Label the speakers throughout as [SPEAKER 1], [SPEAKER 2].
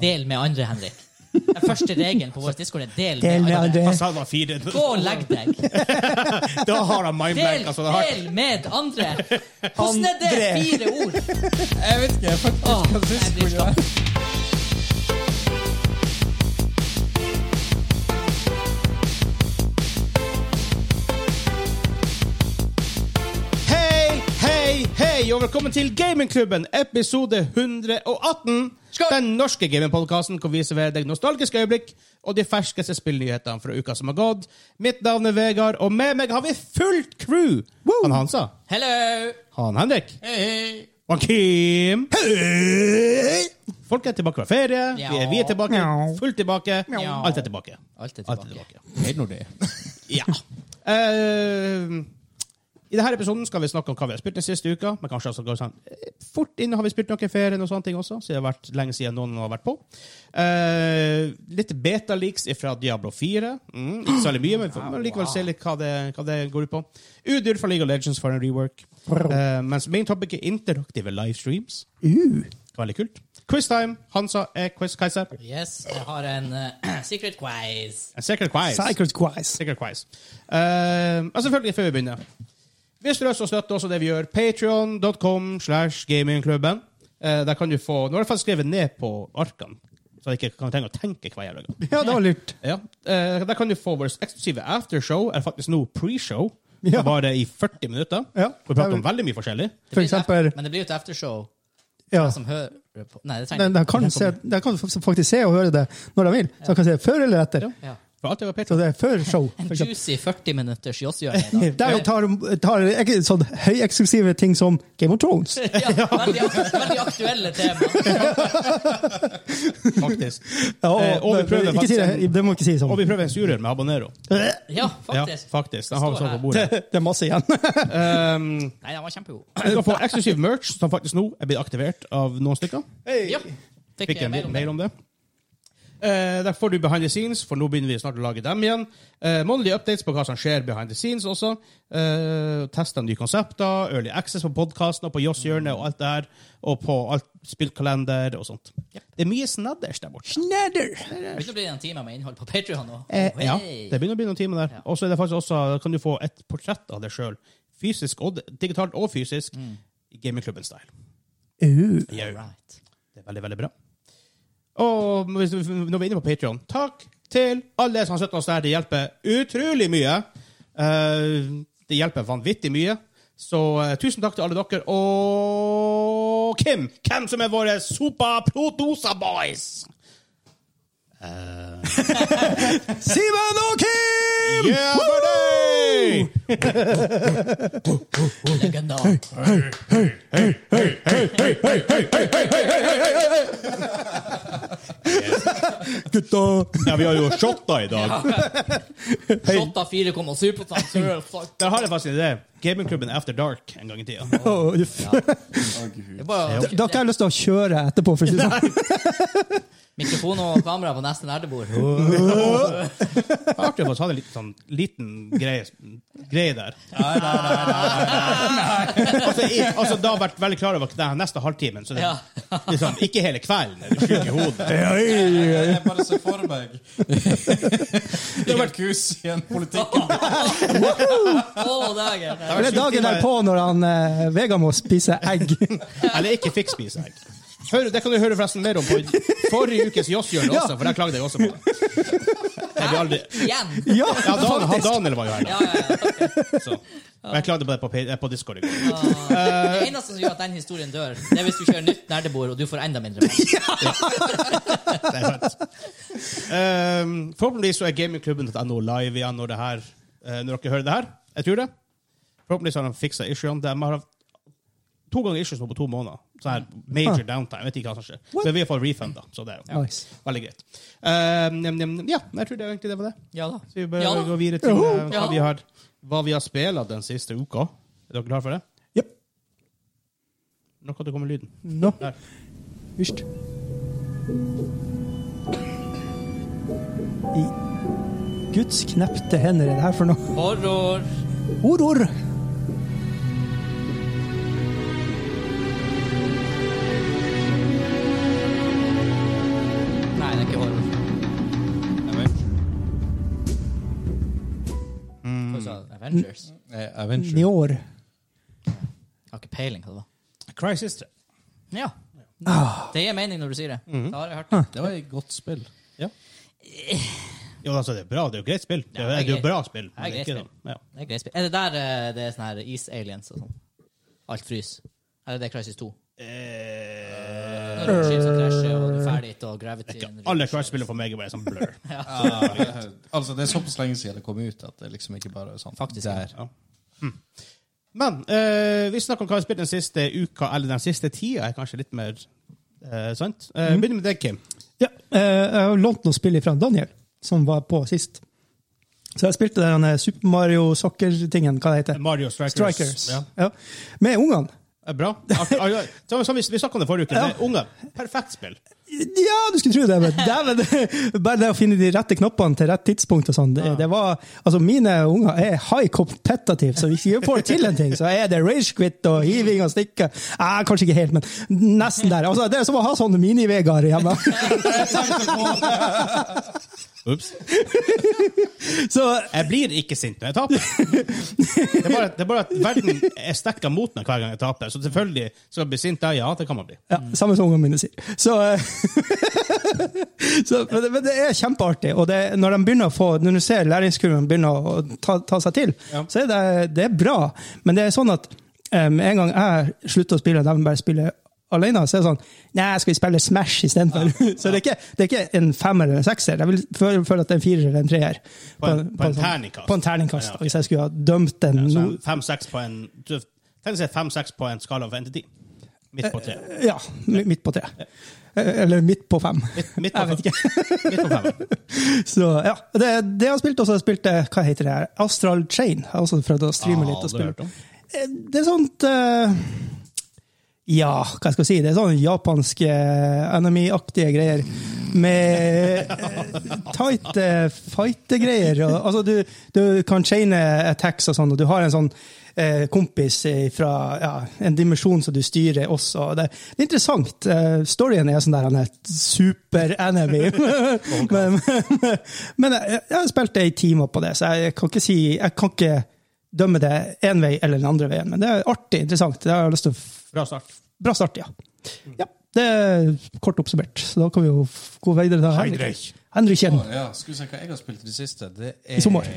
[SPEAKER 1] Del med andre, Henrik. Den første regelen på vår Discord er del,
[SPEAKER 2] Del med andre.
[SPEAKER 3] Han sa Altså, det var fire.
[SPEAKER 1] Eh. Gå og legg deg.
[SPEAKER 3] Da har han mindblank.
[SPEAKER 1] Del,
[SPEAKER 3] Altså, det har...
[SPEAKER 1] del med andre. Hvordan er det
[SPEAKER 2] Andre.
[SPEAKER 1] fire ord?
[SPEAKER 2] Jeg vet ikke. Fuck,
[SPEAKER 1] Åh,
[SPEAKER 2] hva synes
[SPEAKER 1] jeg
[SPEAKER 2] du
[SPEAKER 1] blir
[SPEAKER 2] det var?
[SPEAKER 3] Hei, hei, hei, og velkommen til Gamingklubben, episode 118.
[SPEAKER 1] Skål!
[SPEAKER 3] Den norske gamingpodkasten hvor vi serverer deg nostalgiske øyeblikk og de ferskeste spillnyhetene fra uka som har gått. Mitt navn er Vegard, og med meg har vi fullt crew. Han Hansa,
[SPEAKER 1] Hello.
[SPEAKER 3] han Henrik
[SPEAKER 1] Hei.
[SPEAKER 3] og han Kim. Hei! Folk er tilbake fra ferie.
[SPEAKER 1] Ja.
[SPEAKER 3] Vi er, vi er tilbake.
[SPEAKER 2] Mjau.
[SPEAKER 3] Fullt tilbake.
[SPEAKER 1] Mjau.
[SPEAKER 3] Alt er tilbake.
[SPEAKER 1] Alt er
[SPEAKER 3] Alt er
[SPEAKER 1] tilbake.
[SPEAKER 3] tilbake. Ja. Eh, I denne episoden skal vi snakke om hva vi har spilt den siste uka. Men kanskje altså går sånn eh, fort inn har vi spilt noe i ferien og sånne ting også, siden det har vært lenge siden noen har vært på. Eh, litt beta-leaks fra Diablo 4. Mm, ikke særlig mye, men vi får likevel se litt hva det, hva det går ut på. Udyr fra League of Legends for en rework. Eh, mens main topic er interaktive livestreams.
[SPEAKER 2] Uh,
[SPEAKER 3] Veldig kult. Quiztime. Hansa er quiz-keiser.
[SPEAKER 1] Yes, jeg har en eh, secret quiz.
[SPEAKER 3] En secret quiz.
[SPEAKER 2] Psycho Quiz.
[SPEAKER 3] Sikkert quiz. Uh, og selvfølgelig, før vi begynner Hvis du har lyst til å støtte også det vi gjør, patreon.com slash gamingklubben. Eh, der kan du få Nå har jeg faktisk skrevet ned på arkene, så jeg ikke kan trenge å tenke hver jævla gang.
[SPEAKER 2] Ja, det var lurt.
[SPEAKER 3] Ja. Eh, der kan du få vårt eksklusive aftershow, eller faktisk nå pre-show,
[SPEAKER 2] Ja.
[SPEAKER 3] bare i 40 minutter.
[SPEAKER 2] Ja.
[SPEAKER 3] Hvor vi prater om veldig mye forskjellig.
[SPEAKER 2] For eksempel
[SPEAKER 1] Men det blir jo et aftershow.
[SPEAKER 2] ja.
[SPEAKER 1] Som hører på. Nei, det
[SPEAKER 2] De,
[SPEAKER 1] trenger
[SPEAKER 2] de, kan se, de kan faktisk se og høre det når de vil. Så de kan se før eller etter.
[SPEAKER 1] Ja.
[SPEAKER 3] For alt er
[SPEAKER 2] Så
[SPEAKER 3] på Patreon.
[SPEAKER 2] det er før show.
[SPEAKER 1] En
[SPEAKER 2] For eksempel.
[SPEAKER 1] juicy 40 minutters Joss-hjørne i dag.
[SPEAKER 2] Der tar, tar ikke sånn høyeksklusive ting som Game of Thrones.
[SPEAKER 1] Ja, veldig, ak- veldig aktuelle tema.
[SPEAKER 3] faktisk.
[SPEAKER 2] Ja,
[SPEAKER 3] Eh, og vi
[SPEAKER 2] det-
[SPEAKER 3] prøver
[SPEAKER 2] ikke si det,
[SPEAKER 3] faktisk-
[SPEAKER 2] det må ikke si sånn.
[SPEAKER 3] Og vi prøver en surrør med habanero.
[SPEAKER 1] Ja,
[SPEAKER 3] Ja,
[SPEAKER 1] faktisk.
[SPEAKER 3] faktisk. Den har vi
[SPEAKER 1] Står
[SPEAKER 3] sånn
[SPEAKER 1] her.
[SPEAKER 3] på bordet.
[SPEAKER 2] Det er masse igjen.
[SPEAKER 3] Um,
[SPEAKER 1] Nei, den var kjempegod.
[SPEAKER 3] du kan få eksklusiv merch, som faktisk nå er blitt aktivert av noen stykker.
[SPEAKER 1] Ja. Fikk,
[SPEAKER 3] Fikk
[SPEAKER 1] jeg
[SPEAKER 3] en
[SPEAKER 1] mail om det.
[SPEAKER 3] mail om det. Eh, der får du behind the scenes, for nå begynner vi snart å lage dem igjen. Eh, Månedlige updates på hva som skjer behind the scenes også. Eh, Tester nye konsepter, early access på podkasten og på Joss Hjørne og alt det her. Og på alt spillkalender og sånt.
[SPEAKER 1] Yep.
[SPEAKER 3] Det er mye snadders der borte.
[SPEAKER 1] Det begynner å bli en time med innhold på Patreon nå. Oh,
[SPEAKER 3] Eh, ja,
[SPEAKER 1] Hey.
[SPEAKER 3] det begynner å bli noen timer der. Og så er det faktisk også, kan du få et portrett av deg sjøl. Fysisk og digitalt og fysisk. i Gamingklubben-style.
[SPEAKER 2] Uh,
[SPEAKER 3] Jau.
[SPEAKER 1] Right.
[SPEAKER 3] Det er veldig, veldig bra. Og hvis vi- når vi er inne på Patreon, takk til alle som har støttet oss der. Det hjelper utrolig mye. Eh, det hjelper vanvittig mye. Så eh, tusen takk til alle dere. Og Kim, hvem som er våre sopa-protosa-boys?
[SPEAKER 2] Simen og Kim!
[SPEAKER 3] Yeah, buddy!
[SPEAKER 1] Legender.
[SPEAKER 2] Gutta!
[SPEAKER 3] Ja, vi har jo shotta i dag.
[SPEAKER 1] Shotta 4,7 prosent, så er det fuck.
[SPEAKER 3] Der har jeg faktisk en idé. Gamingklubben After Dark en gang i tida.
[SPEAKER 2] Åh, uff.
[SPEAKER 1] Det er bare-
[SPEAKER 2] Da har ikke jeg lyst til å kjøre etterpå. For å si det sånn.
[SPEAKER 1] Mikrofon og kamera på neste nerdebord.
[SPEAKER 3] Artig å få ta en liten, sånn, liten greie, greie der. Altså, i, altså, da vært veldig klar over den neste halvtimen. Så det,
[SPEAKER 1] Ja.
[SPEAKER 3] liksom, ikke hele kvelden er du syk i hodet.
[SPEAKER 4] Jeg bare ser for meg Ingar Kus i en politikken.
[SPEAKER 1] Å, dagen.
[SPEAKER 3] Det har
[SPEAKER 2] Det
[SPEAKER 3] vært
[SPEAKER 2] er
[SPEAKER 3] syv
[SPEAKER 2] dagen
[SPEAKER 3] timer-
[SPEAKER 2] derpå når han eh, Vegard må spise egg.
[SPEAKER 3] Eller ikke fikk spise egg. Hør, det kan du høre forresten mer om på forrige ukes Jåsshjørne også, for der klagde jeg også på det. Jeg blir aldri...
[SPEAKER 1] Igjen!
[SPEAKER 2] Ja,
[SPEAKER 3] Ja, Dan, han
[SPEAKER 2] faktisk!
[SPEAKER 3] Daniel var jo her, da.
[SPEAKER 1] Ja, ja, ja.
[SPEAKER 3] Så. Men jeg klagde på det på, P- på Discord i går.
[SPEAKER 1] Det eneste som gjør at den historien dør, det er hvis du kjører nytt nerdebord og du får enda mindre. mat.
[SPEAKER 3] Det er sant. Ehm, forhåpentligvis så er gamingklubben.no live igjen når, det her, eh, når dere hører det her. Jeg tror det. Forhåpentligvis har de fiksa issuene. De har hatt to ganger issues nå på to måneder. Så her major downtime. Jeg vet ikke hva som skjer. Men vi har fått refund, da. Så det er jo
[SPEAKER 2] Nice.
[SPEAKER 3] veldig greit. Ehm, nem, nem, nem. ja, jeg tror det, egentlig det var det.
[SPEAKER 1] Ja da.
[SPEAKER 3] Så vi bør
[SPEAKER 1] Ja.
[SPEAKER 3] gå videre til eh, hva
[SPEAKER 1] Ja.
[SPEAKER 3] vi har, hva vi har spilt den siste uka. Er dere klare for det?
[SPEAKER 2] Japp.
[SPEAKER 3] Nå kan det komme lyden.
[SPEAKER 2] Nå.
[SPEAKER 3] Der.
[SPEAKER 2] Hysj. I Guds knepte hender er det her for noe?
[SPEAKER 1] Horror.
[SPEAKER 2] Horror!
[SPEAKER 1] den er ikke horror. Hva sa du? Avengers?
[SPEAKER 4] Eh,
[SPEAKER 2] I
[SPEAKER 4] Avenger.
[SPEAKER 2] år.
[SPEAKER 1] Jeg har ikke peiling hva det var.
[SPEAKER 3] Crisis 3.
[SPEAKER 1] Ja.
[SPEAKER 3] Ah.
[SPEAKER 1] Det gir mening når du sier det. Da har jeg hørt
[SPEAKER 4] Det var et godt spill.
[SPEAKER 3] Ja. Jo, altså, det er bra. Det er jo greit spill. Det er,
[SPEAKER 1] Ja, det er
[SPEAKER 3] det er jo
[SPEAKER 1] greit.
[SPEAKER 3] bra spill.
[SPEAKER 1] Det er
[SPEAKER 3] men
[SPEAKER 1] greit
[SPEAKER 3] ikke
[SPEAKER 1] spill.
[SPEAKER 3] sånn. Ja.
[SPEAKER 1] Det er, greit spill. er det der eh, det er sånne her is aliens og sånn? Alt fryser? Eller det er Crisis 2?
[SPEAKER 3] Eh,
[SPEAKER 1] Når det er skip som krasjer, og du er ferdig og gravity
[SPEAKER 3] ikke alle Crash-spillene for meg er bare sånn blur.
[SPEAKER 4] Ah, altså, det er såpass lenge siden det kom ut at det liksom ikke bare er sånn
[SPEAKER 1] Faktisk.
[SPEAKER 4] Der.
[SPEAKER 3] Hm. Men eh, vi snakker om hva vi har spilt den siste uka, eller den siste tida, er kanskje litt mer eh, sant. Eh,
[SPEAKER 1] Mhm.
[SPEAKER 3] Begynner med deg, Kim.
[SPEAKER 2] Ja, eh, jeg har lånt noen spill fra Daniel, som var på sist. Så jeg spilte den eh, Super Mario Soccer-tingen, hva det heter.
[SPEAKER 3] Mario Strikers.
[SPEAKER 2] Strikers.
[SPEAKER 3] Ja.
[SPEAKER 2] Ja. Med ungene.
[SPEAKER 3] Eh, Bra. Artig. Ah, ja. Så, så vi vi snakket om det forrige uke.
[SPEAKER 2] Ja.
[SPEAKER 3] Det er Unger. Perfekt spill.
[SPEAKER 2] Ja, du skulle tro det, men dæven! det- Bare det å finne de rette knappene til rett tidspunkt og sånn. Det, det var, altså Mine unger er high competitive, så hvis de får til en ting, så er det rage quit og hiving og stikke. Eh, kanskje ikke helt, men nesten der. Altså, Det er som å ha sånn mini-Vegard hjemme.
[SPEAKER 3] Ups.
[SPEAKER 2] Så
[SPEAKER 3] Jeg blir ikke sint når jeg taper. Det er bare, det er bare at verden er stekka mot meg hver gang jeg taper. Så selvfølgelig skal jeg bli sint da. Ja, det kan man bli.
[SPEAKER 2] Ja, samme som ungene mine sier. Så, eh, så, men, det, men det er kjempeartig. Og det, når de begynner å få, når du ser læringskurven begynner å ta, ta seg til, så er det, det er bra. Men det er sånn at eh, med en gang jeg slutter å spille, og de bare spiller alene, så er det sånn Nei, skal vi spille Smash istedenfor? Så det er, ikke, det er ikke en femmer eller en sekser. Jeg vil føle, føle at det er en firer eller en treer.
[SPEAKER 3] På en- på en
[SPEAKER 2] sånn-
[SPEAKER 3] terningkast.
[SPEAKER 2] På en terningkast.
[SPEAKER 3] Ja, ok.
[SPEAKER 2] Hvis jeg skulle ha dømt den no-
[SPEAKER 3] Så Altså, fem-seks på en Tenk å si fem-seks på en skala fra 1 til 10. Midt på tre.
[SPEAKER 2] Ja, mi- midt på tre. Eh, Eller midt på fem.
[SPEAKER 3] midt på
[SPEAKER 2] jeg vet
[SPEAKER 3] fem.
[SPEAKER 2] ikke.
[SPEAKER 3] Midt på fem.
[SPEAKER 2] Så ja, det, det jeg har spilt, og så har jeg spilt eh, hva heter det her? Astral Chain. Jeg har også prøvd å streame litt. og
[SPEAKER 3] Aldri hørt
[SPEAKER 2] spille.
[SPEAKER 3] om.
[SPEAKER 2] Eh, Det er sånt eh, Ja, hva skal jeg si? Det er sånn japanske eh, enemy-aktige greier. Med eh, tight eh, fightegreier. Og, Altså, du, du kan chaine attacks og sånn, og du har en sånn eh, kompis fra ja, en dimensjon som du styrer også. Det, det er interessant. Eh, storyen er sånn der han er super-enemy. men, men, men jeg, jeg har spilt ei time på det, så jeg, kan ikke si Jeg kan ikke dømme det én vei eller den andre veien, men det er artig, interessant. Det har jeg lyst til å f-
[SPEAKER 3] Bra start.
[SPEAKER 2] Bra start, ja. ja. Det er kort oppsummert, så da kan vi jo f- gå videre til Henrik.
[SPEAKER 3] Henrik.
[SPEAKER 2] Henrik Kjell.
[SPEAKER 4] Å, ja. Skal vi se hva jeg har spilt i det siste? Det
[SPEAKER 2] I
[SPEAKER 4] er...
[SPEAKER 2] sommer.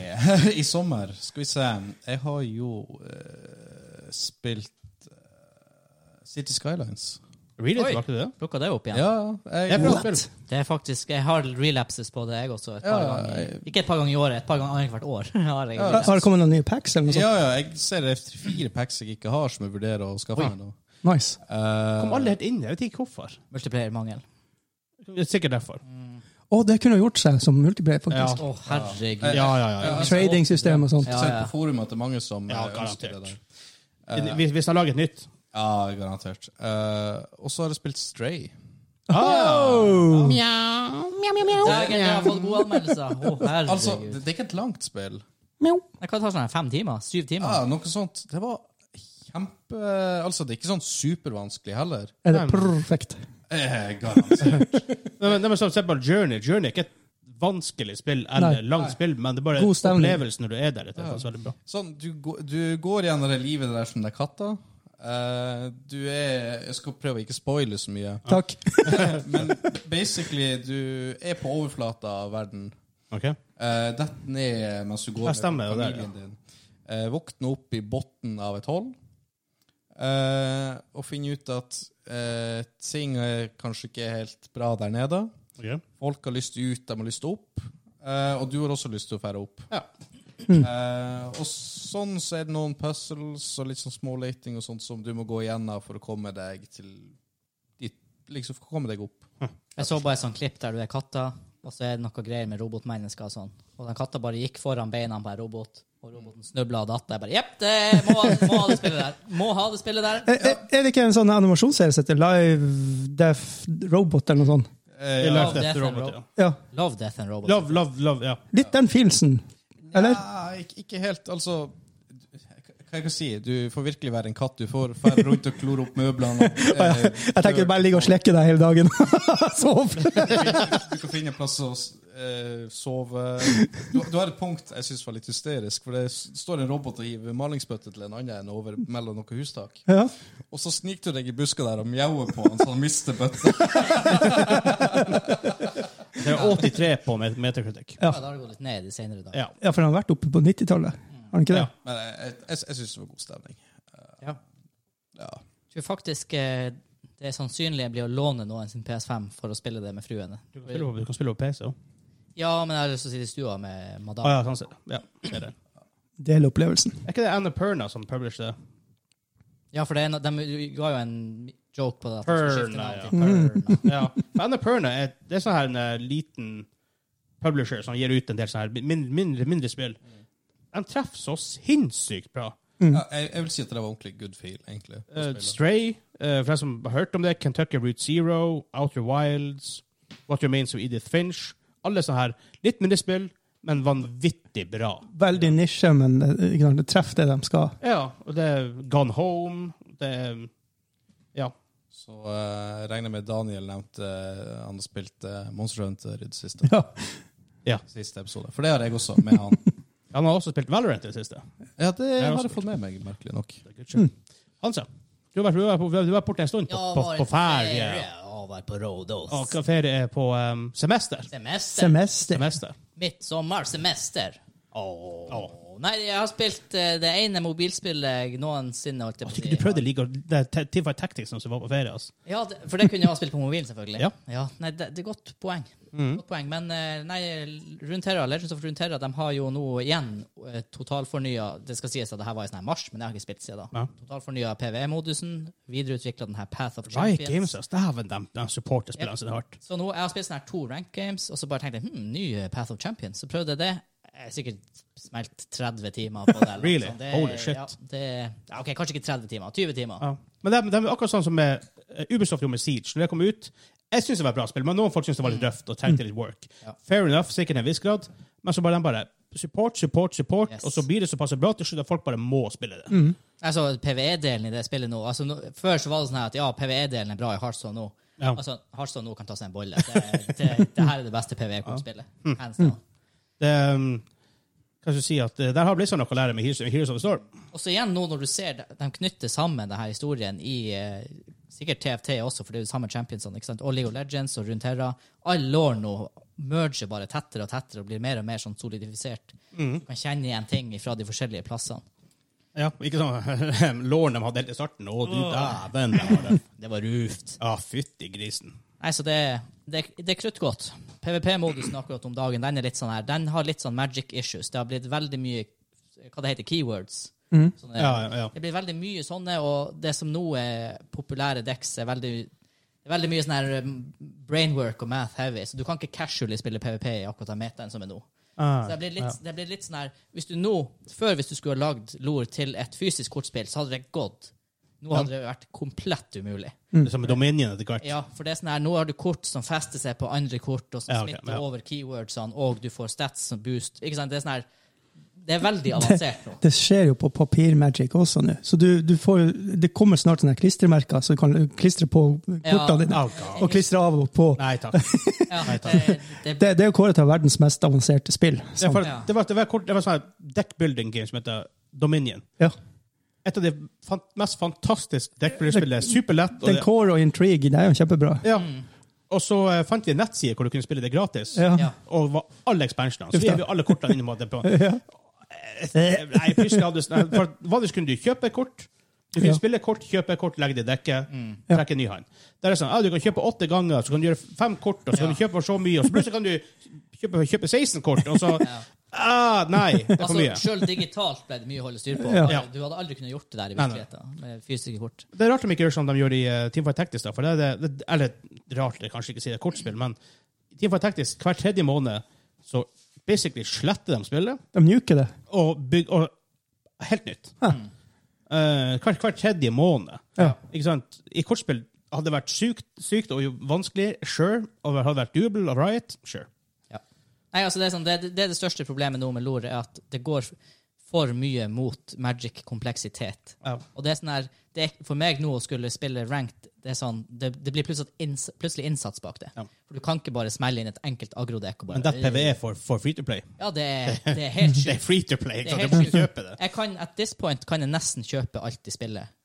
[SPEAKER 4] I sommer. Skal vi se. Jeg har jo eh, spilt eh, City Skylines.
[SPEAKER 3] Really?
[SPEAKER 1] Oi.
[SPEAKER 3] Var ikke det det?
[SPEAKER 1] Plukka det opp igjen?
[SPEAKER 4] Ja,
[SPEAKER 3] Det er
[SPEAKER 4] jeg,
[SPEAKER 3] bra
[SPEAKER 2] What?
[SPEAKER 3] spill.
[SPEAKER 1] Det er faktisk, Jeg har relapses på det, jeg også. Et par
[SPEAKER 4] Ja,
[SPEAKER 1] ganger.
[SPEAKER 4] jeg-
[SPEAKER 1] Ikke et par ganger i året, et par ganger annethvert år. har jeg
[SPEAKER 2] Har det kommet noen nye packs? eller noe
[SPEAKER 4] ja,
[SPEAKER 2] sånt?
[SPEAKER 4] ja, jeg ser det er fire packs jeg ikke har, som jeg vurderer å skaffe meg nå.
[SPEAKER 2] Nice.
[SPEAKER 4] Eh,
[SPEAKER 3] Kom alle helt inn. Jeg vet ikke hvorfor.
[SPEAKER 1] Multiplayer-mangel.
[SPEAKER 3] Det er Sikkert derfor.
[SPEAKER 2] Å, det kunne gjort seg som multiplayer, faktisk.
[SPEAKER 1] Å, herregud.
[SPEAKER 3] Ja, ja, ja.
[SPEAKER 4] Ja.
[SPEAKER 2] Trading-system og sånt.
[SPEAKER 4] Jeg
[SPEAKER 1] Ja,
[SPEAKER 4] har sett
[SPEAKER 1] ja.
[SPEAKER 4] på forum at det er mange som
[SPEAKER 3] Ja,
[SPEAKER 4] eh, ønsker
[SPEAKER 3] garantert.
[SPEAKER 4] det der.
[SPEAKER 2] Eh,
[SPEAKER 3] ja. Hvis hvis jeg lager et nytt.
[SPEAKER 4] Ja, garantert. Eh, og så har jeg spilt Stray.
[SPEAKER 2] Ah,
[SPEAKER 1] Dagen jeg har fått gode anmeldelser. Å, herregud.
[SPEAKER 4] Altså, det, det er ikke et langt spill.
[SPEAKER 1] jeg kan ta sånn her fem timer? Syv
[SPEAKER 4] Ja,
[SPEAKER 1] timer?
[SPEAKER 4] noe sånt. Det var kjempe... Altså, det er ikke sånn supervanskelig heller.
[SPEAKER 2] Er det perfekt?
[SPEAKER 4] Eh, garantert.
[SPEAKER 3] Nei, men, nei, men som eksempel Journey. Journey er ikke et vanskelig spill
[SPEAKER 2] Nei.
[SPEAKER 3] eller langt spill, men det er bare
[SPEAKER 2] God stemning.
[SPEAKER 3] opplevelsen når du er der. Det er faktisk veldig bra.
[SPEAKER 4] Sånn, du, gå- du går gjennom det livet der som det er katta. Eh, du er Jeg skal prøve å ikke spoile så mye.
[SPEAKER 2] Takk.
[SPEAKER 4] Men basically, du er på overflata av verden.
[SPEAKER 3] Ok.
[SPEAKER 4] Uh, Dett ned mens du går
[SPEAKER 3] Ja, stemmer,
[SPEAKER 4] med
[SPEAKER 3] det der,
[SPEAKER 4] familien din. Eh, våkne opp i bunnen av et hull. eh, og finne ut at eh, ting er kanskje ikke helt bra der nede.
[SPEAKER 3] Ok.
[SPEAKER 4] Folk har lyst ut, de har lyst opp. eh, og du har også lyst til å fære opp.
[SPEAKER 3] Ja.
[SPEAKER 4] Eh, og sånn så er det noen puzzles og litt sånn småleting og sånt som du må gå igjennom for å komme deg til dit, liksom for å komme deg opp.
[SPEAKER 1] Jeg så bare et sånt klipp der du er katta, og så er det noe greier med robotmennesker og sånn. Og den katta bare gikk foran beina på en robot, og roboten snubla og datt. Jeg bare Jepp, det må, må ha det spillet der. Må ha det spillet der.
[SPEAKER 2] Er, er- er det ikke en sånn animasjonsserie som heter Live Deaf Robot eller noe sånt?
[SPEAKER 4] Eh,
[SPEAKER 3] I
[SPEAKER 4] ja.
[SPEAKER 3] Life,
[SPEAKER 1] Death
[SPEAKER 3] Death,
[SPEAKER 1] and
[SPEAKER 3] Robot,
[SPEAKER 1] Ro-
[SPEAKER 3] ja.
[SPEAKER 2] Ja.
[SPEAKER 1] Love Death and Robots.
[SPEAKER 3] Love, love, love. Ja.
[SPEAKER 2] Litt den filsen, eller?
[SPEAKER 4] Ja, ikke, ikke helt. Altså jeg, jeg Hva jeg kan si? Du får virkelig være en katt. Du får ferde rundt og klore opp møblene. eh,
[SPEAKER 2] Jeg tenker bare ligge og slekke deg hele dagen. Sov!
[SPEAKER 4] Du kan finne en plass å eh, sove. Du, du har et punkt jeg syns var litt hysterisk. For det s- står en robot og hiver malingsbøtte til en annen enn over mellom noen hustak.
[SPEAKER 2] Ja.
[SPEAKER 4] Og så sniker du deg i buska der og mjauer på han så han mister bøtta.
[SPEAKER 3] Det er 83 på met- meterkritikk.
[SPEAKER 1] Ja, da har det gått litt ned de senere dagene.
[SPEAKER 3] Ja.
[SPEAKER 2] ja, for han har vært oppe på 90-tallet. Har han ikke det?
[SPEAKER 3] Ja.
[SPEAKER 4] Men jeg, jeg, jeg, jeg syns det var god stemning.
[SPEAKER 1] Ja.
[SPEAKER 4] Ja.
[SPEAKER 1] Jeg tror faktisk eh, det sannsynlige blir å låne noen sin PS5 for å spille det med fruene.
[SPEAKER 3] Du kan spille på, du kan spille på PC òg.
[SPEAKER 1] Ja, men jeg har lyst til å sitte i stua med madam.
[SPEAKER 3] Ah, ja, sånn ser det. Ja, det er det.
[SPEAKER 2] Del opplevelsen.
[SPEAKER 3] Er ikke det Anna Perna som publisher det?
[SPEAKER 1] Ja, for det er, no- de ga jo en joke på det. At de skulle skifte
[SPEAKER 3] Perna,
[SPEAKER 1] navn
[SPEAKER 3] ja. Mm.
[SPEAKER 1] til Perna.
[SPEAKER 3] Ja. For Anna Perna er, det er sånn her en eh, liten publisher som gir ut en del sånne her mindre, mindre, mindre spill. De treffer så sinnssykt bra.
[SPEAKER 2] Mm.
[SPEAKER 4] Ja, jeg, jeg vil si at det var ordentlig good feel, egentlig. å
[SPEAKER 3] Eh,
[SPEAKER 4] spille.
[SPEAKER 3] Stray, eh, for deg som har hørt om det, Kentucky Route Zero, Outer Wilds, What Remains of Edith Finch. Alle sånne her litt mindre spill, men vanvittig bra.
[SPEAKER 2] Veldig nisje, men eh, ikke sant, det treffer det de skal.
[SPEAKER 3] Ja, og det er Gone Home, det er Ja.
[SPEAKER 4] Så eh, jeg regner med Daniel nevnte eh, han har spilt eh, Monster Hunter i det siste.
[SPEAKER 2] Ja.
[SPEAKER 3] Ja.
[SPEAKER 4] Siste episode. For det har jeg også, med han.
[SPEAKER 3] Han har også spilt Valorant i det siste.
[SPEAKER 4] Ja, det
[SPEAKER 3] har
[SPEAKER 4] har
[SPEAKER 3] også
[SPEAKER 4] jeg fått med meg, merkelig nok.
[SPEAKER 3] Hansa, du har vært, du har vært, på- du har vært borte en stund på,
[SPEAKER 1] Ja,
[SPEAKER 3] på,
[SPEAKER 1] var
[SPEAKER 3] på ferie.
[SPEAKER 1] Ja, var på Rhodos.
[SPEAKER 3] Og hva ferie er på em, semester.
[SPEAKER 1] Semester.
[SPEAKER 2] Semester.
[SPEAKER 3] Semester.
[SPEAKER 1] Mitt sommersemester. Åh. Nei, jeg har spilt eh, det ene mobilspillet jeg noensinne. holdt jeg på å
[SPEAKER 3] Jeg tror
[SPEAKER 1] si.
[SPEAKER 3] ikke du prøvde like, Teamfight Tactics som var på ferie. Altså.
[SPEAKER 1] Ja, det- for det kunne jeg ha spilt på mobilen, selvfølgelig.
[SPEAKER 3] Ja. Mm.
[SPEAKER 1] Nei, det, det er godt poeng. Godt poeng. Men eh, nei, Runeterra, Legends of Runeterra de har jo nå igjen eh, totalfornya Det skal sies at det her var i sånn her mars, men jeg har ikke spilt siden da.
[SPEAKER 3] Ja.
[SPEAKER 1] Totalfornya PVE-modusen. Videreutvikla den her Path of
[SPEAKER 3] Riot
[SPEAKER 1] Champions.
[SPEAKER 3] Games, altså. Dæven, de, de supporter spillene sine hardt.
[SPEAKER 1] Så nå, jeg har spilt sånne her to rank games, og så bare tenkte jeg hm, ny eh, Path of Champions. Så prøvde jeg det. Jeg har sikkert smelt 30 timer på det. eller noe
[SPEAKER 3] Really?
[SPEAKER 1] sånt. det,
[SPEAKER 3] Holy shit.
[SPEAKER 1] Ja, det, ja, ok, kanskje ikke 30 timer. 20 timer.
[SPEAKER 3] Ja. Men det, er- det er akkurat sånn som med eh, Ubisoft gjorde med Siege. Når det kom ut, jeg synes det var et bra spill, men noen folk synes det var litt røft og trengte litt work.
[SPEAKER 1] Ja.
[SPEAKER 3] Fair enough, sikkert til en viss grad, men så bare de bare support, support, support,
[SPEAKER 1] Yes.
[SPEAKER 3] og så blir det såpass bra til slutt at folk bare må spille det.
[SPEAKER 1] Altså, PVE-delen i det spillet nå altså, nå- Før så var det sånn her at ja, PVE-delen er bra i Hearthstone nå.
[SPEAKER 3] Ja.
[SPEAKER 1] Altså, Hearthstone nå kan ta seg en bolle. Det, det, det her er det beste PVE-kortspillet. Hands down.
[SPEAKER 3] det um, kan du si at det der har blitt sånn noe å lære med Heroes, Heroes of the Storm.
[SPEAKER 1] Og så igjen nå når du ser de, de knytter sammen denne historien i eh, sikkert TFT også, for det er jo de samme championsene, ikke sant? og League of Legends og Runeterra. All law nå merger bare tettere og tettere og blir mer og mer sånn solidifisert. Du kan kjenne igjen ting fra de forskjellige plassene.
[SPEAKER 3] Ja, ikke sånn låren de hadde helt i starten. Å, du dæven! det var det.
[SPEAKER 1] Det var ruft.
[SPEAKER 3] Ja, fytti grisen.
[SPEAKER 1] Nei, så det, det, det er kruttgodt. PVP-modusen akkurat om dagen, den er litt sånn her, den har litt sånn magic issues. Det har blitt veldig mye, hva det heter, keywords. Sånne-
[SPEAKER 3] Ja, ja, ja.
[SPEAKER 1] Det blir veldig mye sånne, og det som nå er populære decks, er veldig, det er veldig mye sånn her um, brainwork og math heavy, så du kan ikke casually spille PVP i akkurat den metaen som er nå.
[SPEAKER 3] Ah,
[SPEAKER 1] Så det blir, litt, det blir litt sånn her Hvis du nå, før hvis du skulle ha lagd LOR til et fysisk kortspill, så hadde det gått. Nå hadde det vært komplett umulig.
[SPEAKER 3] Det er som med Dominion etter hvert.
[SPEAKER 1] Mm. Ja, for det er sånn her, nå har du kort som fester seg på andre kort, og som
[SPEAKER 3] Ja, ok,
[SPEAKER 1] smitter
[SPEAKER 3] ja.
[SPEAKER 1] over keywordsene, og du får stats som boost. Ikke sant? Det er sånn her Det er veldig avansert nå.
[SPEAKER 2] Det skjer jo på papirmagic også nå. Så du, du får, jo- det kommer snart sånne klistremerker, så du kan klistre på
[SPEAKER 1] Ja.
[SPEAKER 2] kortene dine.
[SPEAKER 3] Oh, God.
[SPEAKER 2] Og klistre av og på.
[SPEAKER 3] Nei takk. Det
[SPEAKER 1] Ja, det, det,
[SPEAKER 2] Det, det er jo kåret til verdens mest avanserte spill.
[SPEAKER 3] er for-
[SPEAKER 1] Ja.
[SPEAKER 3] det var, det var, kort, det var sånn deckbuilding game som heter Dominion.
[SPEAKER 2] Ja.
[SPEAKER 3] Et av de fan, mest fantastiske deckbuilding-spillene. Superlett. og
[SPEAKER 2] Den
[SPEAKER 3] det-
[SPEAKER 2] core og intrigue, det er jo kjempebra.
[SPEAKER 3] Ja. Og så eh, fant vi en nettside hvor du kunne spille det gratis.
[SPEAKER 2] Ja.
[SPEAKER 1] ja.
[SPEAKER 3] Og var alle expansionene. Så
[SPEAKER 2] Uff da.
[SPEAKER 3] gir vi alle kortene inn mot det. på. Eh, Nei, plutselig hadde du- nei, for vanligvis kunne du kjøpe et kort. Du kunne
[SPEAKER 2] Ja.
[SPEAKER 3] spille et kort, kjøpe et kort, legge det i dekket, trekke en ny hand. Der er det sånn, ah, Du kan kjøpe åtte ganger, så kan du gjøre fem kort, og så kan du kjøpe for så mye, og så plutselig kan du kjøpe, kjøpe 16 kort, og så ah, Nei, det er for
[SPEAKER 1] Altså,
[SPEAKER 3] mye.
[SPEAKER 1] Sjøl digitalt ble det mye å holde styr på.
[SPEAKER 2] Ja.
[SPEAKER 3] Ja.
[SPEAKER 1] Du hadde aldri kunnet gjort det der i
[SPEAKER 3] Nei, nei.
[SPEAKER 1] virkeligheten med fysiske kort.
[SPEAKER 3] Det er rart de ikke gjør som de gjør i eh, Teamfight Tactics. da, for det er det, det, Eller rart, det er kanskje ikke å si det er kortspill, men i Teamfight Tactics hver tredje måned så basically sletter de spillet
[SPEAKER 2] De nuker det.
[SPEAKER 3] og bygger og, Helt nytt. Mm. Eh, hver, hver tredje måned.
[SPEAKER 2] Ja.
[SPEAKER 3] Ikke sant? I kortspill hadde det vært sykt, sykt og jo vanskelig, sure. Og det hadde vært double of riot, sure.
[SPEAKER 1] Nei, altså det, er sånn, det, det er det største problemet nå med LOR, er at det går for mye mot magic-kompleksitet.
[SPEAKER 3] Ja.
[SPEAKER 1] Og det er sånn her, det er, For meg nå å skulle spille ranked, det, er sånn, det, det blir plutselig, at inns, plutselig innsats bak det.
[SPEAKER 3] Ja.
[SPEAKER 1] For du kan ikke bare smelle inn et enkelt agrodekk og
[SPEAKER 3] Men
[SPEAKER 1] bare
[SPEAKER 3] det er E. PVE for, for free to play.
[SPEAKER 1] Ja, det er, det er helt
[SPEAKER 3] Det er
[SPEAKER 1] sjukt.
[SPEAKER 3] free to play,
[SPEAKER 1] Det er
[SPEAKER 3] så du
[SPEAKER 1] helt
[SPEAKER 3] må
[SPEAKER 1] sjukt.
[SPEAKER 3] kjøpe det.
[SPEAKER 1] Jeg kan, At this point kan jeg nesten kjøpe alt de spiller,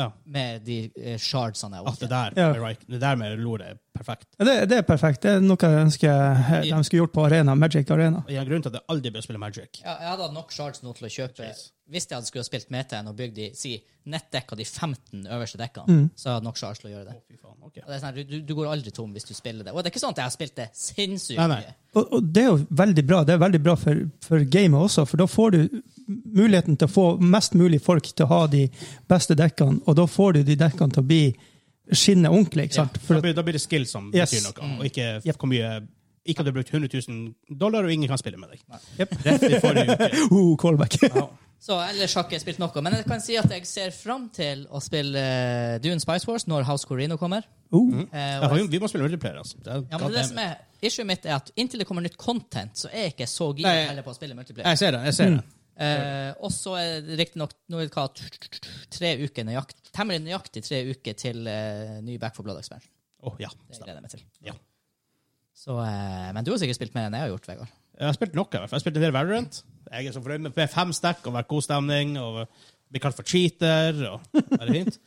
[SPEAKER 3] Ja.
[SPEAKER 1] med de eh, shardsene jeg
[SPEAKER 3] At det
[SPEAKER 1] orker.
[SPEAKER 3] der,
[SPEAKER 2] Ja.
[SPEAKER 3] med Raik- det der med lore er perfekt.
[SPEAKER 2] Ja, Det, det er perfekt. Det er noe jeg ønsker eh, de skulle gjort på arena, Magic Arena.
[SPEAKER 3] Og Det er en grunn til at jeg aldri bør spille Magic.
[SPEAKER 1] Ja, jeg hadde hatt nok shards nå til å kjøpe
[SPEAKER 3] Jeez.
[SPEAKER 1] Hvis jeg hadde skulle ha spilt metaen og bygd de si, nettdekka de 15 øverste dekkene,
[SPEAKER 3] Mm.
[SPEAKER 1] så hadde jeg hatt nok shards til å gjøre det.
[SPEAKER 3] Å, fy faen, ok.
[SPEAKER 1] Og det er sånn, her, du, du går aldri tom hvis du spiller det. Og det er ikke sånn at jeg har spilt det sinnssykt
[SPEAKER 3] Nei, nei.
[SPEAKER 1] mye.
[SPEAKER 2] Og, og det er jo veldig bra. Det er veldig bra for, for gamet også, for da får du muligheten til å få mest mulig folk til å ha de beste dekkene, og da får du de dekkene til å bli skinne ordentlig. ikke sant?
[SPEAKER 3] Da
[SPEAKER 2] For,
[SPEAKER 3] blir, da blir det skill som
[SPEAKER 2] Yes.
[SPEAKER 3] betyr
[SPEAKER 1] Mm.
[SPEAKER 3] noe, og ikke hvor mye ikke at du har brukt 100 000 dollar, og ingen kan spille med deg.
[SPEAKER 2] Jep.
[SPEAKER 3] Rett i forrige uke.
[SPEAKER 2] at- oh, callback!
[SPEAKER 1] Så ellers har ikke jeg spilt noe. Men jeg kan si at jeg ser fram til å spille eh, Dune Spice Wars når House Corino kommer.
[SPEAKER 2] Oh.
[SPEAKER 1] Eh,
[SPEAKER 3] Ja,
[SPEAKER 1] og
[SPEAKER 3] vi,
[SPEAKER 1] jeg,
[SPEAKER 3] vi må spille multiplayer, altså. Det er,
[SPEAKER 1] ja, men det er det som er Issue mitt er at inntil det kommer nytt content, så er jeg ikke så gira
[SPEAKER 3] Nei.
[SPEAKER 1] heller på å spille multiplayer.
[SPEAKER 3] jeg ser det.
[SPEAKER 2] Mm.
[SPEAKER 3] jeg ser det.
[SPEAKER 1] Eh, og så er det riktignok nå er det hva, t- t- t- tre uker nøyaktig, temmelig nøyaktig tre uker til eh, ny Back for Blood Expansion.
[SPEAKER 3] Å, ja.
[SPEAKER 1] Det
[SPEAKER 3] stemmer.
[SPEAKER 1] gleder jeg meg til.
[SPEAKER 3] Ja.
[SPEAKER 1] Så, eh, men du har sikkert spilt mer enn jeg har gjort, Vegard.
[SPEAKER 3] Jeg har spilt noe, i hvert fall. Jeg har spilt en del Valorant. Jeg er så fornøyd med med fem stack og vært god stemning. og Blir kalt for cheater. og Er det fint?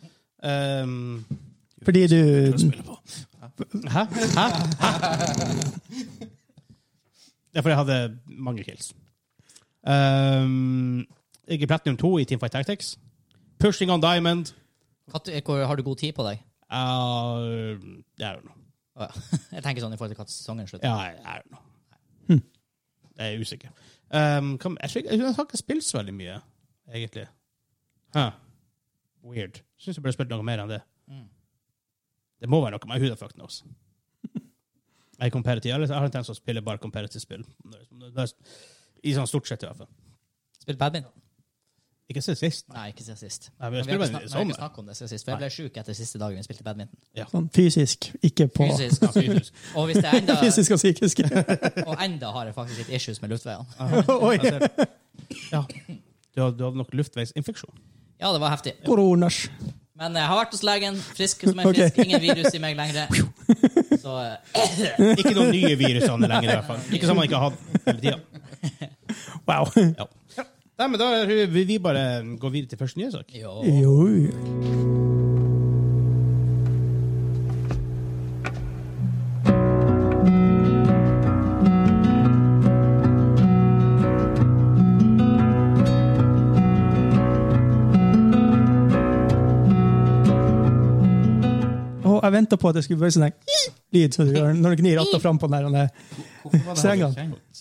[SPEAKER 3] Um,
[SPEAKER 2] Fordi du
[SPEAKER 3] hæ? Hæ? Hæ? Det er fordi jeg hadde mange kills. Um, jeg er platinum 2 i Teamfight Tactics. Pushing on diamond.
[SPEAKER 1] Hva- hvor- Har du god tid på deg?
[SPEAKER 3] Uh, I don't know.
[SPEAKER 1] Å, ja. Jeg tenker sånn i forhold til hva sesongen slutter.
[SPEAKER 3] Ja, I, I don't know. Jeg er usikker. Um, hva- jeg, tror ikke- jeg har ikke spilt så veldig mye, egentlig. Huh. Weird. Syns jeg burde spilt noe mer enn det.
[SPEAKER 1] Mm.
[SPEAKER 3] Det må være noe med huda fuck knows. Jeg, er competitive, eller jeg har en tendens til å spille bare competitive spill. Det er- I sånn stort sett, i hvert fall.
[SPEAKER 1] Spilt badminton?
[SPEAKER 3] Ikke siden sist.
[SPEAKER 1] Nei, ikke siden sist.
[SPEAKER 3] Nei, men
[SPEAKER 1] Men
[SPEAKER 3] jeg
[SPEAKER 1] vi har
[SPEAKER 3] spiller
[SPEAKER 1] ikke
[SPEAKER 3] bare
[SPEAKER 1] snak-
[SPEAKER 3] i
[SPEAKER 1] vi har ikke
[SPEAKER 3] sommer.
[SPEAKER 1] snakket om det siden sist, for jeg ble sjuk etter siste dagen vi spilte badminton.
[SPEAKER 2] sånn fysisk, ikke på
[SPEAKER 1] Fysisk.
[SPEAKER 3] Fysisk.
[SPEAKER 1] Og, hvis det er enda,
[SPEAKER 2] Fysisk og psykisk.
[SPEAKER 1] og enda har jeg faktisk litt issues med luftveiene.
[SPEAKER 2] Oi,
[SPEAKER 3] Jeg ser det. Ja. Du hadde, du hadde nok luftveisinfeksjon.
[SPEAKER 1] Ja, det var heftig.
[SPEAKER 2] koronas.
[SPEAKER 1] Men jeg har vært hos legen, frisk som en frisk,
[SPEAKER 2] Ok.
[SPEAKER 1] ingen virus i meg lenger. Så eh,
[SPEAKER 3] Ikke noen nye virusene lenger, i hvert fall. Ikke som man ikke har hatt hele tida.
[SPEAKER 2] Wow.
[SPEAKER 3] Ja. Nei, men da vil vi bare gå videre til første nye sak.
[SPEAKER 1] jo.
[SPEAKER 2] Jo. Og jeg venta på at det skulle være sånn her lyd som du gjør når du gnir ratta fram på den der.
[SPEAKER 4] Hvorfor var det
[SPEAKER 2] Ser
[SPEAKER 4] her
[SPEAKER 2] jeg
[SPEAKER 4] kjent?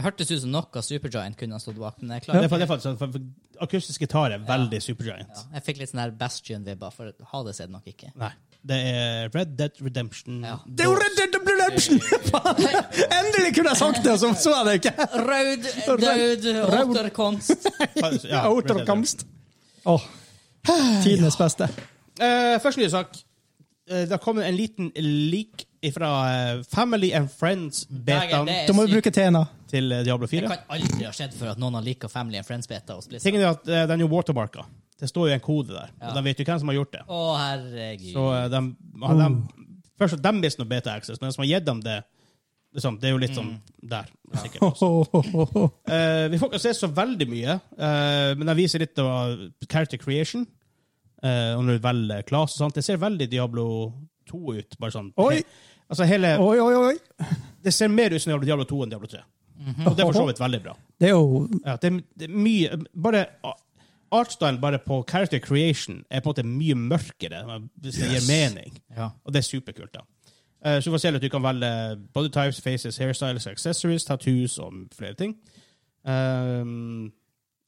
[SPEAKER 1] Det hørtes ut som noe Supergiant kunne ha stått bak, men jeg
[SPEAKER 3] Det
[SPEAKER 1] klarer
[SPEAKER 3] er fa- det er faktisk sånn, for- for Akustisk gitar er veldig
[SPEAKER 1] Ja,
[SPEAKER 3] supergiant.
[SPEAKER 1] jeg fikk litt sånn her Bastion-vibba, for Hades er det nok ikke.
[SPEAKER 3] Nei. Det er Red Dead Redemption.
[SPEAKER 1] Ja.
[SPEAKER 2] Det er jo Red Dead Redemption! Faen! Endelig kunne jeg sagt det, og så så jeg det ikke!
[SPEAKER 1] Raud,
[SPEAKER 2] Raud-
[SPEAKER 1] død, återkomst.
[SPEAKER 3] Ja, Red Dead
[SPEAKER 2] Autokamst. Åh, Tidenes beste.
[SPEAKER 3] Eh, første nye sak. Eh, det har kommet en liten leak fra eh, Family and
[SPEAKER 1] Dagen,
[SPEAKER 3] Friends-betaen
[SPEAKER 1] det
[SPEAKER 2] Da må
[SPEAKER 1] er
[SPEAKER 2] vi
[SPEAKER 1] sykt.
[SPEAKER 2] bruke Tena.
[SPEAKER 3] til eh, Diablo
[SPEAKER 1] Det
[SPEAKER 3] 4.
[SPEAKER 1] kan aldri ha skjedd for at noen har lika Family and Friends-beta og Spliss.
[SPEAKER 3] Tingen er at eh, den er jo watermarka. Det står jo en kode der.
[SPEAKER 1] Ja.
[SPEAKER 3] Og de vet jo hvem som har gjort det.
[SPEAKER 1] Å, herregud.
[SPEAKER 3] Så eh, de, har
[SPEAKER 1] Oh.
[SPEAKER 3] de, først og fremst mister noe beta access, men den som har gitt dem det, liksom, det
[SPEAKER 1] Mm.
[SPEAKER 3] er jo litt sånn der. sikkert.
[SPEAKER 2] Ho, ho, ho, ho, ho.
[SPEAKER 3] Eh, vi får ikke se så veldig mye, eh, men jeg viser litt av character creation. eh, og når du velger class og sånt. Det ser veldig Diablo 2 ut. bare sånn.
[SPEAKER 2] Oi!
[SPEAKER 3] Altså hele,
[SPEAKER 2] Oi, oi, oi. Mhm.
[SPEAKER 3] Det ser mer ut som Diablo 2 enn Diablo 3. Og det er for så vidt veldig bra.
[SPEAKER 2] Det er jo
[SPEAKER 3] Ja, det, er- det er mye Bare ah, Artstyle bare på character creation er på en måte mye mørkere, hvis det gir mening.
[SPEAKER 1] Ja.
[SPEAKER 3] Og det er superkult, da. Eh, Så du får se at du kan velge body types, faces, hairstyles, accessories, tattoos og flere ting. Um,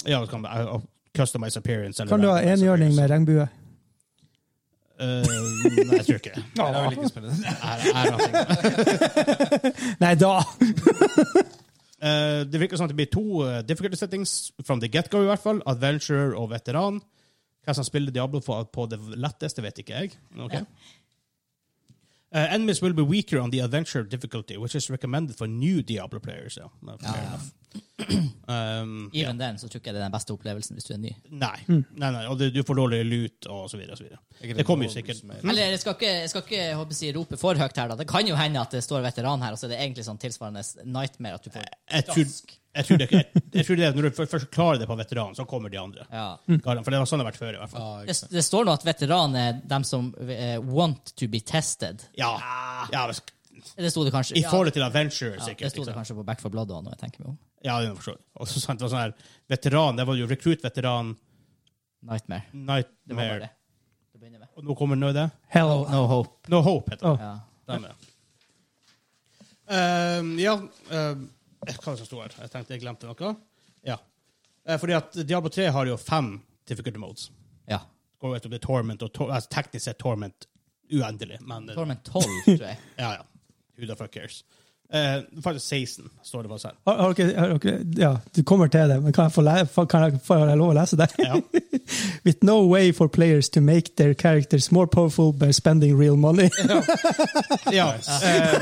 [SPEAKER 3] ja, du kan eh, customize appearance. eller
[SPEAKER 2] Kan du ha
[SPEAKER 3] randomize
[SPEAKER 2] enhjørning med regnbue?
[SPEAKER 3] appearance. Eh, nei, jeg tror ikke det.
[SPEAKER 4] Nei, da vil jeg ikke spille det.
[SPEAKER 3] Er, er nothing.
[SPEAKER 2] Nei, da!
[SPEAKER 3] Eh, det virker som at det blir to eh, difficulty settings from the get-go, i hvert fall. Adventurer og veteran. Hvem som spiller Diablo på, på det letteste, vet ikke jeg. Men ok. Eh, enemies will be weaker on the adventure difficulty, which is recommended for new Diablo players. Ja. Men fair enough. Um,
[SPEAKER 1] Even den, så tror ikke jeg det er den beste opplevelsen hvis du er ny.
[SPEAKER 3] nei. nei, nei. Og du, du får dårlig lut, og så videre og så videre. Det kommer jo sikkert.
[SPEAKER 2] Mm.
[SPEAKER 1] Eller jeg skal ikke, jeg skal ikke jeg håper å si, rope for høyt her, da. Det kan jo hende at det står veteran her, og så er det egentlig sånn tilsvarende nightmare at du
[SPEAKER 2] Eh.
[SPEAKER 1] får
[SPEAKER 3] Jeg tror, jeg tror, det, jeg, jeg tror det er Når du først klarer det på veteran, så kommer de andre.
[SPEAKER 1] ja.
[SPEAKER 3] Garan, For det var sånn det har vært før, i hvert fall.
[SPEAKER 1] det, det står nå at veteran er dem som eh, want to be tested.
[SPEAKER 3] Ja. Ah. ja men sk-
[SPEAKER 1] Det sto det kanskje
[SPEAKER 3] I
[SPEAKER 1] ja,
[SPEAKER 3] forhold til Adventure,
[SPEAKER 1] ja,
[SPEAKER 3] sikkert.
[SPEAKER 1] det sto
[SPEAKER 3] ikke
[SPEAKER 1] det
[SPEAKER 3] sant?
[SPEAKER 1] kanskje på Back for Blood òg, når jeg tenker meg om.
[SPEAKER 3] Ja, det er forstått. Og så sant, det var sånn her veteran, det var jo rekruttveteran,
[SPEAKER 1] Nightmare. Det var
[SPEAKER 3] Nightmare
[SPEAKER 1] bare det. Til å begynne med.
[SPEAKER 3] Og nå kommer nå det.
[SPEAKER 2] Hello.
[SPEAKER 1] No hope.
[SPEAKER 3] No Hope heter det.
[SPEAKER 1] Ja.
[SPEAKER 3] Dem er. Ehm, ja ehm, Hva var det som sto her? Jeg tenkte jeg glemte noe. Ja. Eh, fordi at Diablo 3 har jo fem difficulty modes.
[SPEAKER 1] ja.
[SPEAKER 3] Går jo etter torment og tor altså, teknisk sett torment uendelig, men eh,
[SPEAKER 1] Torment 12, tror jeg.
[SPEAKER 3] ja, ja. Who the fuck cares? Eh, faktisk 16, står det sånn. faktisk her.
[SPEAKER 2] Har, har dere, har dere, ja, du kommer til det, men kan jeg få, le, fa- kan jeg, får jeg lov å lese det?
[SPEAKER 3] Ja.
[SPEAKER 2] With no way for players to make their characters more powerful by spending real money.
[SPEAKER 3] Ja. eh,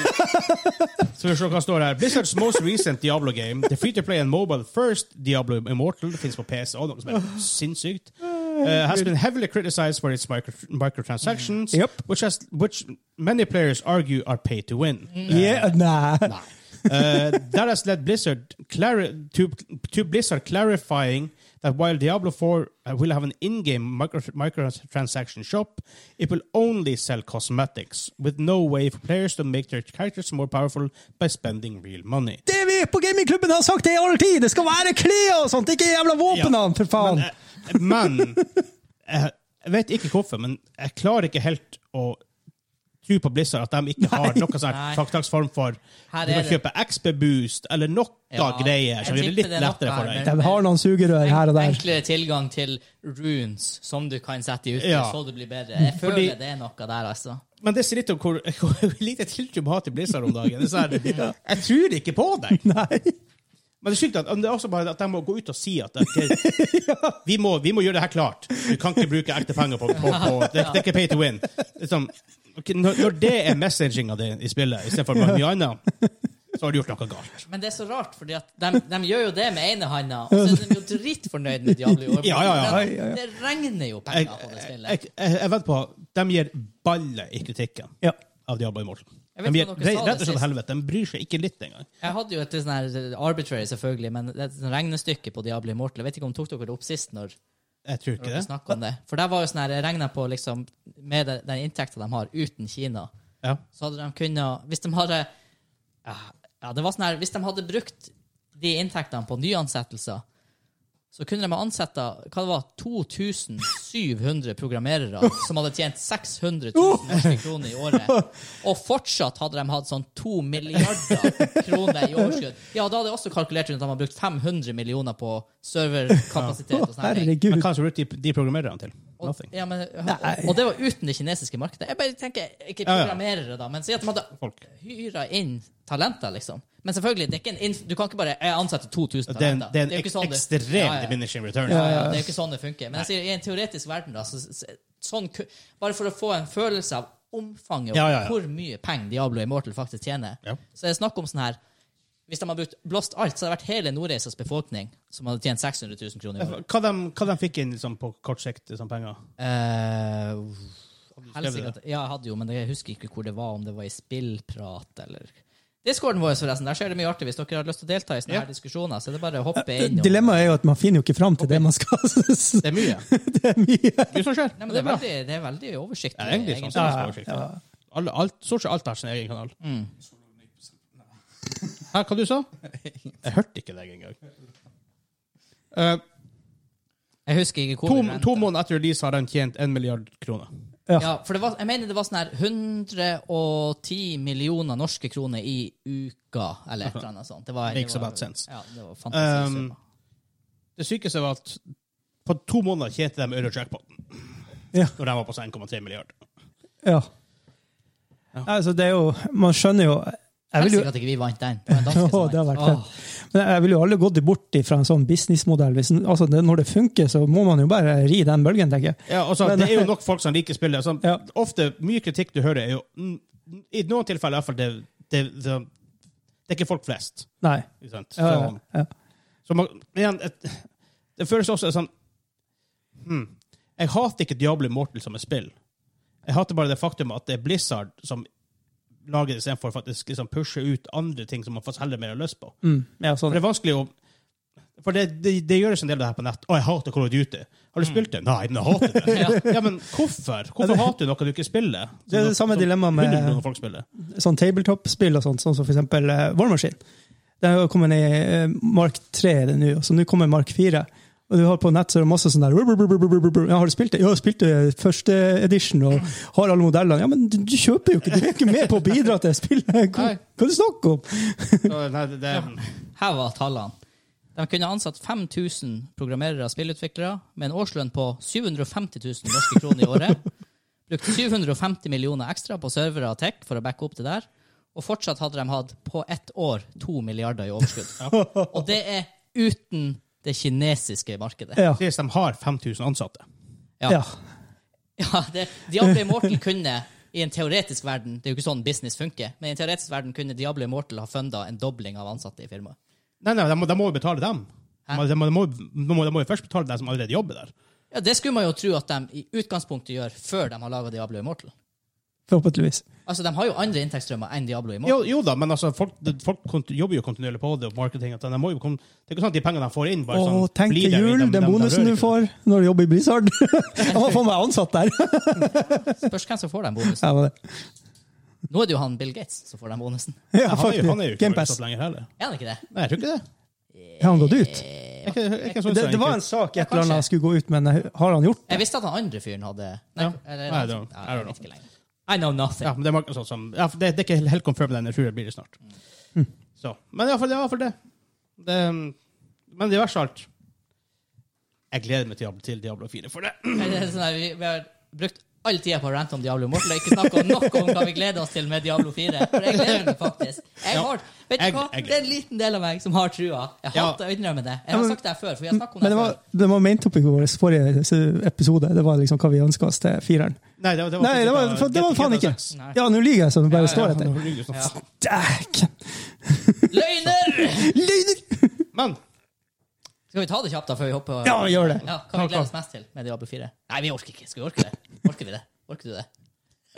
[SPEAKER 3] så vi får se hva som står her. Blizzards most recent Diablo game. The free to play and mobile first Diablo Immortal finnes på PC. Og noe som er sinnssykt. Eh, has been heavily criticized for its micro microtransactions,
[SPEAKER 2] Yep.
[SPEAKER 3] which, has, which many players argue are pay to win. Eh,
[SPEAKER 2] yeah, nei.
[SPEAKER 3] Uh, that has led Blizzard clari- to, to Blizzard clarifying that while Diablo 4 uh, will have an in-game micro microtransaction shop, it will only sell cosmetics, with no way for players to make their characters more powerful by spending real money.
[SPEAKER 2] Det vi på gamingklubben har sagt det i all tid! Det skal være klær og sånt, ikke jævla våpnene, for faen!
[SPEAKER 1] Eh,
[SPEAKER 3] Men, eh, men jeg, jeg vet ikke hvorfor, men jeg klarer ikke helt å tro på Blizzard at de ikke har noe sånn
[SPEAKER 1] Nei.
[SPEAKER 3] slags slags form for
[SPEAKER 1] Her
[SPEAKER 3] Du
[SPEAKER 1] er
[SPEAKER 3] kan
[SPEAKER 1] det.
[SPEAKER 3] kjøpe XB-boost eller noe
[SPEAKER 1] Ja,
[SPEAKER 3] greier som
[SPEAKER 1] jeg
[SPEAKER 3] gjør det
[SPEAKER 1] tipper
[SPEAKER 3] litt
[SPEAKER 1] det er noe
[SPEAKER 3] lettere
[SPEAKER 1] her,
[SPEAKER 3] for deg.
[SPEAKER 1] men-
[SPEAKER 2] De har noen sugerør her og der.
[SPEAKER 1] Enklere tilgang til runes som du kan sette i utstyr,
[SPEAKER 3] Ja.
[SPEAKER 1] så du blir bedre. Jeg føler
[SPEAKER 3] Fordi-
[SPEAKER 1] det er noe der, altså.
[SPEAKER 3] Men det sier litt om hvor, hvor lite tiltro man har til Blizzard om dagen. Det er sånn, Jeg tror ikke på deg! Men det er sykt at, det er også bare at de må gå ut og si at ok, vi, må, vi må gjøre det her klart. Du kan ikke bruke ekte penger på, på, på det, det er ikke pay to win. Det er sånn, ok, når, når det er messaginga di i spillet istedenfor mye annet, så har du gjort noe galt.
[SPEAKER 1] Men det er så rart, fordi at de, de gjør jo det med ene handa, og så er de jo dritfornøyd med Diablo i år.
[SPEAKER 3] Ja, ja, ja.
[SPEAKER 1] Det, det regner jo
[SPEAKER 3] Jeg,
[SPEAKER 1] penger på det
[SPEAKER 3] jeg,
[SPEAKER 1] spillet.
[SPEAKER 3] jeg, jeg vet på De gir baller i kritikken
[SPEAKER 2] Ja.
[SPEAKER 3] av Diablo Immortal.
[SPEAKER 1] Jeg
[SPEAKER 3] De
[SPEAKER 1] vet ikke
[SPEAKER 3] gir
[SPEAKER 1] om dere sa
[SPEAKER 3] re-
[SPEAKER 1] det
[SPEAKER 3] rett og slett
[SPEAKER 1] sist.
[SPEAKER 3] helvete. De bryr seg ikke litt engang.
[SPEAKER 1] Jeg hadde jo et sånn her arbitrary, selvfølgelig, men det er et sånn regnestykke på Diablo Immortal. Jeg vet ikke om tok dere det opp sist når
[SPEAKER 3] Jeg tror ikke
[SPEAKER 1] dere
[SPEAKER 3] det.
[SPEAKER 1] snakket om det. For der var jo sånn her, jeg regnet på liksom, med den- den inntekten de har uten Kina,
[SPEAKER 3] Ja.
[SPEAKER 1] så hadde de kunnet Hvis de hadde ja, ja, det var sånn her, Hvis de hadde brukt de inntektene på nyansettelser, så kunne de ha ansetta hva det var, 2700 programmerere som hadde tjent 600 000 norske
[SPEAKER 3] Oh!
[SPEAKER 1] kroner i året. Og fortsatt hadde de hatt sånn 2 milliarder kroner i overskudd. Ja, da hadde jeg også kalkulert rundt at de hadde brukt 500 millioner på serverkapasitet.
[SPEAKER 3] sånn
[SPEAKER 1] og sånne ting.
[SPEAKER 2] Herregud.
[SPEAKER 3] Men hva har du brukt de, de programmererne til?
[SPEAKER 1] Og,
[SPEAKER 3] Nothing.
[SPEAKER 1] ja, men,
[SPEAKER 2] Nei.
[SPEAKER 1] og det var uten det kinesiske markedet. Jeg bare tenker, Ikke
[SPEAKER 3] Ja, ja.
[SPEAKER 1] programmerere, da, men si at de hadde
[SPEAKER 3] Folk.
[SPEAKER 1] hyra inn talenter, liksom. Men selvfølgelig, det er ikke en inf du kan ikke bare jeg ansetter 2000
[SPEAKER 3] Det er en,
[SPEAKER 1] talenter.
[SPEAKER 3] det er en
[SPEAKER 1] jo
[SPEAKER 3] ek
[SPEAKER 1] ikke sånn det-
[SPEAKER 3] ekstrem
[SPEAKER 1] Ja, ja.
[SPEAKER 3] diminishing return.
[SPEAKER 1] Ja, ja, det er jo ikke sånn det funker. Men jeg sier, i en teoretisk verden, da, så, så, sånn, ku- bare for å få en følelse av omfanget og
[SPEAKER 3] Ja, ja, ja.
[SPEAKER 1] hvor mye penger Diablo Immortal faktisk tjener,
[SPEAKER 3] Ja.
[SPEAKER 1] så er det snakk om sånn her Hvis de hadde brukt, blåst alt, så hadde det vært hele Nordreisas befolkning som hadde tjent 600 000 kroner i året.
[SPEAKER 3] Hva, de, hva de fikk inn liksom, på kort sikt som penger?
[SPEAKER 1] Eh,
[SPEAKER 3] skrevet
[SPEAKER 1] helsike at- ja, jeg hadde jo, men jeg husker ikke hvor det var, om det var i spillprat eller Discorden vår, forresten. Der skjer det mye artig. Hvis dere har lyst til å delta i sånne
[SPEAKER 3] Ja.
[SPEAKER 1] her diskusjoner, så er det bare å hoppe inn. og-
[SPEAKER 2] Dilemmaet er jo at man finner jo ikke fram til det man skal.
[SPEAKER 3] Det er mye.
[SPEAKER 2] Det er mye.
[SPEAKER 3] Mye som skjer.
[SPEAKER 1] Nei, men det, er veldig, det er veldig oversiktlig.
[SPEAKER 3] Ja, egentlig sånn
[SPEAKER 1] egentlig.
[SPEAKER 3] som det står, sikkert. Alle- alt, Stort sett alt har sin egen kanal.
[SPEAKER 1] Mm.
[SPEAKER 3] Hæ, hva du sa Jeg hørte ikke deg engang. Uh,
[SPEAKER 1] Jeg husker ikke hvor
[SPEAKER 3] to,
[SPEAKER 1] vi renta.
[SPEAKER 3] to måneder etter release har de tjent 1 milliard kroner.
[SPEAKER 1] Ja, for det var, jeg mener det var sånn her 110 millioner norske kroner i uka, eller et eller annet sånt. Det var,
[SPEAKER 3] Makes
[SPEAKER 1] det var,
[SPEAKER 3] about sense.
[SPEAKER 1] Ja, det var fantastisk.
[SPEAKER 3] Um,
[SPEAKER 1] summer.
[SPEAKER 3] Det sykeste var at på to måneder tjente de Eurojackpoten.
[SPEAKER 2] Ja.
[SPEAKER 3] Når de var på sånn 1,3 milliard.
[SPEAKER 2] Ja. Altså, det er jo Man skjønner jo jeg vil jo,
[SPEAKER 1] Helst ikke at ikke vi vant den. Det var en danske som
[SPEAKER 2] Åh,
[SPEAKER 1] vant.
[SPEAKER 2] det hadde vært
[SPEAKER 1] Åh.
[SPEAKER 2] men jeg vil jo aldri gått bort fra en sånn businessmodell. Hvis, den- altså, det, når det funker, så må man jo bare ri den bølgen, tenker jeg.
[SPEAKER 3] Ja, altså,
[SPEAKER 2] Men-
[SPEAKER 3] det er jo nok folk som liker spillet. Altså,
[SPEAKER 2] Ja.
[SPEAKER 3] Ofte, Mye kritikk du hører, er jo mm, I noen tilfeller i hvert fall det, det, det, det er ikke folk flest.
[SPEAKER 2] Nei.
[SPEAKER 3] Ikke sant?
[SPEAKER 2] Ja,
[SPEAKER 3] Så,
[SPEAKER 2] ja, ja.
[SPEAKER 3] Så man, igjen, et, det føles også sånn hmm, Jeg hater ikke Diablo Immortal som et spill. Jeg hater bare det faktum at det er Blizzard som lager det istedenfor å faktisk liksom pushe ut andre ting som man faktisk heller mer har lyst på.
[SPEAKER 2] Mm. Ja,
[SPEAKER 3] For
[SPEAKER 2] sånn.
[SPEAKER 3] det er vanskelig å For det, det, det gjøres en del av det her på nett. 'Å, jeg hater Call of Duty'. Har du
[SPEAKER 2] Mm.
[SPEAKER 3] spilt det? Nei, men jeg hater det. ja. men hvorfor? Hvorfor hater du noe du ikke spiller?
[SPEAKER 2] Det er det samme dilemmaet med-
[SPEAKER 3] 100 millioner folk spiller.
[SPEAKER 2] sånn tabletop-spill og sånt, sånn som for eksempel eh, War Machine. Den har kommet i eh, Mark 3 er det nå, så nå kommer Mark 4. Og du har på nett så er det masse sånn der "Rub, rub, rub, rub, rub, rub." ja, 'Har du spilt det?' 'Ja, jeg har spilt det første edition og har alle modellene.' Ja, men du, du kjøper jo ikke! Du er ikke med på å bidra til spillet! Hva,
[SPEAKER 3] Nei.
[SPEAKER 2] hva du snakker om?
[SPEAKER 3] Så, nei, det, det,
[SPEAKER 1] Her var tallene. De kunne ansatt 5000 programmerere og spillutviklere med en årslønn på 750 000 norske kroner i året. Brukt 750 millioner ekstra på servere og tech for å backe opp det der. Og fortsatt hadde de hatt på ett år to milliarder i overskudd. Og det er uten det kinesiske markedet.
[SPEAKER 2] Ja.
[SPEAKER 3] sies de har 5000 ansatte.
[SPEAKER 1] Ja.
[SPEAKER 2] ja.
[SPEAKER 1] Ja, det, Diablo Immortal kunne i en teoretisk verden Det er jo ikke sånn business funker, men i en teoretisk verden kunne Diablo Immortal ha funda en dobling av ansatte i firmaet.
[SPEAKER 3] Nei, nei, de må, de må jo betale dem. De må, de, må, de, må, de må jo først betale dem som allerede jobber der.
[SPEAKER 1] Ja, Det skulle man jo tro at de i utgangspunktet gjør før de har laga Diablo Immortal.
[SPEAKER 2] Forhåpentligvis.
[SPEAKER 1] Altså, De har jo andre inntektsstrømmer enn Diablo Immortal.
[SPEAKER 3] Jo, jo da, men altså, folk, folk kont- jobber jo kontinuerlig på det, og marketing at de må jo kom, Det er ikke sånn at de pengene de får inn, bare
[SPEAKER 2] Og
[SPEAKER 3] sånn
[SPEAKER 2] tenk
[SPEAKER 3] blir
[SPEAKER 2] til
[SPEAKER 3] der i
[SPEAKER 2] jul, den
[SPEAKER 3] dem- dem- dem
[SPEAKER 2] bonusen
[SPEAKER 3] rører
[SPEAKER 2] du
[SPEAKER 3] ikke.
[SPEAKER 2] får når du jobber i Blizzard! Jeg må faen meg ansatt der!
[SPEAKER 1] Spørs hvem som får den bonusen.
[SPEAKER 2] Ja, men-
[SPEAKER 1] Nå er det jo han Bill Gates som får den bonusen.
[SPEAKER 2] ja,
[SPEAKER 3] Ja, han, er jo, han er jo
[SPEAKER 2] faktisk.
[SPEAKER 3] ikke
[SPEAKER 2] Game
[SPEAKER 3] ansatt
[SPEAKER 2] Pass.
[SPEAKER 3] lenger heller.
[SPEAKER 1] Er han ikke det? Eh,
[SPEAKER 3] Nei, jeg tror ikke det.
[SPEAKER 2] Har han gått ut?
[SPEAKER 3] Jeg, er ikke- jeg, er ikke sånn
[SPEAKER 2] Det,
[SPEAKER 3] som
[SPEAKER 2] det var
[SPEAKER 3] egentlig-
[SPEAKER 2] en sak et
[SPEAKER 1] Ja,
[SPEAKER 2] eller annet
[SPEAKER 1] kanskje.
[SPEAKER 2] skulle gå ut, men eh, har han gjort det?
[SPEAKER 1] Jeg visste at han andre fyren hadde Nei,
[SPEAKER 3] Ja.
[SPEAKER 1] eller,
[SPEAKER 3] Nei, det var-
[SPEAKER 1] Nei,
[SPEAKER 3] I don't
[SPEAKER 1] jeg vet ikke lenger. I know nothing.
[SPEAKER 3] Ja, men det er markedet sånn som ja, for det, det er ikke helt confirmed ennå. Jeg tror det blir det snart.
[SPEAKER 2] Mm.
[SPEAKER 3] Så, men iallfall det. er i hvert fall det. det men det er verst av alt Jeg gleder meg til Diablo, til Diablo 4 for det.
[SPEAKER 1] Det er sånn at vi, vi har brukt all tida på å rante om Diablo Immortal og ikke snakka noe om hva vi gleder oss til med Diablo 4. For jeg gleder meg faktisk. Jeg har, vet
[SPEAKER 3] jeg-
[SPEAKER 1] du hva?
[SPEAKER 3] jeg gleder
[SPEAKER 1] Det er en liten del av meg som har trua. Jeg
[SPEAKER 3] Ja.
[SPEAKER 1] hater å innrømme det.
[SPEAKER 2] Ja,
[SPEAKER 1] Jeg har
[SPEAKER 2] men-
[SPEAKER 1] sagt det her før. For vi har snakket om
[SPEAKER 2] Men
[SPEAKER 1] det
[SPEAKER 2] det
[SPEAKER 1] her
[SPEAKER 2] var,
[SPEAKER 1] før.
[SPEAKER 2] det var main topic i vår forrige s- episode. Det var liksom hva vi ønska oss til fireren.
[SPEAKER 3] Nei, det var, det var,
[SPEAKER 2] Nei, det var, for, det var faen ikke!
[SPEAKER 3] altså.
[SPEAKER 1] Nei.
[SPEAKER 2] Ja, nå lyver jeg så det bare står etter.
[SPEAKER 1] Ja.
[SPEAKER 3] etter.
[SPEAKER 2] Dæken!
[SPEAKER 1] Løgner!
[SPEAKER 2] Løgner!
[SPEAKER 3] Men
[SPEAKER 1] Skal vi ta det kjapt da før vi hopper?
[SPEAKER 2] Ja, gjør det.
[SPEAKER 1] Ja, hva vi gleder oss mest til med Diablo 4? Nei, vi orker ikke. Skal vi orke det? Orker vi det? Orker du det?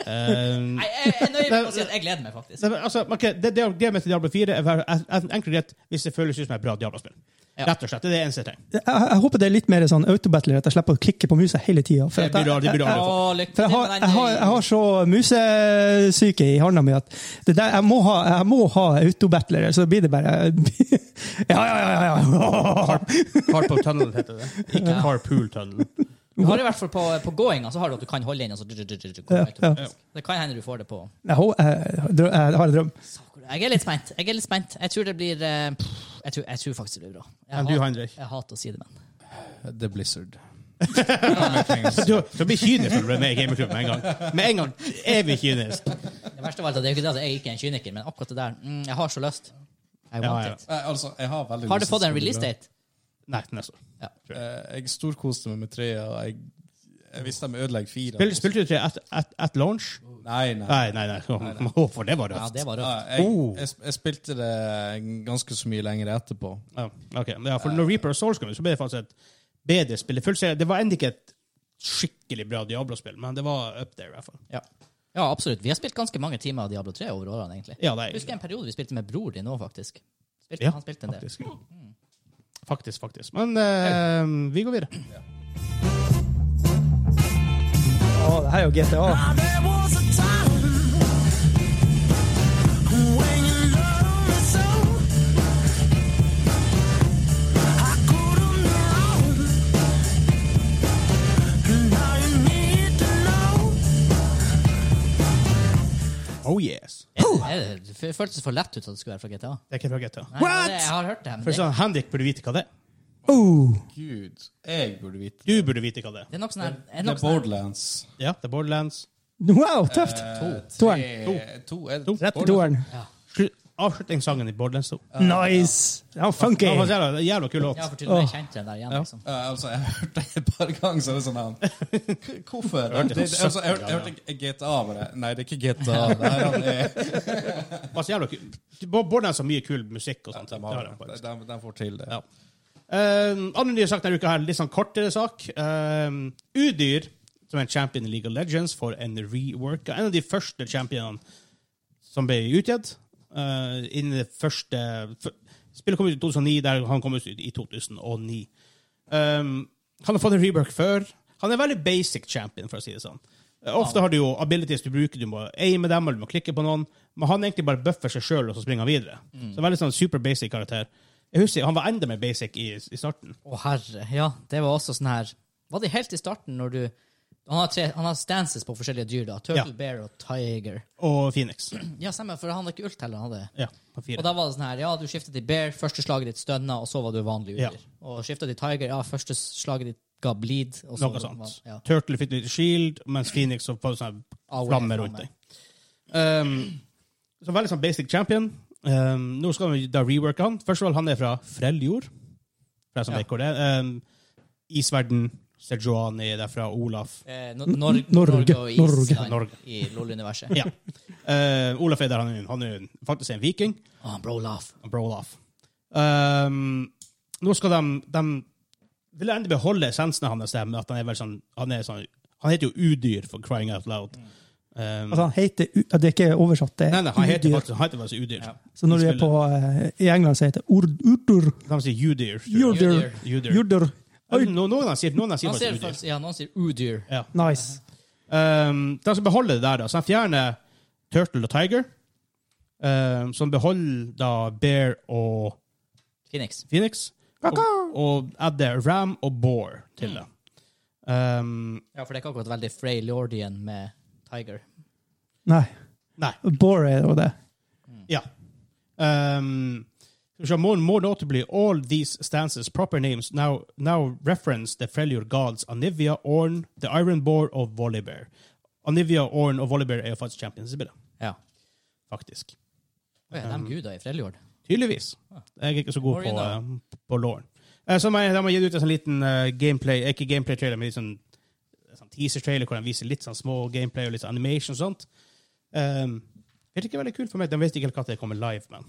[SPEAKER 3] eh,
[SPEAKER 1] Nei, jeg, jeg er nøye med å si at jeg gleder meg, faktisk.
[SPEAKER 3] det, var- altså, ok, det, det jeg gleder meg til Diablo 4, er vær- en- en- enkelt og greit hvis det føles ut som et bra Diablo-spill.
[SPEAKER 1] Ja.
[SPEAKER 3] Rett og slett. Det er det eneste jeg trenger.
[SPEAKER 2] Jeg, jeg håper det er litt mer sånn autobattler, at jeg slipper å klikke på musa hele tida. For,
[SPEAKER 3] Det
[SPEAKER 2] at
[SPEAKER 3] blir
[SPEAKER 2] jeg,
[SPEAKER 3] aldri- det blir
[SPEAKER 1] Å,
[SPEAKER 3] aldri for.
[SPEAKER 1] lykke
[SPEAKER 2] for jeg,
[SPEAKER 1] til
[SPEAKER 2] har,
[SPEAKER 1] med
[SPEAKER 2] jeg, har, jeg har så musesyke i handa mi at det der, jeg må ha, jeg må ha autobattler, så blir det bare Ja, ja, ja, ja! ja.
[SPEAKER 3] Carpool Tunnel heter det. Ikke Carpool Tunnel.
[SPEAKER 1] eh, Du har i hvert fall på, på gåinga så har du at du kan holde inn, og så
[SPEAKER 2] Ja, ja.
[SPEAKER 1] Det kan hende du får det på
[SPEAKER 2] Jeg, hå- jeg, drø- jeg har en drøm.
[SPEAKER 1] Sakura. Jeg er litt spent. Jeg er litt spent. Jeg tror det blir eh, pff, jeg, tror, jeg tror faktisk det blir bra.
[SPEAKER 3] Men
[SPEAKER 1] Jeg,
[SPEAKER 3] du,
[SPEAKER 1] hat-
[SPEAKER 3] Heinrich?
[SPEAKER 1] jeg hater å si det, men
[SPEAKER 4] The Blizzard. Kan jeg tenke
[SPEAKER 3] Så
[SPEAKER 4] meg.
[SPEAKER 3] Du, du blir kynisk når du er med i gamerklubben med en gang. Med en gang. Evig kynisk.
[SPEAKER 1] Det verste av alt er at det er jo ikke det at jeg ikke er en kyniker, men akkurat det der mm, Jeg har så lyst. I want
[SPEAKER 3] Ja, ja.
[SPEAKER 1] it.
[SPEAKER 4] Nei, altså, jeg har veldig
[SPEAKER 1] Har du
[SPEAKER 4] lyst til
[SPEAKER 1] fått en
[SPEAKER 4] å spille
[SPEAKER 1] release
[SPEAKER 4] det.
[SPEAKER 1] date?
[SPEAKER 3] Nei, altså. til neste år.
[SPEAKER 4] Eh, Jeg storkoste meg med trea. og Jeg, jeg visste de ødelegger fire.
[SPEAKER 3] Spil, spilte du tre at, at, at launch?
[SPEAKER 4] Nei, nei.
[SPEAKER 3] Nei, nei, nei. Å, for det var
[SPEAKER 1] Ja,
[SPEAKER 3] røft.
[SPEAKER 1] det var
[SPEAKER 4] Ja,
[SPEAKER 1] røft.
[SPEAKER 4] jeg,
[SPEAKER 3] Oh.
[SPEAKER 4] jeg, jeg spilte det ganske så mye lenger etterpå.
[SPEAKER 3] Ja, ok. ja, for når Reaper of Souls kom, ut, så ble det faktisk et bedre spill. Det fullste- Det var enda ikke et skikkelig bra Diablo-spill, men det var up there, i hvert fall.
[SPEAKER 1] Ja. ja, absolutt. Vi har spilt ganske mange timer av Diablo 3 over årene, egentlig.
[SPEAKER 3] Ja, det
[SPEAKER 1] Jeg husker
[SPEAKER 3] er
[SPEAKER 1] en periode vi spilte med bror din òg, faktisk. Spilte,
[SPEAKER 3] Ja,
[SPEAKER 1] han spilte en del.
[SPEAKER 3] faktisk. Faktisk, faktisk. Men eh, vi går videre.
[SPEAKER 2] Å, det her er jo GTA.
[SPEAKER 5] There was a time when you loved me so I couldn't be wrong. Now you need to know.
[SPEAKER 3] Oh yes.
[SPEAKER 1] Er det- Det føltes for lett ut at det skulle være fra GTA.
[SPEAKER 3] Det er ikke fra GTA.
[SPEAKER 1] Nei, det- Jeg har hørt det, men
[SPEAKER 3] For
[SPEAKER 1] det,
[SPEAKER 3] sånn, Henrik burde vite hva det er.
[SPEAKER 2] Oh,
[SPEAKER 4] Gud, jeg burde vite det.
[SPEAKER 3] Du burde vite hva det er.
[SPEAKER 1] det er nok sånn her er
[SPEAKER 4] Det
[SPEAKER 1] nok
[SPEAKER 4] er
[SPEAKER 1] sånn her-
[SPEAKER 4] Borderlands. Eh,
[SPEAKER 3] Ja, det er Borderlands.
[SPEAKER 2] wow, tøft! Toeren.
[SPEAKER 4] To. To. eh, er det-
[SPEAKER 2] Rett i
[SPEAKER 4] Borderlands.
[SPEAKER 2] toeren.
[SPEAKER 3] Slu- Avslutningssangen i Borderlands 2.
[SPEAKER 2] Nice! Eh, Ja, funky!
[SPEAKER 3] Det var en jævla, jævla kul låt.
[SPEAKER 1] Ja, for til og med jeg kjente den der igjen, liksom.
[SPEAKER 4] Ja, altså, jeg har hørt det et par ganger, så er det sånn her Hvorfor?
[SPEAKER 3] hørt det
[SPEAKER 4] Det, det, altså, jeg hørte- jeg
[SPEAKER 3] ganger,
[SPEAKER 4] hørte GTA bare. Nei, det er ikke GTA. Det er, han er,
[SPEAKER 3] Altså, Det var så jævla kul. Borderlands har mye kul musikk og sånt.
[SPEAKER 4] de,
[SPEAKER 3] Det har
[SPEAKER 4] har,
[SPEAKER 3] de faktisk.
[SPEAKER 4] de, de får til det.
[SPEAKER 3] Ja. Um, andre nye sak denne uka, her, litt sånn kortere sak. Um, Udyr, som er en champion i League of Legends, får en reworka. En av de første championene som ble utgitt. Uh, innen det første f- Spillet kom ut i 2009, der han kom ut i 2009. Um, han har fått en rework før. Han er en veldig basic champion, for å si det sånn. Uh, Ofte har du jo abilities du bruker, du må aime dem, eller du må klikke på noen. Men han egentlig bare bøffer seg sjøl, og så springer han videre. Så en veldig sånn super basic karakter. Jeg husker, Han var enda mer basic i, i starten.
[SPEAKER 1] Å, herre. Ja, det var også sånn her Var det helt i starten når du Han har, tre, han har stances på forskjellige dyr, da. Turtle,
[SPEAKER 3] Ja.
[SPEAKER 1] bear og tiger.
[SPEAKER 3] Og Phoenix.
[SPEAKER 1] Ja, stemmer, for han hadde ikke ult heller. han hadde
[SPEAKER 3] Ja, på fire.
[SPEAKER 1] Og da var det sånn her, ja, du skiftet til bear, første slaget ditt stønna, og så var du vanlig utdyr. Og skiftet til tiger, ja, første slaget ditt ga bleed. Og så
[SPEAKER 3] Noe sånt.
[SPEAKER 1] Ja.
[SPEAKER 3] Turtle fikk litt shield, mens Phoenix så får sånn
[SPEAKER 1] Awe,
[SPEAKER 3] flamme rundt deg. Um, så veldig sånn basic champion. Um, nå skal vi da reworke han. Først og fremst, han er fra Freljord. For jeg som
[SPEAKER 1] Ja.
[SPEAKER 3] vet hvor det er. Um, Isverden, Sejuan er derfra, Olaf.
[SPEAKER 1] Eh, no Nor
[SPEAKER 2] Norge,
[SPEAKER 1] Norge og Island
[SPEAKER 2] Norge,
[SPEAKER 3] Norge.
[SPEAKER 1] i LOL-universet.
[SPEAKER 3] Ja. Uh, Olaf er der, han er, han er jo faktisk en viking.
[SPEAKER 1] Ah, bro, laugh.
[SPEAKER 3] og Brawl Off. Ehm, nå skal de, de vil endelig beholde essensen hans, der med at han er vel sånn Han, er sånn, han heter jo Udyr, for crying out loud.
[SPEAKER 1] Mm.
[SPEAKER 3] Ehm,
[SPEAKER 2] Altså, han heter, u- ja, det er ikke oversatt, det
[SPEAKER 3] nei, nei, han
[SPEAKER 2] er
[SPEAKER 3] heter
[SPEAKER 2] udyr.
[SPEAKER 3] faktisk han heter faktisk Udyr.
[SPEAKER 2] Så når du er på, eh, i England, så heter det ord- urdur.
[SPEAKER 3] De sier Udyr. tror jeg.
[SPEAKER 2] Urdur.
[SPEAKER 3] Udyr.
[SPEAKER 2] Urdur.
[SPEAKER 3] Oi, no- Noen av dem sier, noen av dem sier
[SPEAKER 1] Han sier
[SPEAKER 3] faktisk Udyr.
[SPEAKER 1] faktisk, ja, noen sier udyr.
[SPEAKER 3] Ja.
[SPEAKER 2] Nice.
[SPEAKER 3] Ehm, de skal beholde det der, da. Så de fjerner Turtle og Tiger. Um, som beholder da Bear og
[SPEAKER 1] Phoenix.
[SPEAKER 3] Phoenix. Og, og adder Ram og Boar
[SPEAKER 1] Mm.
[SPEAKER 3] til det. Ehm,
[SPEAKER 1] Ja, for det er ikke akkurat veldig Frey Lordian med tiger.
[SPEAKER 2] Nei.
[SPEAKER 3] Nei.
[SPEAKER 2] Bore er jo det.
[SPEAKER 3] Ja. Um, skal vi se, more, more notably, all these stances' proper names now, now reference the Freljord gods Anivia, Orn, the Iron Boar og Volibear. Anivia, Orn og Volibear er jo faktisk champions i spillet,
[SPEAKER 1] Ja.
[SPEAKER 3] faktisk.
[SPEAKER 1] Å ja, de
[SPEAKER 3] Um.
[SPEAKER 1] guder i Freljord.
[SPEAKER 3] Tydeligvis. Jeg er ikke så god
[SPEAKER 1] Or you
[SPEAKER 3] på,
[SPEAKER 1] know.
[SPEAKER 3] eh, på lawen. Eh, så har jeg- de har gitt ut en sånn liten eh, gameplay, ikke gameplay-trailer, men litt sånn, sånn teaser-trailer hvor de viser litt sånn små gameplay og litt sånn animation og sånt. Um, det er ikke veldig kult for meg. De vet ikke helt når det kommer live, men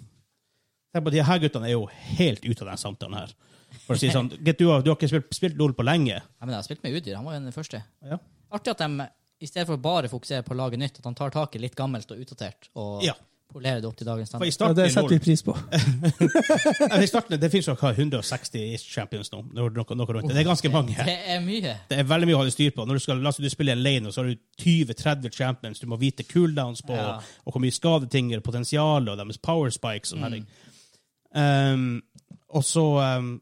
[SPEAKER 3] Tenk på, de her guttene er jo helt ute av den samtalen her. For å si sånn, Get, du, har, du har ikke spilt, spilt LOL på lenge.
[SPEAKER 1] Ja, men jeg har spilt med udyr, han var jo den første.
[SPEAKER 3] Ja.
[SPEAKER 1] Artig at de, i stedet for å bare fokusere på å lage nytt, at han tar tak i litt gammelt og utdatert, og
[SPEAKER 3] Ja.
[SPEAKER 1] polerer det opp til dagens
[SPEAKER 3] For i
[SPEAKER 1] standard.
[SPEAKER 2] Ja,
[SPEAKER 3] starten,
[SPEAKER 2] det setter
[SPEAKER 3] i
[SPEAKER 2] vi
[SPEAKER 3] LoL
[SPEAKER 2] pris på.
[SPEAKER 3] Nei, i starten Det finnes jo hva, 160 champions nå. Det er noe, noe rundt. det. Det er ganske mange.
[SPEAKER 1] Det er mye.
[SPEAKER 3] Det er veldig mye å holde styr på. Når du skal la oss si du spiller en lane, og så har du 20-30 champions. Du må vite cooldowns på,
[SPEAKER 1] Ja.
[SPEAKER 3] og hvor mye skadeting er potensial, og deres power spikes og
[SPEAKER 1] Mm.
[SPEAKER 3] sånne ting. Um, og så um,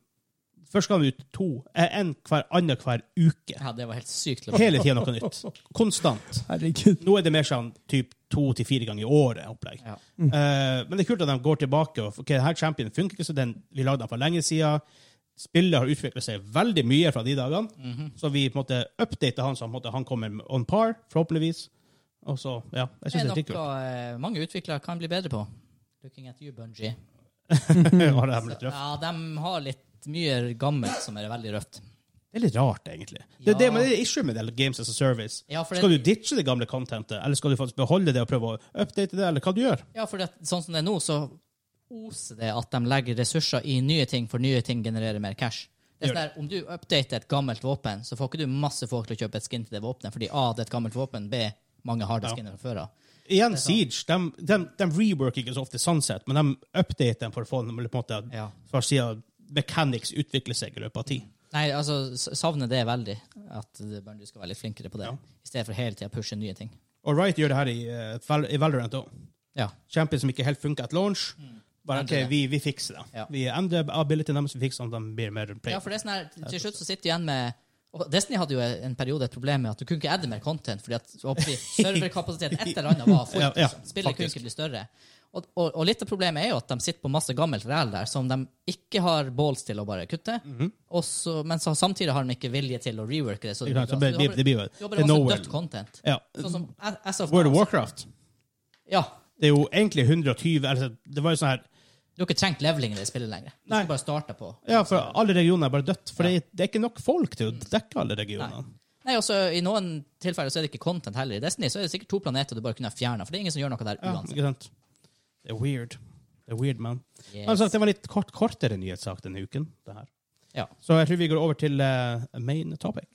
[SPEAKER 3] Først skal det ut to. Én hver annen hver uke.
[SPEAKER 1] Ja, det var helt sykt.
[SPEAKER 3] Hele tida noe nytt. Konstant.
[SPEAKER 2] Herregud.
[SPEAKER 3] Nå er det mer sånn typ to til fire ganger i året. opplegg.
[SPEAKER 1] Ja.
[SPEAKER 3] Eh, men det er kult at de går tilbake og ok, denne championen funker ikke, så den, vi lagde den for lenge siden. Spillet har utviklet seg veldig mye fra de dagene,
[SPEAKER 1] Mhm.
[SPEAKER 3] så vi på en måte updater han så på en måte, han kommer on par, forhåpentligvis. Og så, ja, jeg
[SPEAKER 1] Det er
[SPEAKER 3] synes det er
[SPEAKER 1] noe
[SPEAKER 3] litt kult.
[SPEAKER 1] eh, mange utviklere kan bli bedre på. Looking at you, Bungie.
[SPEAKER 3] Har det her blitt røft?
[SPEAKER 1] Ja, de har litt mye gammelt som er veldig røft.
[SPEAKER 3] Det er litt rart, egentlig. Det er
[SPEAKER 1] Ja.
[SPEAKER 3] det, men det er issue med det, Games as a Service.
[SPEAKER 1] Ja, for det-
[SPEAKER 3] Skal du ditche det gamle contentet, eller skal du faktisk beholde det og prøve å update det, eller hva du gjør?
[SPEAKER 1] Ja, for det, sånn som det er nå, så oser det at de legger ressurser i nye ting, for nye ting genererer mer cash. Det er sånn
[SPEAKER 3] Gjør
[SPEAKER 1] der, om du updater et gammelt våpen, så får ikke du masse folk til å kjøpe et skin til det våpenet, fordi A, det er et gammelt våpen, B, mange har det
[SPEAKER 3] Ja.
[SPEAKER 1] skinnet fra før av.
[SPEAKER 3] Igjen, Siege, de, de, de reworker ikke så ofte Sunset, men de updater dem for å få dem, eller på en måte,
[SPEAKER 1] Ja.
[SPEAKER 3] for å si at mechanics utvikler seg i løpet av tid.
[SPEAKER 1] Nei, altså, s- savner det veldig, at det- Bungie skal være litt flinkere på det,
[SPEAKER 3] Ja.
[SPEAKER 1] i stedet for hele tida pushe nye ting.
[SPEAKER 3] Og Wright gjør det her i, eh, Val i Valorant òg.
[SPEAKER 1] Ja.
[SPEAKER 3] Champions som ikke helt funker at launch. Bare OK,
[SPEAKER 1] Endrer det.
[SPEAKER 3] vi, vi fikser det.
[SPEAKER 1] Mm. Ja.
[SPEAKER 3] Vi endrer abilityen deres, vi fikser den, de blir mer play.
[SPEAKER 1] Ja, for det er sånn her, til- til slutt så sitter du igjen med og Destiny hadde jo en periode et problem med at du kunne ikke adde mer content, fordi at så håper vi, serverkapasitet et eller annet var fullt.
[SPEAKER 3] Ja, ja,
[SPEAKER 1] liksom. Spillet kunne
[SPEAKER 3] faktisk.
[SPEAKER 1] ikke bli større. Og, og, og litt av problemet er jo at de sitter på masse gammelt ræl der som de ikke har balls til å bare kutte,
[SPEAKER 3] Mhm.
[SPEAKER 1] og så, men så, samtidig har de ikke vilje til å reworke det. Så
[SPEAKER 3] Ikke sant, så
[SPEAKER 1] altså,
[SPEAKER 3] det blir- det blir jo-
[SPEAKER 1] du har
[SPEAKER 3] det
[SPEAKER 1] bare
[SPEAKER 3] er
[SPEAKER 1] masse
[SPEAKER 3] nowhere.
[SPEAKER 1] dødt content.
[SPEAKER 3] Ja.
[SPEAKER 1] Sånn som As of
[SPEAKER 3] World of
[SPEAKER 1] Now,
[SPEAKER 3] Warcraft.
[SPEAKER 1] Ja.
[SPEAKER 3] Det er jo egentlig 120 altså, Det var jo sånn her
[SPEAKER 1] Du har ikke trengt leveling i det spillet lenger. Du
[SPEAKER 3] Nei.
[SPEAKER 1] skal bare starte på.
[SPEAKER 3] Ja, for alle regioner er bare dødt. For
[SPEAKER 1] Ja. Mm.
[SPEAKER 3] det, det er ikke nok folk til å dekke alle regionene.
[SPEAKER 1] Nei, også I noen tilfeller så er det ikke content heller. I Destiny så er det sikkert to planeter du bare kunne ha fjerna, for det er ingen som gjør noe der
[SPEAKER 3] Ja,
[SPEAKER 1] uansett.
[SPEAKER 3] ikke sant? Det er weird. Det er weird, man.
[SPEAKER 1] Yes.
[SPEAKER 3] Altså, det var litt kort, kortere nyhetssak denne uken. det her.
[SPEAKER 1] Ja.
[SPEAKER 3] Så jeg tror vi går over til eh, main topic.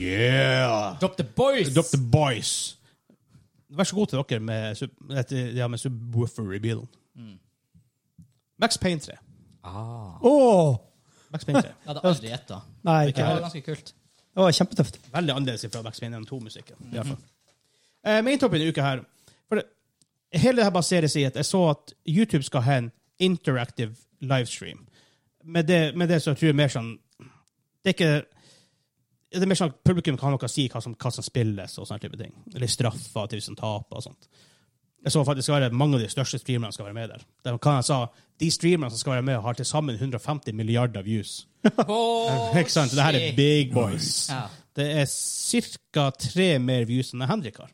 [SPEAKER 3] Yeah!
[SPEAKER 1] Drop the boys!
[SPEAKER 3] Drop the boys. Vær så god til dere med, sub- et- ja, med subwoofer i bilen. Max Payne 3.
[SPEAKER 1] Ah.
[SPEAKER 2] Å!
[SPEAKER 3] Max Payne 3.
[SPEAKER 1] Jeg hadde aldri gjetta.
[SPEAKER 2] Nei,
[SPEAKER 1] Det
[SPEAKER 2] ikke
[SPEAKER 1] var
[SPEAKER 2] heller.
[SPEAKER 1] ganske kult.
[SPEAKER 2] Det var kjempetøft.
[SPEAKER 3] Veldig annerledes fra Max Payne 1 2-musikken. i hvert fall. Eh, Main topic denne uka her For det, Hele det her baseres i at jeg så at YouTube skal ha en interactive livestream. Med det, med det så tror jeg mer sånn Det er ikke det er mer sånn at Publikum kan ha noe å si hva som, hva som spilles, og sånne type ting. Eller straffer til hvis de taper. og sånt. Jeg så faktisk være mange av de største streamerne skal være med der. De, kan jeg sa, de streamerne som skal være med, har til sammen 150 milliarder views.
[SPEAKER 1] Oh,
[SPEAKER 3] Ikke sant? Det her er
[SPEAKER 1] shit.
[SPEAKER 3] big boys.
[SPEAKER 1] Ja.
[SPEAKER 3] Det er ca. tre mer views enn Henrik har.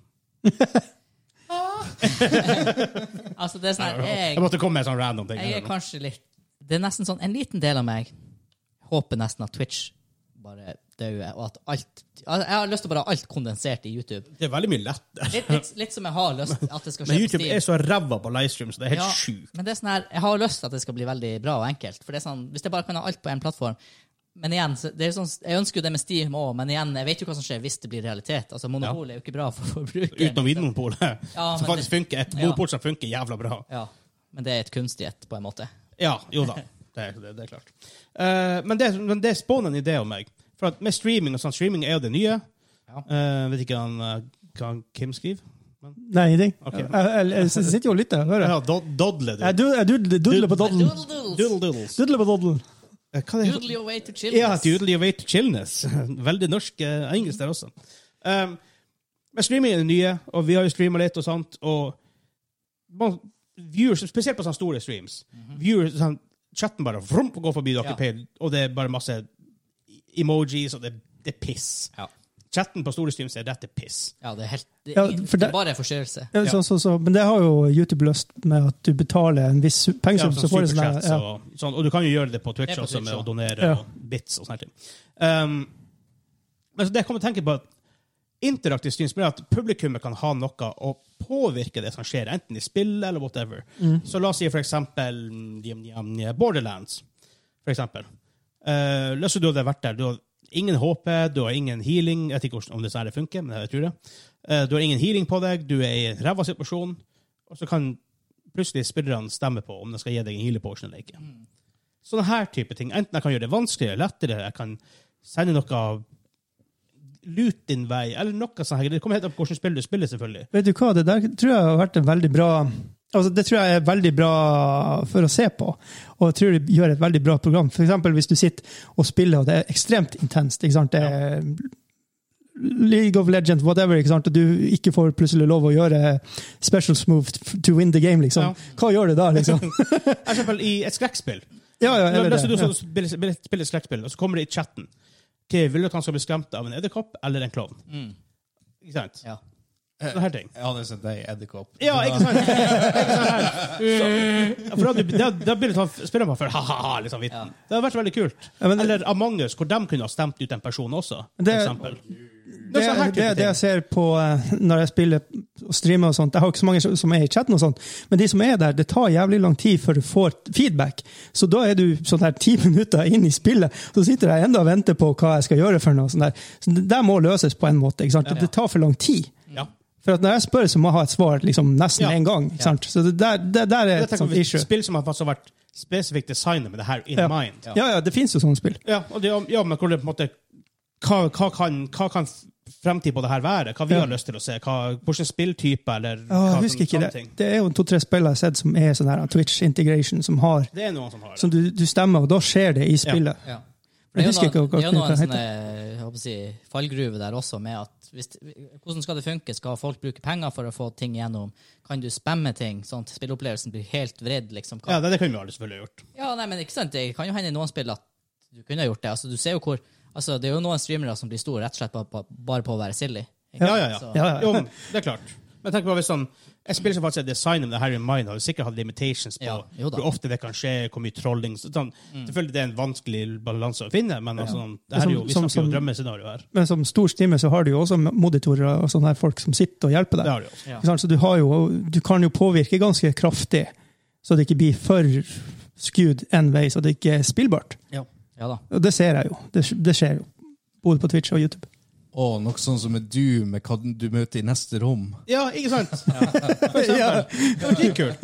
[SPEAKER 1] Altså, det er sånn her,
[SPEAKER 3] Jeg
[SPEAKER 1] jeg,
[SPEAKER 3] måtte komme med en sånn random ting.
[SPEAKER 1] jeg er kanskje litt Det er nesten sånn En liten del av meg håper nesten at Twitch bare dauer, og at alt altså, Jeg har lyst til å bare ha alt kondensert i YouTube.
[SPEAKER 3] Det er veldig mye lettere.
[SPEAKER 1] Litt, litt, litt som jeg har lyst at det skal skje
[SPEAKER 3] Men
[SPEAKER 1] på
[SPEAKER 3] YouTube
[SPEAKER 1] Steam.
[SPEAKER 3] er så ræva på livestream, så det er helt
[SPEAKER 1] Ja,
[SPEAKER 3] sjukt.
[SPEAKER 1] Men det er sånn her, jeg har lyst til at det skal bli veldig bra og enkelt. For det er sånn, Hvis jeg bare kan ha alt på én plattform Men igjen, så det er jo sånn, Jeg ønsker jo det med Steam òg, men igjen, jeg vet jo hva som skjer hvis det blir realitet. Altså, Monopol er jo ikke bra for forbrukeren.
[SPEAKER 3] Utenom Vinmonopolet,
[SPEAKER 1] Ja,
[SPEAKER 3] som
[SPEAKER 1] men
[SPEAKER 3] faktisk
[SPEAKER 1] det-
[SPEAKER 3] funker. Et
[SPEAKER 1] Ja.
[SPEAKER 3] monopol som funker jævla bra.
[SPEAKER 1] Ja, Men det er et kunstig et, på en måte.
[SPEAKER 3] Ja, jo da. Det, er- det, det er klart. Eh, men det, men det spåner en idé om meg. For at med streaming og sånn, streaming er jo det nye.
[SPEAKER 1] Ja.
[SPEAKER 3] Eh, vet ikke han, eh, hva han Kim skriver?
[SPEAKER 2] Nei, ingenting.
[SPEAKER 3] Ok.
[SPEAKER 2] Jeg, jeg, jeg sitter jo og lytter. Hører
[SPEAKER 3] Ja,
[SPEAKER 2] jeg.
[SPEAKER 3] do, Dodle, du.
[SPEAKER 2] Jeg dud- jeg dudler dudler på doddelen.
[SPEAKER 1] Doodle
[SPEAKER 3] Doodle Doodles.
[SPEAKER 2] Dudler på doddelen.
[SPEAKER 3] Eh, Hva er det?
[SPEAKER 1] your way to chillness.
[SPEAKER 3] Ja, Doodle Your Way to Chillness. Veldig norsk eh, engelsk der også. Um, men streaming er det nye, og vi har jo streama litt og sånt, og man, viewers, spesielt på sånne store streams viewers, sånn, Chatten bare vrum, går forbi dere,
[SPEAKER 1] Mhm. Ja.
[SPEAKER 3] Per, og det er bare masse emojis, og det, det er piss.
[SPEAKER 1] Ja.
[SPEAKER 3] Chatten på store streams er rett til piss.
[SPEAKER 1] Ja, det er helt Det er,
[SPEAKER 2] Ja,
[SPEAKER 1] ingen,
[SPEAKER 2] for
[SPEAKER 1] det
[SPEAKER 2] det-
[SPEAKER 1] er bare en forstyrrelse.
[SPEAKER 2] Ja, Så, så, så. Men det har jo YouTube løst med at du betaler en viss su- pengesum,
[SPEAKER 3] sånn
[SPEAKER 2] så får du sånn
[SPEAKER 3] superchats
[SPEAKER 2] der, ja.
[SPEAKER 3] og, sånn, og du kan jo gjøre det på Twitch,
[SPEAKER 1] Det er på
[SPEAKER 3] også, med
[SPEAKER 1] Twitch,
[SPEAKER 3] å
[SPEAKER 1] ja.
[SPEAKER 3] donere
[SPEAKER 2] Ja.
[SPEAKER 3] og bits og sånne ting. Um, men så det jeg kommer til å tenke på at interaktiv stream spiller at publikummet kan ha noe å påvirke det som skjer, enten i spillet eller whatever. Så la oss si for eksempel mm, jam, jam, jam, Borderlands, for eksempel. Uh, la oss si du hadde vært der. Du har ingen HP, du har ingen healing. Jeg vet ikke hvordan- om det sånn her funker, men jeg tror det. Eh, du har ingen healing på deg, du er i en ræva situasjon, og så kan plutselig spillerne stemme på om de skal gi deg en healer potion eller ikke. Sånne her type ting. Enten jeg kan gjøre det vanskeligere, lettere, jeg kan sende noe lut din vei, eller noe sånt. her. Det kommer helt an på hvordan spill du spiller, selvfølgelig.
[SPEAKER 2] Vet du hva, det der tror jeg har vært en veldig bra Altså, det tror jeg er veldig bra for å se på, og jeg tror det gjør et veldig bra program. For eksempel hvis du sitter og spiller, og det er ekstremt intenst. ikke sant? Det er League of Legends, whatever, ikke sant? og du ikke får plutselig lov å gjøre specials move to win the game, liksom.
[SPEAKER 3] Ja.
[SPEAKER 2] Hva gjør du da, liksom?
[SPEAKER 3] For eksempel i et skrekkspill.
[SPEAKER 2] Ja, ja,
[SPEAKER 3] La
[SPEAKER 2] eller
[SPEAKER 3] la oss si du
[SPEAKER 2] det.
[SPEAKER 3] så- spiller, spiller, spiller et skrekkspill, og så kommer det i chatten. Ok, vil du at han skal bli skremt av en edderkopp eller en klovn? Ikke sant?
[SPEAKER 1] Ja.
[SPEAKER 3] Sånne her ting.
[SPEAKER 4] Jeg hadde sett deg, edderkopp.
[SPEAKER 3] Ja, ikke sant? Ikke sant? Så- For da, da, da blir det sånn, spør jeg meg for ha-ha-ha, liksom, vitten. Det hadde vært veldig kult.
[SPEAKER 2] Ja, men det-
[SPEAKER 3] Eller Among us, hvor de kunne ha stemt ut en person også, for
[SPEAKER 2] Det-
[SPEAKER 3] eksempel.
[SPEAKER 2] Det,
[SPEAKER 3] sånn her
[SPEAKER 2] det,
[SPEAKER 3] type
[SPEAKER 2] det er det jeg ser på eh, når jeg spiller og streamer og sånt. Jeg har ikke så mange som er i chatten, og sånt, men de som er der, det tar jævlig lang tid før du får feedback. Så da er du sånn her ti minutter inn i spillet, så sitter jeg enda og venter på hva jeg skal gjøre. for noe sånt der. Så det der må løses på en måte. ikke sant? Det tar for lang tid.
[SPEAKER 3] Ja.
[SPEAKER 2] For at når jeg spør, så må jeg ha et svar liksom nesten
[SPEAKER 3] Ja.
[SPEAKER 2] én gang. ikke sant? Så det der, det der er
[SPEAKER 3] Jeg
[SPEAKER 2] et
[SPEAKER 3] tenker
[SPEAKER 2] sånt
[SPEAKER 3] på
[SPEAKER 2] issue.
[SPEAKER 3] Spill som har faktisk vært spesifikt designet med det her in
[SPEAKER 2] Ja.
[SPEAKER 3] mind.
[SPEAKER 2] Ja, ja, det fins jo sånne spill.
[SPEAKER 3] Ja, og det, ja, men hvor det på en måte hva, hva, kan, hva kan fremtid på det her være? Hva vi
[SPEAKER 2] Ja.
[SPEAKER 3] har lyst til å se? Hva, hvordan spilltype, eller
[SPEAKER 2] Ja,
[SPEAKER 3] hva
[SPEAKER 2] jeg
[SPEAKER 3] som-
[SPEAKER 2] husker ikke det.
[SPEAKER 3] sånne ting.
[SPEAKER 2] Det er jo to-tre spill jeg har sett som er sånn her Twitch integration, som har
[SPEAKER 3] Det er noen som har det.
[SPEAKER 2] som du, du stemmer, og da skjer det i spillet.
[SPEAKER 1] Ja.
[SPEAKER 2] Jeg
[SPEAKER 1] Det er jo
[SPEAKER 2] husker ikke
[SPEAKER 1] noen,
[SPEAKER 2] hva
[SPEAKER 1] det er jo noen
[SPEAKER 2] knyttet
[SPEAKER 1] sånne, jeg håper å si, fallgruver der også, med at hvis, hvordan skal det funke? Skal folk bruke penger for å få ting igjennom? Kan du spamme ting, sånn at spilleopplevelsen blir helt vredd? Liksom?
[SPEAKER 3] Ja,
[SPEAKER 1] Kan, ja.
[SPEAKER 3] det, det kunne vi alle selvfølgelig gjort.
[SPEAKER 1] nei, men ikke sant? Det kan jo hende i noen spill at du kunne ha gjort det. Altså, du ser jo hvor, altså, det er jo noen streamere som blir store rett og slett bare på, bare på å være silly.
[SPEAKER 3] Ja, ja, ja.
[SPEAKER 1] Så-
[SPEAKER 2] Ja, ja.
[SPEAKER 3] Jo, men det er klart. Men tenk på hvis sånn, Jeg spiller som faktisk er designet med det her in mind, har jo sikkert hatt limitations på
[SPEAKER 1] Ja, jo da. Mm.
[SPEAKER 3] hvor ofte det kan skje, hvor mye trolling så sånn, Selvfølgelig det er en vanskelig balanse å finne, men altså, sånn, det her er jo, vi
[SPEAKER 2] Som-
[SPEAKER 3] snakker jo
[SPEAKER 2] som-
[SPEAKER 3] drømmescenario her.
[SPEAKER 2] Men som stor stime så har du jo også moditorer og sånne her folk som sitter og hjelper
[SPEAKER 3] Det
[SPEAKER 2] deg.
[SPEAKER 3] har du jo.
[SPEAKER 1] Ja.
[SPEAKER 2] Ikke sant? Så du, har jo, du kan jo påvirke ganske kraftig, så det ikke blir for skewed en vei, så det ikke er spillbart.
[SPEAKER 1] Ja da.
[SPEAKER 2] Og det ser jeg jo. Det, det skjer jo. Både på Twitch og YouTube.
[SPEAKER 4] Og noe sånn som med Doom, med hva du møter i neste rom.
[SPEAKER 3] Ja, ikke sant? Det var dritkult.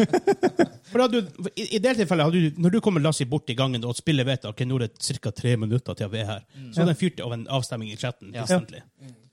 [SPEAKER 3] For da du, i, I det tilfellet, hadde du, når du kommer Lassie bort i gangen og spillet vet at okay, nå er det ca. tre minutter til vi er her, så hadde den fyrt av en avstemning i chatten.
[SPEAKER 1] Mm. Ja.
[SPEAKER 3] konstantlig.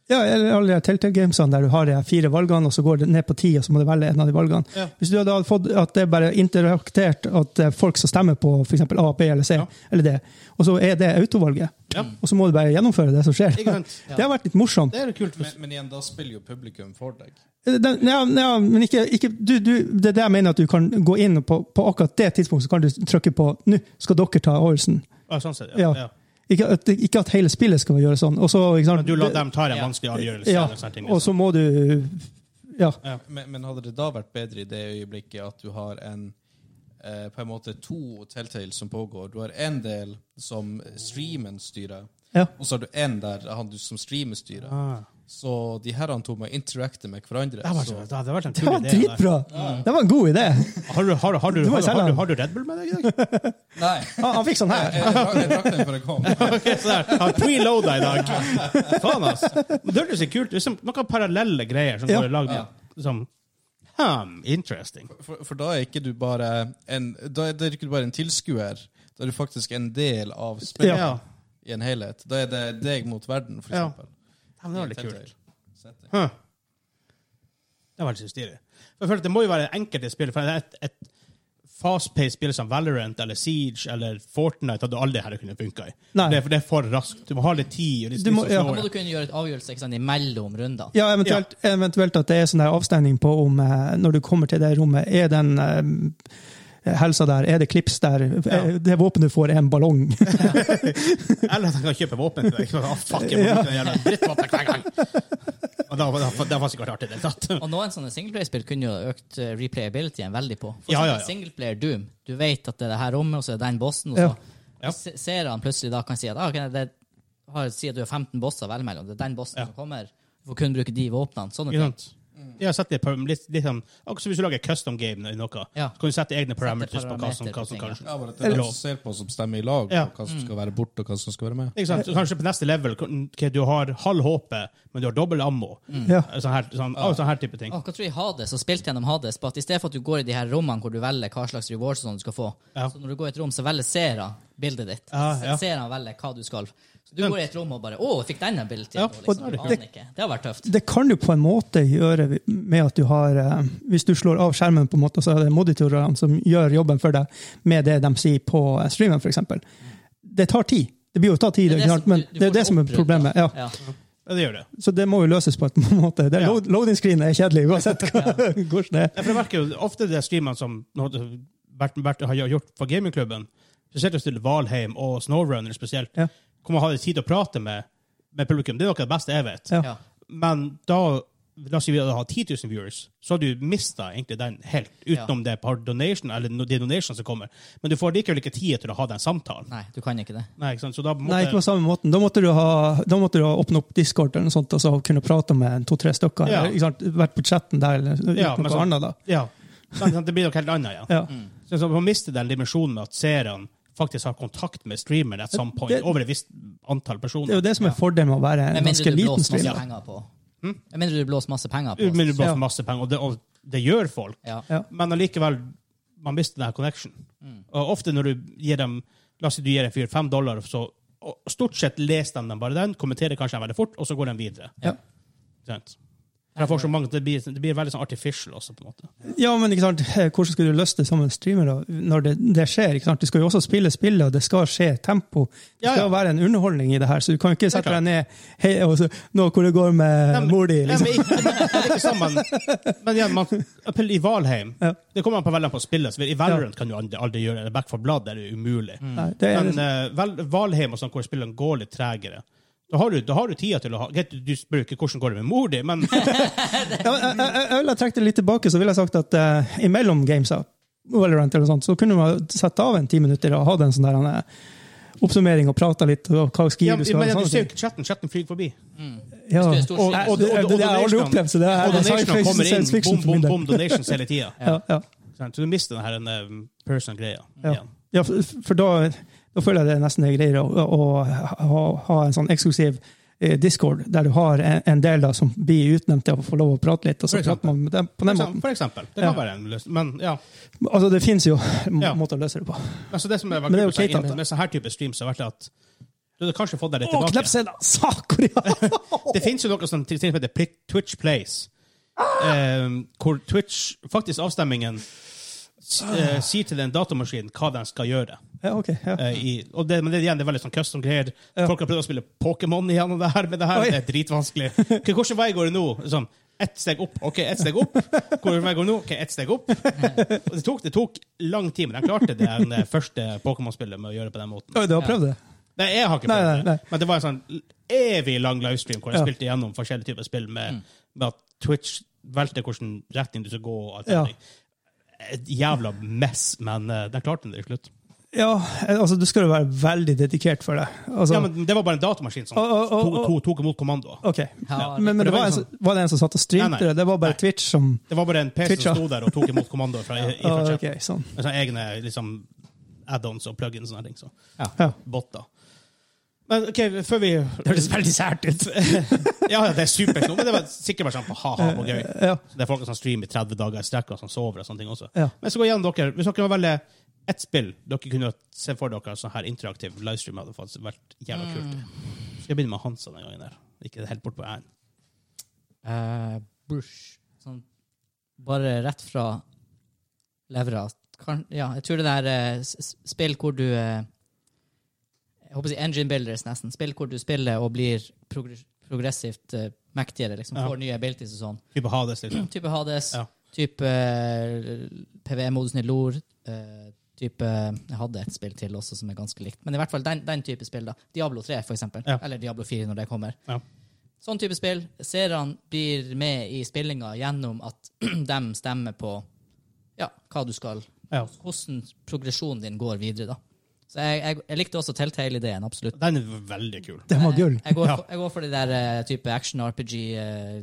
[SPEAKER 2] Ja, eller alle de Telltale-gamesene der du har de her fire valgene, og så går det ned på ti, og så må du velge en av de valgene.
[SPEAKER 3] Ja.
[SPEAKER 2] Hvis du hadde fått at det er bare interaktert, at det er folk som stemmer på f.eks. A, B eller C,
[SPEAKER 3] Ja.
[SPEAKER 2] eller D, og så er det autovalget,
[SPEAKER 3] Ja.
[SPEAKER 2] og så må du bare gjennomføre det som skjer.
[SPEAKER 3] Ikke sant?
[SPEAKER 2] Det har vært litt morsomt.
[SPEAKER 3] Det er kult.
[SPEAKER 4] Men, men igjen, da spiller jo publikum for deg.
[SPEAKER 2] Den, ja, ja, men ikke, ikke du, du, Det er det jeg mener, at du kan gå inn og på, på akkurat det tidspunktet, så kan du trykke på 'nå skal dere ta avgjørelsen'.
[SPEAKER 3] Ja, sånn sett, ja.
[SPEAKER 2] Ja.
[SPEAKER 3] ja.
[SPEAKER 2] Ikke, at- ikke at hele spillet skal gjøre sånn. Og så, ikke sant,
[SPEAKER 3] Men du lar dem ta en
[SPEAKER 1] Ja.
[SPEAKER 3] vanskelig avgjørelse.
[SPEAKER 2] ja,
[SPEAKER 3] eller sånne ting,
[SPEAKER 2] og
[SPEAKER 3] liksom.
[SPEAKER 2] så må du Ja.
[SPEAKER 4] Men, men hadde det da vært bedre i det øyeblikket at du har en eh, på en måte to telltales som pågår? Du har en del som streamen styrer,
[SPEAKER 2] Ja.
[SPEAKER 4] og så har du en der han du som streamer styrer.
[SPEAKER 3] Ah.
[SPEAKER 4] Så de her to må interacte med hverandre.
[SPEAKER 3] Det var-
[SPEAKER 4] så,
[SPEAKER 3] det hadde vært en
[SPEAKER 2] Det
[SPEAKER 3] kul
[SPEAKER 2] var
[SPEAKER 3] idé. det der.
[SPEAKER 2] dritbra! Det var en god idé!
[SPEAKER 3] Har du, har, har, du,
[SPEAKER 2] Du må
[SPEAKER 3] har, du-
[SPEAKER 2] selge
[SPEAKER 3] har, du,
[SPEAKER 2] den.
[SPEAKER 3] har du Red Bull med deg i dag?
[SPEAKER 4] nei,
[SPEAKER 2] Han, han fikk sånn her.
[SPEAKER 4] jeg, jeg, drakk- jeg drakk den før jeg kom.
[SPEAKER 3] Okay, så der, har preloada i dag. Faen, ass. Men Det høres jo kult ut. Liksom, Noen parallelle greier som
[SPEAKER 2] Ja.
[SPEAKER 3] går i lag. med- Som, hmm, interesting.
[SPEAKER 4] For, for da er ikke du bare en, da er det ikke du bare en tilskuer. Da er du faktisk en del av spillet
[SPEAKER 2] Ja.
[SPEAKER 4] i en helhet. Da er det deg mot verden, for
[SPEAKER 3] Ja.
[SPEAKER 4] eksempel.
[SPEAKER 3] Ja, men det var litt
[SPEAKER 4] I en
[SPEAKER 3] kult.
[SPEAKER 4] Telltale-setting.
[SPEAKER 3] Huh. Det var litt så stilig. For jeg føler at Det må jo være enkelte spill. For et, et fast-paced spill som Valorant eller Siege eller Fortnite hadde aldri her kunnet funka i.
[SPEAKER 2] Nei.
[SPEAKER 3] Det, er- for det er for raskt. Du må ha litt tid. Og litt,
[SPEAKER 2] Du må-
[SPEAKER 3] litt sånn
[SPEAKER 2] ja.
[SPEAKER 1] Da
[SPEAKER 3] slow.
[SPEAKER 1] må du kunne gjøre et avgjørelse ikke sant, imellom rundene.
[SPEAKER 2] Ja, eventuelt, eventuelt at det er sånn der avstemning på om eh, når du kommer til det rommet, er den eh, helsa der, er det klips der,
[SPEAKER 3] Ja.
[SPEAKER 2] Eh, det våpenet du får, er en ballong.
[SPEAKER 3] Eller at han kan kjøpe våpen til deg. Ah, fuck, jeg må bruke den jævla drittvåpen hver gang. Og da, da, da, da var sikkert artig i det hele tatt.
[SPEAKER 1] Og noen sånne singleplayerspill kunne jo økt eh, replayabilityen veldig på. For
[SPEAKER 3] Ja,
[SPEAKER 1] eksempel
[SPEAKER 3] ja, ja.
[SPEAKER 1] Singleplayer Doom. Du vet at det er det her rommet, og så er det den bossen, og
[SPEAKER 2] Ja.
[SPEAKER 1] så
[SPEAKER 3] Ja.
[SPEAKER 1] se- ser han plutselig da kan si at ah, ok, det har, si at du har 15 bosser å velge mellom, det er den bossen
[SPEAKER 3] Ja.
[SPEAKER 1] som kommer. Du får kun bruke de våpnene. Sånne
[SPEAKER 3] Ikke
[SPEAKER 1] ting.
[SPEAKER 3] sant? Jeg har sett det på litt, litt sånn, akkurat som hvis du lager custom game i noe.
[SPEAKER 1] Ja.
[SPEAKER 3] Så kan du sette egne parameters på hva
[SPEAKER 1] parameter
[SPEAKER 3] som, hva
[SPEAKER 1] på
[SPEAKER 3] som
[SPEAKER 1] ting,
[SPEAKER 3] kan
[SPEAKER 4] Ja, bare at det er
[SPEAKER 3] Eller-
[SPEAKER 4] de som ser på som stemmer i lag,
[SPEAKER 3] Ja. Mm.
[SPEAKER 4] og hva som skal være borte, og hva som skal være med.
[SPEAKER 3] Ikke sant? Så kanskje på neste level ok, du har halv HP, men du har dobbel ammo.
[SPEAKER 2] Ja.
[SPEAKER 3] Sånn her, sånn, ah, sånn her type ting.
[SPEAKER 1] Mm. Ah, hva tror jeg Hades, og spilte gjennom Hades, på at i stedet for at du går i de her rommene hvor du velger hva slags rewards og sånn du skal få,
[SPEAKER 3] Ja.
[SPEAKER 1] så når du går i et rom, så velger seerne bildet ditt.
[SPEAKER 3] Ja, ja.
[SPEAKER 1] Seerne velger hva du skal. Så du går i et rom og bare 'Å, jeg fikk denne bildet
[SPEAKER 3] Ja,
[SPEAKER 1] til'. og liksom,
[SPEAKER 3] og-
[SPEAKER 1] du aner ikke. Det har vært tøft.
[SPEAKER 2] Det kan du på en måte gjøre med at du har eh, Hvis du slår av skjermen, på en måte, så er det monitorene som gjør jobben for deg med det de sier på eh, streamen, f.eks. Det tar tid. Det blir jo ta tid,
[SPEAKER 1] Det er det
[SPEAKER 2] ikke sant?
[SPEAKER 1] som-
[SPEAKER 2] men
[SPEAKER 1] du- du får
[SPEAKER 2] det er det som er
[SPEAKER 1] oppbrudd,
[SPEAKER 2] problemet. Ja.
[SPEAKER 1] Ja.
[SPEAKER 3] Ja, det gjør det.
[SPEAKER 2] Så det må jo løses på en måte. Det,
[SPEAKER 3] Ja.
[SPEAKER 2] load, loading screen er kjedelig uansett hva, hvordan det er.
[SPEAKER 3] Ja, for jeg merker jo ofte det streamene som nå- Bert, Bert har gjort for gamingklubben, spesielt hvis det gjelder Valheim og Snowrunner spesielt,
[SPEAKER 2] Ja.
[SPEAKER 3] hvor man har tid til å prate med, med publikum. Det er noe av det beste jeg vet.
[SPEAKER 2] Ja.
[SPEAKER 1] Ja.
[SPEAKER 3] Men da La oss si vi hadde hatt 10 000 viewers, så har du mista egentlig den helt, utenom det par donation, eller no- de donation som kommer. Men du får likevel ikke tid til å ha den samtalen.
[SPEAKER 1] Nei, du kan ikke det.
[SPEAKER 3] Nei, ikke sant? Så da måtte,
[SPEAKER 2] Nei, ikke på samme måten. Da måtte du ha, da måtte du ha åpnet opp Discord eller noe sånt, og så kunne prate med en, to-tre stykker.
[SPEAKER 3] Ja.
[SPEAKER 2] Eller, ikke sant? Vært på chatten der, eller gjort
[SPEAKER 3] Ja, men
[SPEAKER 2] noe
[SPEAKER 3] så- Mm.
[SPEAKER 2] annet. da.
[SPEAKER 3] Ja. Sant, sant, Det blir noe helt annet igjen.
[SPEAKER 2] Ja.
[SPEAKER 3] Så, så Man mister den dimensjonen med at seerne faktisk har kontakt med streameren at some point,
[SPEAKER 2] Det-
[SPEAKER 3] over et visst antall
[SPEAKER 2] Det er
[SPEAKER 3] personer.
[SPEAKER 2] jo det som er fordelen med å være
[SPEAKER 1] Med
[SPEAKER 2] en
[SPEAKER 1] mindre
[SPEAKER 2] ganske
[SPEAKER 1] du
[SPEAKER 2] liten
[SPEAKER 1] blåser masse
[SPEAKER 2] streamer.
[SPEAKER 1] penger på. Med mindre du blåser masse penger på.
[SPEAKER 3] Men du
[SPEAKER 2] Ja.
[SPEAKER 3] blåser masse penger, og det, og det gjør folk.
[SPEAKER 1] Ja.
[SPEAKER 2] Ja.
[SPEAKER 3] Men allikevel, man mister den her connection.
[SPEAKER 2] Mm.
[SPEAKER 3] Og ofte når du gir dem La oss si du gir en fyr fem dollar, så og stort sett leser de den bare den, kommenterer kanskje den veldig fort, og så går de videre.
[SPEAKER 2] Ja.
[SPEAKER 3] Sant? For jeg får så mange, det, blir, det blir veldig sånn artificial også, på en måte.
[SPEAKER 2] Ja, men ikke sant? hvordan skal du løste det som en streamer da, når det, det skjer? ikke sant? Du skal jo også spille spillet, og det skal skje tempo. Det
[SPEAKER 3] Ja,
[SPEAKER 2] skal
[SPEAKER 3] ja.
[SPEAKER 2] være en underholdning i det her, så du kan ikke sette deg
[SPEAKER 3] klart.
[SPEAKER 2] ned hei, og så, nå hvor det går med
[SPEAKER 3] Nei, men-
[SPEAKER 2] mor di.
[SPEAKER 3] Nei,
[SPEAKER 2] Liksom.
[SPEAKER 3] men ikke- men- men ikke sammen. Men igjen, man, appell i Valheim
[SPEAKER 2] Ja.
[SPEAKER 3] Det kommer an på veldig på spillet. så I Valorant kan du aldri, aldri gjøre
[SPEAKER 2] Mm.
[SPEAKER 3] det. Back for blood er det umulig.
[SPEAKER 2] Nei, det er,
[SPEAKER 3] Men eh, Val- Valheim og sånn, hvor spillene går litt tregere, Da har du, da har du tida til å ha Greit, du spør ikke hvordan går det med mor di, men
[SPEAKER 2] Jeg, jeg, jeg, jeg ville ha trukket det eh, litt tilbake, så ville jeg sagt at eh, imellom gamesa, Valorant eller noe sånt, så kunne man sette av en ti minutter og hatt en sånn der han, eh, oppsummering og prata litt om hva
[SPEAKER 3] ja,
[SPEAKER 2] skier du skal
[SPEAKER 3] men
[SPEAKER 2] ha.
[SPEAKER 3] du
[SPEAKER 2] og sånne
[SPEAKER 3] ser jo
[SPEAKER 2] ting.
[SPEAKER 3] ikke chatten. Chatten flyr forbi.
[SPEAKER 1] Hvis du
[SPEAKER 2] Ja.
[SPEAKER 1] er
[SPEAKER 2] Det
[SPEAKER 1] stor
[SPEAKER 3] Og-
[SPEAKER 1] skytter.
[SPEAKER 3] og-
[SPEAKER 2] det- det har jeg aldri
[SPEAKER 3] donation-
[SPEAKER 2] opplevd, så det
[SPEAKER 3] Og
[SPEAKER 2] er
[SPEAKER 3] donationer
[SPEAKER 2] sci-fi
[SPEAKER 3] kommer inn.
[SPEAKER 2] science fiction
[SPEAKER 3] Boom,
[SPEAKER 2] for
[SPEAKER 3] boom,
[SPEAKER 2] min del.
[SPEAKER 3] boom, donations hele tida. Sånn,
[SPEAKER 2] Ja, ja.
[SPEAKER 3] Så du mister den her eh, person-greia.
[SPEAKER 2] Ja.
[SPEAKER 3] igjen.
[SPEAKER 2] Ja, for, for da, da føler jeg det nesten er greiere å, å, å ha, ha en sånn eksklusiv eh, Discord, der du har en, en del da, som blir utnevnt til å få lov å prate litt. Og så
[SPEAKER 3] For
[SPEAKER 2] prater man med dem på
[SPEAKER 3] For
[SPEAKER 2] den
[SPEAKER 3] eksempel.
[SPEAKER 2] måten.
[SPEAKER 3] For eksempel. Det kan
[SPEAKER 2] Ja.
[SPEAKER 3] være en løsning. Men ja.
[SPEAKER 2] Altså, det finnes jo må-
[SPEAKER 3] Ja.
[SPEAKER 2] måter å løse det på.
[SPEAKER 3] Altså, det som er
[SPEAKER 2] Men det er
[SPEAKER 3] kult
[SPEAKER 2] jo
[SPEAKER 3] med,
[SPEAKER 2] Kate at-
[SPEAKER 3] med, med sånn her type streams, har vært at du hadde kanskje fått deg litt
[SPEAKER 2] Å,
[SPEAKER 3] tilbake.
[SPEAKER 2] knepsene! Sakkorea!
[SPEAKER 3] Det finnes jo noe som til til- som heter Pli- Twitch Plays, eh, hvor Twitch, faktisk avstemmingen, s- eh, sier til en datamaskin hva den skal gjøre.
[SPEAKER 2] Ja, ok. Ja.
[SPEAKER 3] Eh, i, og det, men det, igjen, det er veldig sånn custom greier.
[SPEAKER 2] Ja.
[SPEAKER 3] Folk har prøvd å spille Pokémon igjen og det her, men det her
[SPEAKER 2] Oi.
[SPEAKER 3] det er dritvanskelig. Ok, hvordan vei går det nå? Sånn, ett steg opp. OK, ett steg opp. Hvordan vei går det nå? OK, ett steg opp. Og det tok, det tok lang tid, men de klarte det, det første Pokémon-spillet med å gjøre det på den måten.
[SPEAKER 2] Oi, du har prøvd det?
[SPEAKER 3] Nei, jeg har ikke
[SPEAKER 2] Nei,
[SPEAKER 3] prøvd
[SPEAKER 2] nei, nei.
[SPEAKER 3] det. Men det var en sånn evig lang livestream hvor jeg
[SPEAKER 2] Ja.
[SPEAKER 3] spilte gjennom forskjellige typer spill med, med at Twitch valgte hvilken retning du skal gå. og alt
[SPEAKER 2] Ja.
[SPEAKER 3] mulig. Et jævla mess, men eh, den klarte det til slutt.
[SPEAKER 2] Ja, altså, du skal jo være veldig dedikert for det. Altså,
[SPEAKER 3] Ja, men Det var bare en datamaskin som
[SPEAKER 2] Å, å, å,
[SPEAKER 3] tok- tok- tok imot kommandoer.
[SPEAKER 2] ok.
[SPEAKER 1] Ja,
[SPEAKER 2] Men, men
[SPEAKER 3] for
[SPEAKER 2] det
[SPEAKER 3] det var
[SPEAKER 2] var, en,
[SPEAKER 3] liksom-
[SPEAKER 2] som- var det en som satt og streamte
[SPEAKER 3] Nei, nei.
[SPEAKER 2] det? Det var bare
[SPEAKER 3] Nei.
[SPEAKER 2] Twitch som
[SPEAKER 3] Det var bare en PC
[SPEAKER 2] Twitch, ja.
[SPEAKER 3] som sto der og tok imot kommandoer fra, i- ifra
[SPEAKER 2] Ah,
[SPEAKER 3] chat.
[SPEAKER 2] Ok, sånn.
[SPEAKER 3] Med sånne egne liksom, add-ons og plugins og sånne ting. Så.
[SPEAKER 2] Ja.
[SPEAKER 3] Botter. Men OK, før vi
[SPEAKER 1] Det høres veldig sært ut.
[SPEAKER 3] Ja, ja, det er supert nå, men det var sikkert bare sånn på ha-ha og gøy.
[SPEAKER 2] Eh, Ja.
[SPEAKER 3] Det er folk som streamer i 30 dager i strekk, og som sover og sånne ting også.
[SPEAKER 2] Ja.
[SPEAKER 3] Men så gå igjen, dere. Hvis dere må velge ett spill dere kunne se for dere sånn her interaktiv livestream, hadde faktisk vært jævla kult.
[SPEAKER 1] Mm.
[SPEAKER 3] Skal jeg begynne med Hansa den gangen der? Ikke helt bort på æren.
[SPEAKER 1] Eh, Bush. Sånn, bare rett fra levra. Kan, ja, jeg tror det der eh, s- s- spill hvor du eh, Jeg håper å si engine builders, nesten. Spill hvor du spiller og blir progr- progressivt eh, mektigere. liksom,
[SPEAKER 3] Ja.
[SPEAKER 1] Får nye abilities og sånn.
[SPEAKER 3] Type Hades, liksom.
[SPEAKER 1] Type Hades,
[SPEAKER 3] Ja.
[SPEAKER 1] type eh, PVE-modusen i LOR. eh, type Jeg hadde et spill til også som er ganske likt. Men i hvert fall den, den type spill. da. Diablo 3, for eksempel.
[SPEAKER 3] Ja.
[SPEAKER 1] Eller Diablo 4, når det kommer.
[SPEAKER 3] Ja.
[SPEAKER 1] Sånn type spill. Seerne blir med i spillinga gjennom at de stemmer på ja, hva du skal
[SPEAKER 3] Ja.
[SPEAKER 1] Hvordan progresjonen din går videre, da. Så jeg, jeg, jeg likte også Telltale-ideen, absolutt.
[SPEAKER 3] Den er veldig kul.
[SPEAKER 2] Den var gull.
[SPEAKER 1] Jeg går,
[SPEAKER 3] Ja.
[SPEAKER 1] for, jeg går for det der eh, type action RPG, eh,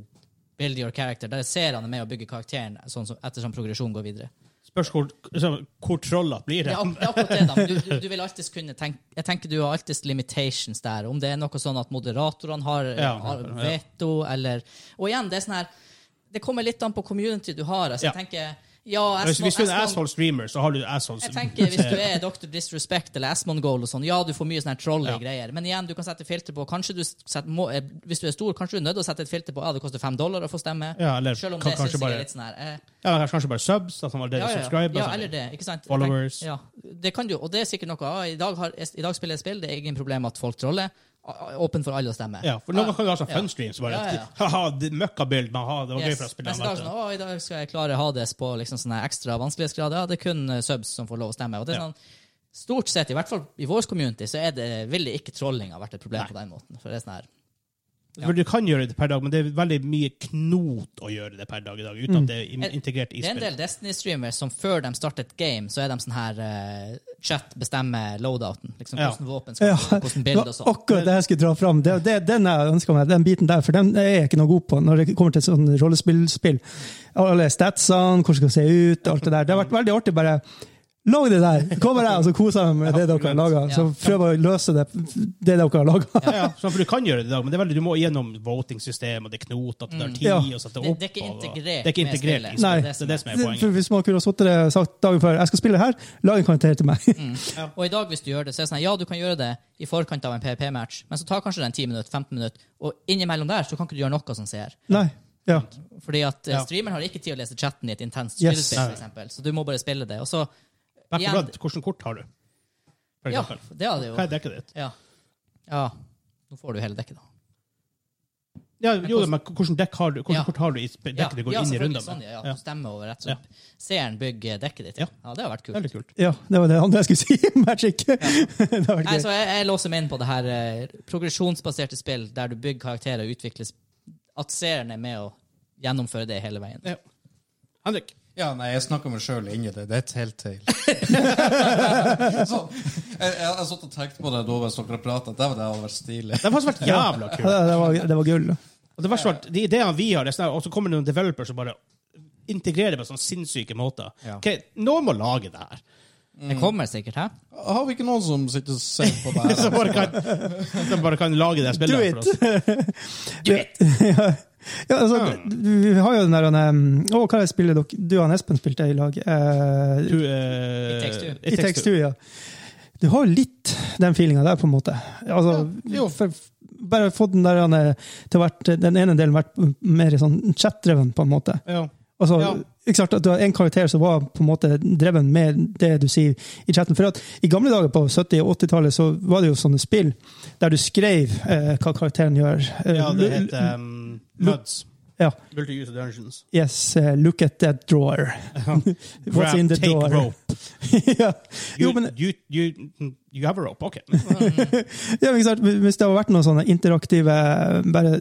[SPEAKER 1] build your character, der ser han er med å bygge karakteren sånn som, ettersom progresjonen går videre.
[SPEAKER 3] Spørs hvor, liksom, hvor trollete blir
[SPEAKER 1] Det
[SPEAKER 3] det.
[SPEAKER 1] er, ak- det er akkurat det, da. men Du, du, du vil alltid kunne tenke Jeg tenker du har alltid limitations der. Om det er noe sånn at moderatorene har,
[SPEAKER 3] Ja,
[SPEAKER 1] har
[SPEAKER 3] ja.
[SPEAKER 1] veto, eller Og igjen, det er sånn her Det kommer litt an på community du har. Altså,
[SPEAKER 3] Ja.
[SPEAKER 1] jeg tenker ja,
[SPEAKER 3] Hvis, hvis du er en
[SPEAKER 1] Esmond-
[SPEAKER 3] asshole streamer, så har du assholes.
[SPEAKER 1] Jeg tenker Hvis du er Dr. Disrespect eller Asmongold og sånn, ja, du får mye sånne her trolly
[SPEAKER 3] Ja.
[SPEAKER 1] greier, men igjen, du kan sette filter på Kanskje du setter, må, eh, Hvis du er stor, kanskje du er nødt til å sette et filter på ja, det koster fem dollar å få stemme,
[SPEAKER 3] Ja, eller
[SPEAKER 1] selv om
[SPEAKER 3] kan-
[SPEAKER 1] det syns
[SPEAKER 3] kanskje
[SPEAKER 1] jeg
[SPEAKER 3] bare-
[SPEAKER 1] er litt sånn her eh,
[SPEAKER 3] Ja, men kanskje bare subs, at han allerede
[SPEAKER 1] ja, ja, ja.
[SPEAKER 3] subscriber.
[SPEAKER 1] ja,
[SPEAKER 3] sånn.
[SPEAKER 1] eller det, ikke sant?
[SPEAKER 3] Followers.
[SPEAKER 1] Jeg tenker- ja, det kan du, og det er sikkert noe. Ah, i, dag har, I dag spiller jeg spill, det er ingen problem at folk troller. Ah, ah, Åpen for alle å stemme.
[SPEAKER 3] Ja, for noen kan jo ha sånn
[SPEAKER 1] Ja.
[SPEAKER 3] fun streams. Bare,
[SPEAKER 1] Ja, ja, ja.
[SPEAKER 3] Haha, det- møkkabild, men ha, det var gøy
[SPEAKER 1] Yes.
[SPEAKER 3] for å spille.
[SPEAKER 1] Neste dag sånn, å, I dag skal jeg klare Hades på liksom sånne ekstra vanskelighetsgrad. Ja, det er kun eh, subs som får lov å stemme. Og det er
[SPEAKER 3] Ja.
[SPEAKER 1] sånn, Stort sett, i hvert fall i vår community, så er det, ville ikke trolling ha vært et problem på den måten. For det er sånn her,
[SPEAKER 3] For Du kan gjøre det per dag, men det er veldig mye knot å gjøre det per dag i dag, uten at det er in- integrert i
[SPEAKER 1] det er Mm. en
[SPEAKER 3] spillet.
[SPEAKER 1] del Destiny-streamers som før de starter et game, så er de sånn her eh, Chat bestemmer loadouten. Liksom,
[SPEAKER 3] Ja.
[SPEAKER 1] Hvordan våpen skal
[SPEAKER 2] Ja,
[SPEAKER 1] ja. hvordan
[SPEAKER 2] det
[SPEAKER 1] bilder
[SPEAKER 2] var
[SPEAKER 1] og sånn.
[SPEAKER 2] akkurat det jeg skulle dra fram. Det, det, den jeg ønsker meg, den biten der, for den er jeg ikke noe god på når det kommer til sånn rollespillspill. Alle statsene, hvordan skal det se ut, alt det der. Det har vært veldig artig bare Lag det der! Kommer jeg og så koser jeg meg med det dere har laga. Så prøv å løse det, det dere har laga.
[SPEAKER 3] Ja, ja. Sånn, for du kan gjøre det i dag, men det er veldig, du må gjennom voting-system, og det er knot, at det tar tid
[SPEAKER 2] Ja.
[SPEAKER 3] å
[SPEAKER 1] Mm.
[SPEAKER 3] sette
[SPEAKER 1] Det-
[SPEAKER 3] opp.
[SPEAKER 1] det er ikke
[SPEAKER 3] og-
[SPEAKER 1] integrert
[SPEAKER 3] Det er ikke
[SPEAKER 1] med
[SPEAKER 3] integrert
[SPEAKER 1] spillet.
[SPEAKER 3] i spillet.
[SPEAKER 2] Nei.
[SPEAKER 3] Det er det som er poenget.
[SPEAKER 2] For Hvis man kunne ha sittet der og sagt dagen før jeg skal spille her, lag en karakter til meg.
[SPEAKER 1] Og i dag, hvis du gjør det, så er det sånn ja, du kan gjøre det i forkant av en PVP-match, men så tar kanskje den 10 minutter, 15 minutter, og innimellom der så kan ikke du gjøre noe som ser.
[SPEAKER 2] Nei. Ja.
[SPEAKER 1] Fordi at eh,
[SPEAKER 3] Ja.
[SPEAKER 1] streameren har ikke tid å lese chatten i et intenst
[SPEAKER 2] Yes.
[SPEAKER 1] spillespill, for eksempel. Så du må bare spille det. Og så
[SPEAKER 3] Back
[SPEAKER 1] igjen-
[SPEAKER 3] for blood, hvordan kort har du? For
[SPEAKER 1] Ja,
[SPEAKER 3] eksempel.
[SPEAKER 1] det hadde jo
[SPEAKER 3] Hva er dekket ditt?
[SPEAKER 1] Ja. ja. Nå får du hele dekket, da.
[SPEAKER 3] Ja, jo, men hvordan dekk har du, hvordan
[SPEAKER 1] Ja.
[SPEAKER 3] kort har du i sp- dekket det går
[SPEAKER 1] ja,
[SPEAKER 3] inn i
[SPEAKER 1] selvfølgelig,
[SPEAKER 3] runden med?
[SPEAKER 1] Sånn, ja, ja.
[SPEAKER 3] Ja.
[SPEAKER 1] Du stemmer over rett, så
[SPEAKER 3] Ja.
[SPEAKER 1] seeren bygger dekket ditt.
[SPEAKER 3] Ja.
[SPEAKER 1] Ja. det har vært
[SPEAKER 3] Det er
[SPEAKER 1] kult.
[SPEAKER 3] litt kult.
[SPEAKER 2] Ja, det var det andre jeg skulle si. Magic. det var
[SPEAKER 1] Nei,
[SPEAKER 2] gøy.
[SPEAKER 1] så jeg, jeg låser meg inn på det her eh, progresjonsbaserte spill der du bygger karakterer og utvikler sp- At seeren er med å gjennomføre det hele veien.
[SPEAKER 3] Ja. Henrik,
[SPEAKER 4] Ja, nei, jeg snakker meg sjøl inn i det. Det er telltale. sånn. Jeg, jeg har satt og tenkt på det da mens dere prata. Det hadde vært stilig.
[SPEAKER 3] det har faktisk vært jævla
[SPEAKER 2] Ja,
[SPEAKER 3] kult.
[SPEAKER 2] det, det, var, det var gull.
[SPEAKER 3] Og det verste var at de ideene vi har, det er sånn her, og så kommer det noen developers som bare integrerer det på sånne sinnssyke måter.
[SPEAKER 4] Ja.
[SPEAKER 3] Ok, noen må lage det her.
[SPEAKER 1] Det kommer sikkert, hæ?
[SPEAKER 4] Har vi ikke noen som sitter og ser på det her?
[SPEAKER 3] Som bare kan, som bare kan lage det spillet
[SPEAKER 2] Do
[SPEAKER 3] her
[SPEAKER 2] it!
[SPEAKER 3] for oss.
[SPEAKER 2] ja, ja, altså, du, vi har jo den der han, um, Å, hva er det spillet dere Du og han Espen spilte i lag? Eh,
[SPEAKER 3] Du, eh,
[SPEAKER 1] It takes two.
[SPEAKER 2] I Takes Two, ja. Du har litt den feelinga der, på en måte. Altså,
[SPEAKER 4] jo.
[SPEAKER 2] for, bare fått den der han er- til å vært, den ene delen vært mer sånn chat-dreven, på en måte.
[SPEAKER 3] Ja.
[SPEAKER 2] Altså,
[SPEAKER 3] Ja.
[SPEAKER 2] ikke sant, at Du har en karakter som var på en måte dreven med det du sier i chatten. For at I gamle dager på 70- og 80-tallet så var det jo sånne spill der du skrev eh, hva karakteren gjør. Eh,
[SPEAKER 3] ja, det
[SPEAKER 2] lu-
[SPEAKER 3] heter um, Muds.
[SPEAKER 2] Ja.
[SPEAKER 3] Multi-user Dungeons.
[SPEAKER 2] Yes, eh, look at that drawer. What's in the
[SPEAKER 3] take
[SPEAKER 2] drawer?
[SPEAKER 3] rope.
[SPEAKER 2] ja.
[SPEAKER 3] You,
[SPEAKER 2] Jo, men
[SPEAKER 3] you, you, you have a rope, ok.
[SPEAKER 2] Ja, men ikke sant? Hvis det hadde vært noen sånne interaktive eh, bare,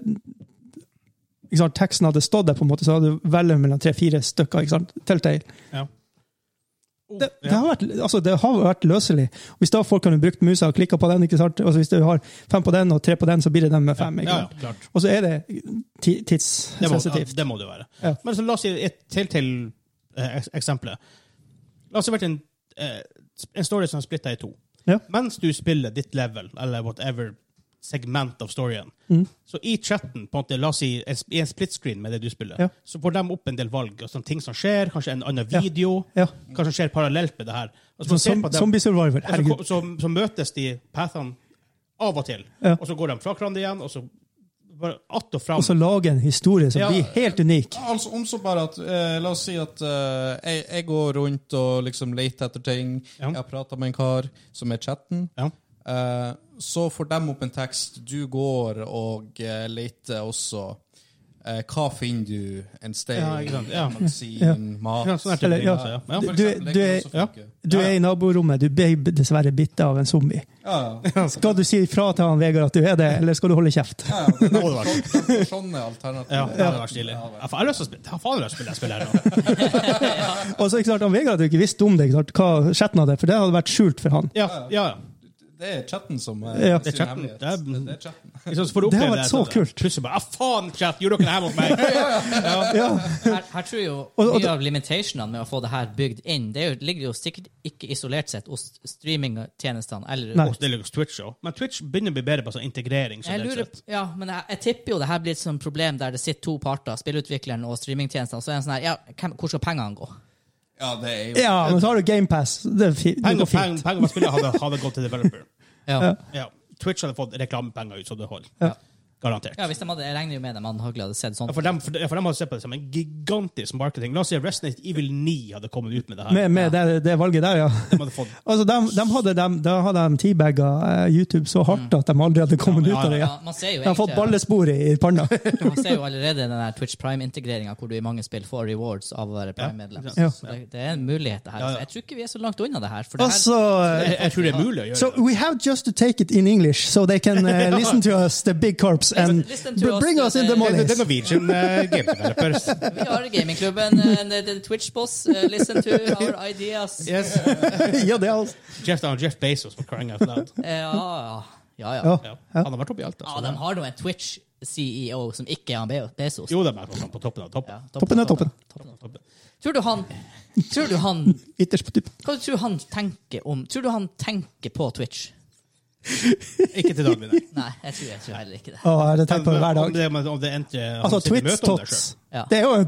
[SPEAKER 2] ikke sant? Teksten hadde stått der, på en måte, så hadde du velget mellom tre-fire stykker. ikke sant? Telltale.
[SPEAKER 3] Ja.
[SPEAKER 2] Det, det, har vært, altså, det har vært løselig. Hvis da folk kunne brukt musa og klikka på den, ikke sant? Altså, hvis du har fem på den og tre på den, så blir det den med fem. ikke
[SPEAKER 3] Ja, ja,
[SPEAKER 2] sant?
[SPEAKER 3] klart.
[SPEAKER 2] Og så er det ti-
[SPEAKER 3] Det må, ja,
[SPEAKER 2] tidssensitivt.
[SPEAKER 3] det må det jo være.
[SPEAKER 2] Ja.
[SPEAKER 3] Men så la oss si et til til eh, eks- eksempelet. La oss si det har vært en, eh, en story som er splitta i to.
[SPEAKER 2] Ja.
[SPEAKER 3] Mens du spiller ditt level, eller whatever segment av storyen,
[SPEAKER 2] Mm.
[SPEAKER 3] så i chatten, på en måte, la oss si en, sp- i en split screen med det du spiller,
[SPEAKER 2] Ja.
[SPEAKER 3] så får de opp en del valg. Og sånne ting som skjer, kanskje en annen video,
[SPEAKER 2] Ja.
[SPEAKER 3] kanskje skjer parallelt med det her. Og så
[SPEAKER 2] Som,
[SPEAKER 3] man ser på dem-
[SPEAKER 2] zombie survivor.
[SPEAKER 3] og så,
[SPEAKER 2] Herregud.
[SPEAKER 3] så, så møtes de pathene av og til,
[SPEAKER 2] Ja.
[SPEAKER 3] og så går de fra hverandre igjen, og så bare att og fram.
[SPEAKER 2] Og så lage en historie som
[SPEAKER 4] Ja.
[SPEAKER 2] blir helt unik.
[SPEAKER 4] Altså, om så bare at eh, La oss si at eh, jeg, jeg går rundt og liksom leter etter ting.
[SPEAKER 3] Ja.
[SPEAKER 4] Jeg har prata med en kar som er i chatten.
[SPEAKER 3] Ja.
[SPEAKER 4] Eh, så får de opp en tekst. Du går og eh, leter også. Eh, hva finner du? En stein,
[SPEAKER 3] Ja, ikke sant, ja.
[SPEAKER 4] magasin, mat
[SPEAKER 3] Ja, sånn er det.
[SPEAKER 2] Eller, ja.
[SPEAKER 3] Altså, ja. Ja.
[SPEAKER 4] For
[SPEAKER 2] Du-
[SPEAKER 4] eksempel, det
[SPEAKER 2] du
[SPEAKER 4] kan
[SPEAKER 2] er-
[SPEAKER 4] også
[SPEAKER 3] ja.
[SPEAKER 4] funke.
[SPEAKER 2] Du er i naborommet, du ble dessverre bitt av en zombie.
[SPEAKER 4] Ja, ja.
[SPEAKER 2] Skal du si ifra til han Vegard at du er det, eller skal du holde kjeft?
[SPEAKER 4] Ja, ja,
[SPEAKER 3] Nå hadde det vært-
[SPEAKER 4] sånn- Sånne alternativer.
[SPEAKER 3] Ja, det hadde vært stilig. Ja, faen, jeg har lyst til å spille- jeg har faen lyst til å spille det spillet her nå.
[SPEAKER 2] Og så ikke sant, han Vegard hadde jo ikke visst om det, ikke sant, hva chatten hadde, for det hadde vært skjult for han.
[SPEAKER 3] Ja, ja. ja.
[SPEAKER 4] Det er chatten som er
[SPEAKER 2] Ja.
[SPEAKER 4] sin
[SPEAKER 3] Det er chatten.
[SPEAKER 4] hemmelighet.
[SPEAKER 3] Det er-
[SPEAKER 4] Det- det er chatten.
[SPEAKER 3] Ikke sant, så får du
[SPEAKER 2] Det har
[SPEAKER 3] oppleve
[SPEAKER 2] vært
[SPEAKER 3] her,
[SPEAKER 2] så
[SPEAKER 3] sånn,
[SPEAKER 2] kult.
[SPEAKER 3] Plutselig bare, ah faen, chat, gjorde dere det her mot meg?
[SPEAKER 2] Ja,
[SPEAKER 1] Her, her tror jeg jo
[SPEAKER 2] og det-
[SPEAKER 1] mye av limitationene med å få det her bygd inn, det er jo, ligger jo sikkert ikke isolert sett hos streamingtjenestene eller
[SPEAKER 2] Nei.
[SPEAKER 3] Og det ligger hos Twitch også. Men Twitch begynner å bli bedre på sånn integrering.
[SPEAKER 1] Jeg
[SPEAKER 3] generelt
[SPEAKER 1] lurer,
[SPEAKER 3] sett.
[SPEAKER 1] ja, men jeg, jeg tipper jo det her blir et sånt problem der det sitter to parter, spillutvikleren og streamingtjenestene, og så er det en sånn her Ja, hvem, hvor skal pengene gå?
[SPEAKER 4] Ja, det er jo
[SPEAKER 2] ja men så har du GamePass. Det, er fi- det
[SPEAKER 3] Penger
[SPEAKER 2] går fint.
[SPEAKER 3] penger- penger man spiller hadde, hadde gått til developer.
[SPEAKER 1] Ja.
[SPEAKER 3] Ja. Twitch hadde fått reklamepenger ut, så det holder.
[SPEAKER 2] Ja.
[SPEAKER 3] Garantert.
[SPEAKER 1] Ja, hvis de hadde, Jeg regner jo med dem antagelig hadde sett sånn.
[SPEAKER 3] Ja, For dem, for, de- for dem hadde sett på det som en gigantisk marketing. La oss si Resident Evil 9 hadde kommet ut med det her.
[SPEAKER 2] Med, med det, det valget der, ja.
[SPEAKER 3] De hadde fått
[SPEAKER 2] Altså, de, de hadde, de, da hadde de teabagga eh, YouTube så hardt at de aldri hadde kommet
[SPEAKER 3] Ja, ja,
[SPEAKER 2] ut av det.
[SPEAKER 1] Ja,
[SPEAKER 2] Ja.
[SPEAKER 1] man ser jo
[SPEAKER 2] De har fått
[SPEAKER 1] egentlig-
[SPEAKER 2] ballespor i i panna.
[SPEAKER 1] Man ser jo allerede den der Twitch Prime-integreringa hvor du i mange spill får rewards av å være Prime-medlem.
[SPEAKER 2] Ja.
[SPEAKER 1] Så det, det er en mulighet, det her.
[SPEAKER 3] Ja, ja.
[SPEAKER 1] Så jeg tror ikke vi er så langt unna det her. For det her
[SPEAKER 2] Altså,
[SPEAKER 3] jeg, jeg tror det er mulig å gjøre
[SPEAKER 2] so we have just to take it in English, so they can eh, listen to us, the big corps, and
[SPEAKER 1] Listen to us,
[SPEAKER 2] bring us in the
[SPEAKER 1] the-
[SPEAKER 3] det. Det,
[SPEAKER 2] mornings.
[SPEAKER 3] det er Norwegian uh, game developers.
[SPEAKER 1] vi har gamingklubben, eh, and the- the Twitch-boss, uh, listen to our ideas. Ja,
[SPEAKER 3] Yes.
[SPEAKER 2] ja, det er alt.
[SPEAKER 3] Jeff, Jeff Bezos for crying out loud.
[SPEAKER 1] Eh, ja. ja, ja.
[SPEAKER 2] Ja.
[SPEAKER 3] Ja. Han har vært oppe i alt. altså.
[SPEAKER 1] ja de har nå en Twitch-CEO som ikke er han Be- Bezos.
[SPEAKER 3] Jo, de er på- på toppen av toppen.
[SPEAKER 1] Ja,
[SPEAKER 2] Toppen er toppen.
[SPEAKER 1] toppen er
[SPEAKER 3] toppen.
[SPEAKER 1] Tror du han Tror du han
[SPEAKER 2] Ytterst på tuppen.
[SPEAKER 1] Hva du tror han tenker om Tror du han tenker på Twitch?
[SPEAKER 3] Ikke til daglig, nei.
[SPEAKER 1] Nei, jeg tror, jeg tror heller ikke det.
[SPEAKER 2] Å, jeg hadde tenkt på det hver
[SPEAKER 3] Om
[SPEAKER 2] dag.
[SPEAKER 3] det, om det endte,
[SPEAKER 2] Altså, Twits Tots.
[SPEAKER 3] Twitch-tots.
[SPEAKER 1] Ja.
[SPEAKER 2] Det er jo en,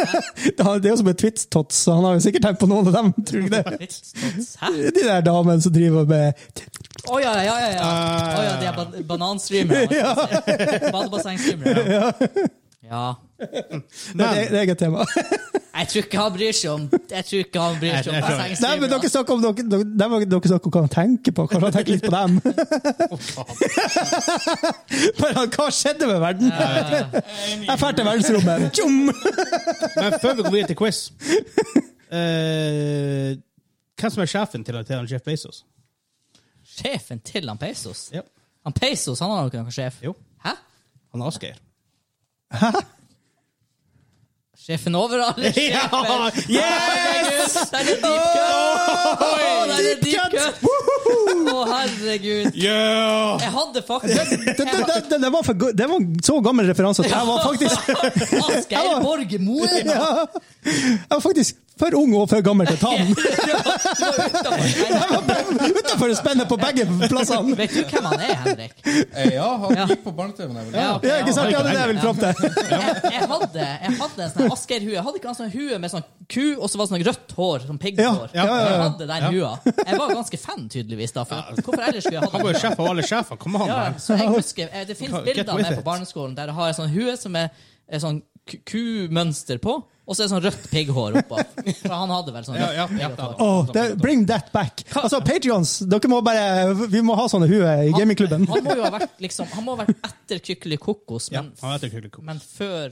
[SPEAKER 2] det er jo som en Twits Tots, så han har jo sikkert tenkt på noen av dem. Tror du ikke det?
[SPEAKER 1] Twitch-tots. Hæ?
[SPEAKER 2] De der damene som driver med
[SPEAKER 1] Å ja, ja, ja. ja. Å ja, det er ban bananstreamere. Badebassengstreamere. Ja. ja.
[SPEAKER 2] Det er
[SPEAKER 3] Men
[SPEAKER 2] et eget tema.
[SPEAKER 1] Jeg tror ikke han bryr seg om Jeg tror ikke han bryr seg om
[SPEAKER 2] Nei, men dere
[SPEAKER 1] bassengstreamer.
[SPEAKER 2] snakker om dere, dere, der var dere snakker om hva han tenker på. Kanskje han tenker litt på dem? Bare han, hva skjedde med verden? Jeg drar til verdensrommet. Tjom!
[SPEAKER 3] Men før vi går videre til quiz eh, Hvem som er sjefen til, til han Jeff Bezos?
[SPEAKER 1] Sjefen til han Peisos?
[SPEAKER 3] Ja.
[SPEAKER 1] Han Peisos han har jo ikke noen sjef.
[SPEAKER 3] Jo.
[SPEAKER 1] Hæ?
[SPEAKER 3] Han er Asgeir.
[SPEAKER 1] Sjefen over alle
[SPEAKER 3] Ja!
[SPEAKER 1] sjefer! Yes! Herregud, der er det deep cut! Der er det deep cut! Å, herregud.
[SPEAKER 3] Yeah!
[SPEAKER 1] Jeg hadde faktisk
[SPEAKER 2] Det, det, det, det, det, var for, go- det var en så gammel referanse at jeg var faktisk
[SPEAKER 1] Asgeir Borge Moe!
[SPEAKER 2] ja, Jeg var faktisk for ung og for gammel til å ta den. Utenfor spennet på begge
[SPEAKER 1] Altså,
[SPEAKER 2] plassene!
[SPEAKER 1] Vet du hvem han er, Henrik?
[SPEAKER 4] Eh, ja,
[SPEAKER 1] Ja.
[SPEAKER 4] han gikk på barne-TV da jeg var liten.
[SPEAKER 1] Ja, ok,
[SPEAKER 2] Ja, ikke sant? Ja, det er det jeg vil fram til.
[SPEAKER 1] jeg, jeg hadde Jeg hadde en sånn Asgeir-hue. Jeg hadde ikke en sånn hue med sånn ku, og så var det sånn rødt hår, sånn pigghår.
[SPEAKER 2] Ja, ja, ja, ja.
[SPEAKER 1] Jeg hadde den hua. Jeg var ganske fan, tydeligvis, da. For hvorfor ellers skulle jeg hatt
[SPEAKER 3] Han var jo sjef av alle sjefene. Kom an,
[SPEAKER 1] Ja,
[SPEAKER 3] man.
[SPEAKER 1] så jeg husker, eh, Det finnes
[SPEAKER 3] Get
[SPEAKER 1] bilder av
[SPEAKER 3] with
[SPEAKER 1] meg
[SPEAKER 3] it.
[SPEAKER 1] på barneskolen der jeg har en sånn hue som er, er sånn ku- kumønster på, og så er det sånn rødt pigghår oppå. For han hadde vel sånn
[SPEAKER 3] Ja,
[SPEAKER 1] rødt
[SPEAKER 3] ja, ja,
[SPEAKER 1] pigghåret
[SPEAKER 3] ja.
[SPEAKER 1] hår.
[SPEAKER 2] Åh, det, bring that back. Altså, Patreons, dere må bare Vi må ha sånne hue i gamingklubben.
[SPEAKER 1] Han må jo ha vært liksom, han må ha vært etter Kykkeli Kokos,
[SPEAKER 3] Ja,
[SPEAKER 1] men,
[SPEAKER 3] han heter Kulikov.
[SPEAKER 1] men før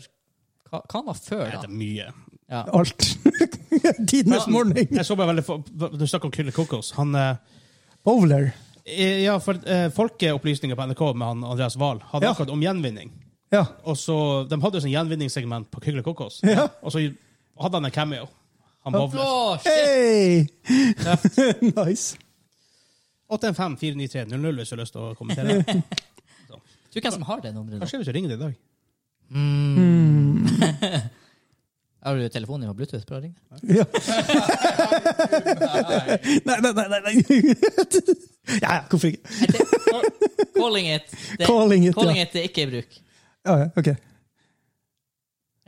[SPEAKER 1] Hva hva han var før,
[SPEAKER 3] Jeg
[SPEAKER 1] da?
[SPEAKER 3] heter mye.
[SPEAKER 2] Alt. Tidenes morning.
[SPEAKER 3] Jeg så bare veldig få- Du snakker om Kulle Kokos. Han eh,
[SPEAKER 2] Bowler.
[SPEAKER 3] eh, Ja, for eh, Folkeopplysninger på NRK med han Andreas Wahl hadde
[SPEAKER 2] Ja.
[SPEAKER 3] akkurat om gjenvinning.
[SPEAKER 2] Ja.
[SPEAKER 3] Og så, De hadde jo sånn gjenvinningssegment på Kugle Kokos.
[SPEAKER 2] Ja.
[SPEAKER 3] Og så hadde han en cameo. Han bowler.
[SPEAKER 1] Åh, shit!
[SPEAKER 2] Hey! nice.
[SPEAKER 3] 815-493-00 hvis du har lyst til å kommentere.
[SPEAKER 1] Tror du hvem som har det nummeret? nå?
[SPEAKER 3] Kanskje hvis du ringer det i dag.
[SPEAKER 1] Mm. Har du telefonen din på Bluetooth? Prøv å ringe.
[SPEAKER 2] Ja. nei, nei, nei, nei, nei. ja, ja, hvorfor ikke?
[SPEAKER 1] Nei, det- call- Calling it. Det,
[SPEAKER 2] Calling it,
[SPEAKER 1] calling
[SPEAKER 2] ja.
[SPEAKER 1] it er ikke i bruk.
[SPEAKER 2] Ja, ja, ok.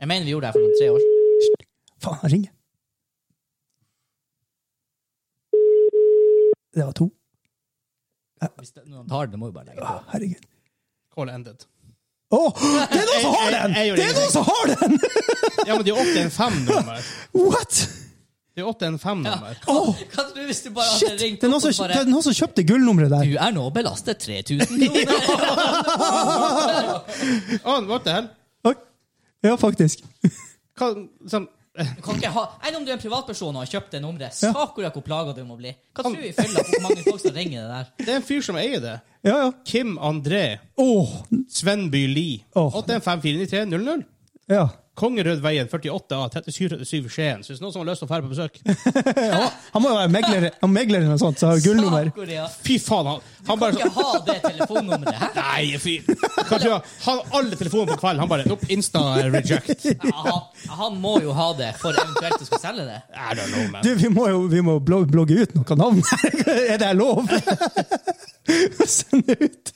[SPEAKER 1] Jeg mener vi gjorde det her for noen tre år siden.
[SPEAKER 2] Faen, han ringer. Det var to.
[SPEAKER 1] Hvis det- noen tar det, må vi bare legge
[SPEAKER 2] Å,
[SPEAKER 1] det på.
[SPEAKER 2] herregud.
[SPEAKER 3] Call ended.
[SPEAKER 2] Å, det er noen som har den!
[SPEAKER 3] Jeg- jeg- jeg gjorde
[SPEAKER 2] Det er noen som har den!
[SPEAKER 3] Ja, men det er 815-nummer.
[SPEAKER 2] What?
[SPEAKER 3] Det er 815-nummer.
[SPEAKER 2] Åh,
[SPEAKER 1] Hva tror du hvis du bare
[SPEAKER 2] shit!
[SPEAKER 1] hadde ringt
[SPEAKER 2] Det er noen
[SPEAKER 1] opp og
[SPEAKER 2] som,
[SPEAKER 1] bare,
[SPEAKER 2] det er noen som kjøpte gullnummeret der.
[SPEAKER 1] Du er nå belastet 3000 kroner!
[SPEAKER 3] Oh, what the hell?
[SPEAKER 2] Oi. Ja, faktisk.
[SPEAKER 3] Hva, sånn,
[SPEAKER 1] Du kan ikke ha, enn om du er en privatperson og har kjøpt det nummeret,
[SPEAKER 2] Ja.
[SPEAKER 1] sakura hvor plaga du må bli. Hva tror du i fylla hvor mange folk som ringer det der?
[SPEAKER 3] det er en fyr som eier det.
[SPEAKER 2] Ja, ja.
[SPEAKER 3] Kim André
[SPEAKER 2] Åh,
[SPEAKER 3] Svenby Lie.
[SPEAKER 2] Åh.
[SPEAKER 3] 815-493-00.
[SPEAKER 2] ja.
[SPEAKER 3] Kongerødveien 48A 3737 Skien. Så hvis noen som har lyst til å dra på besøk
[SPEAKER 2] ja. Han må jo være megler, han megler eller noe sånt, så har gullnummer.
[SPEAKER 1] Sakura.
[SPEAKER 3] Fy faen, han, han bare
[SPEAKER 1] Du kan
[SPEAKER 3] sånn
[SPEAKER 1] ikke ha det telefonnummeret her!
[SPEAKER 3] Nei, fy Kanskje han har alle telefoner på kvelden. Han bare nope, Insta reject.
[SPEAKER 1] Ja, han, han må jo ha det for eventuelt å skulle selge det.
[SPEAKER 3] I don't know, man.
[SPEAKER 2] Du, vi må jo vi må blog- blogge ut noen navn. er det lov? Send det ut.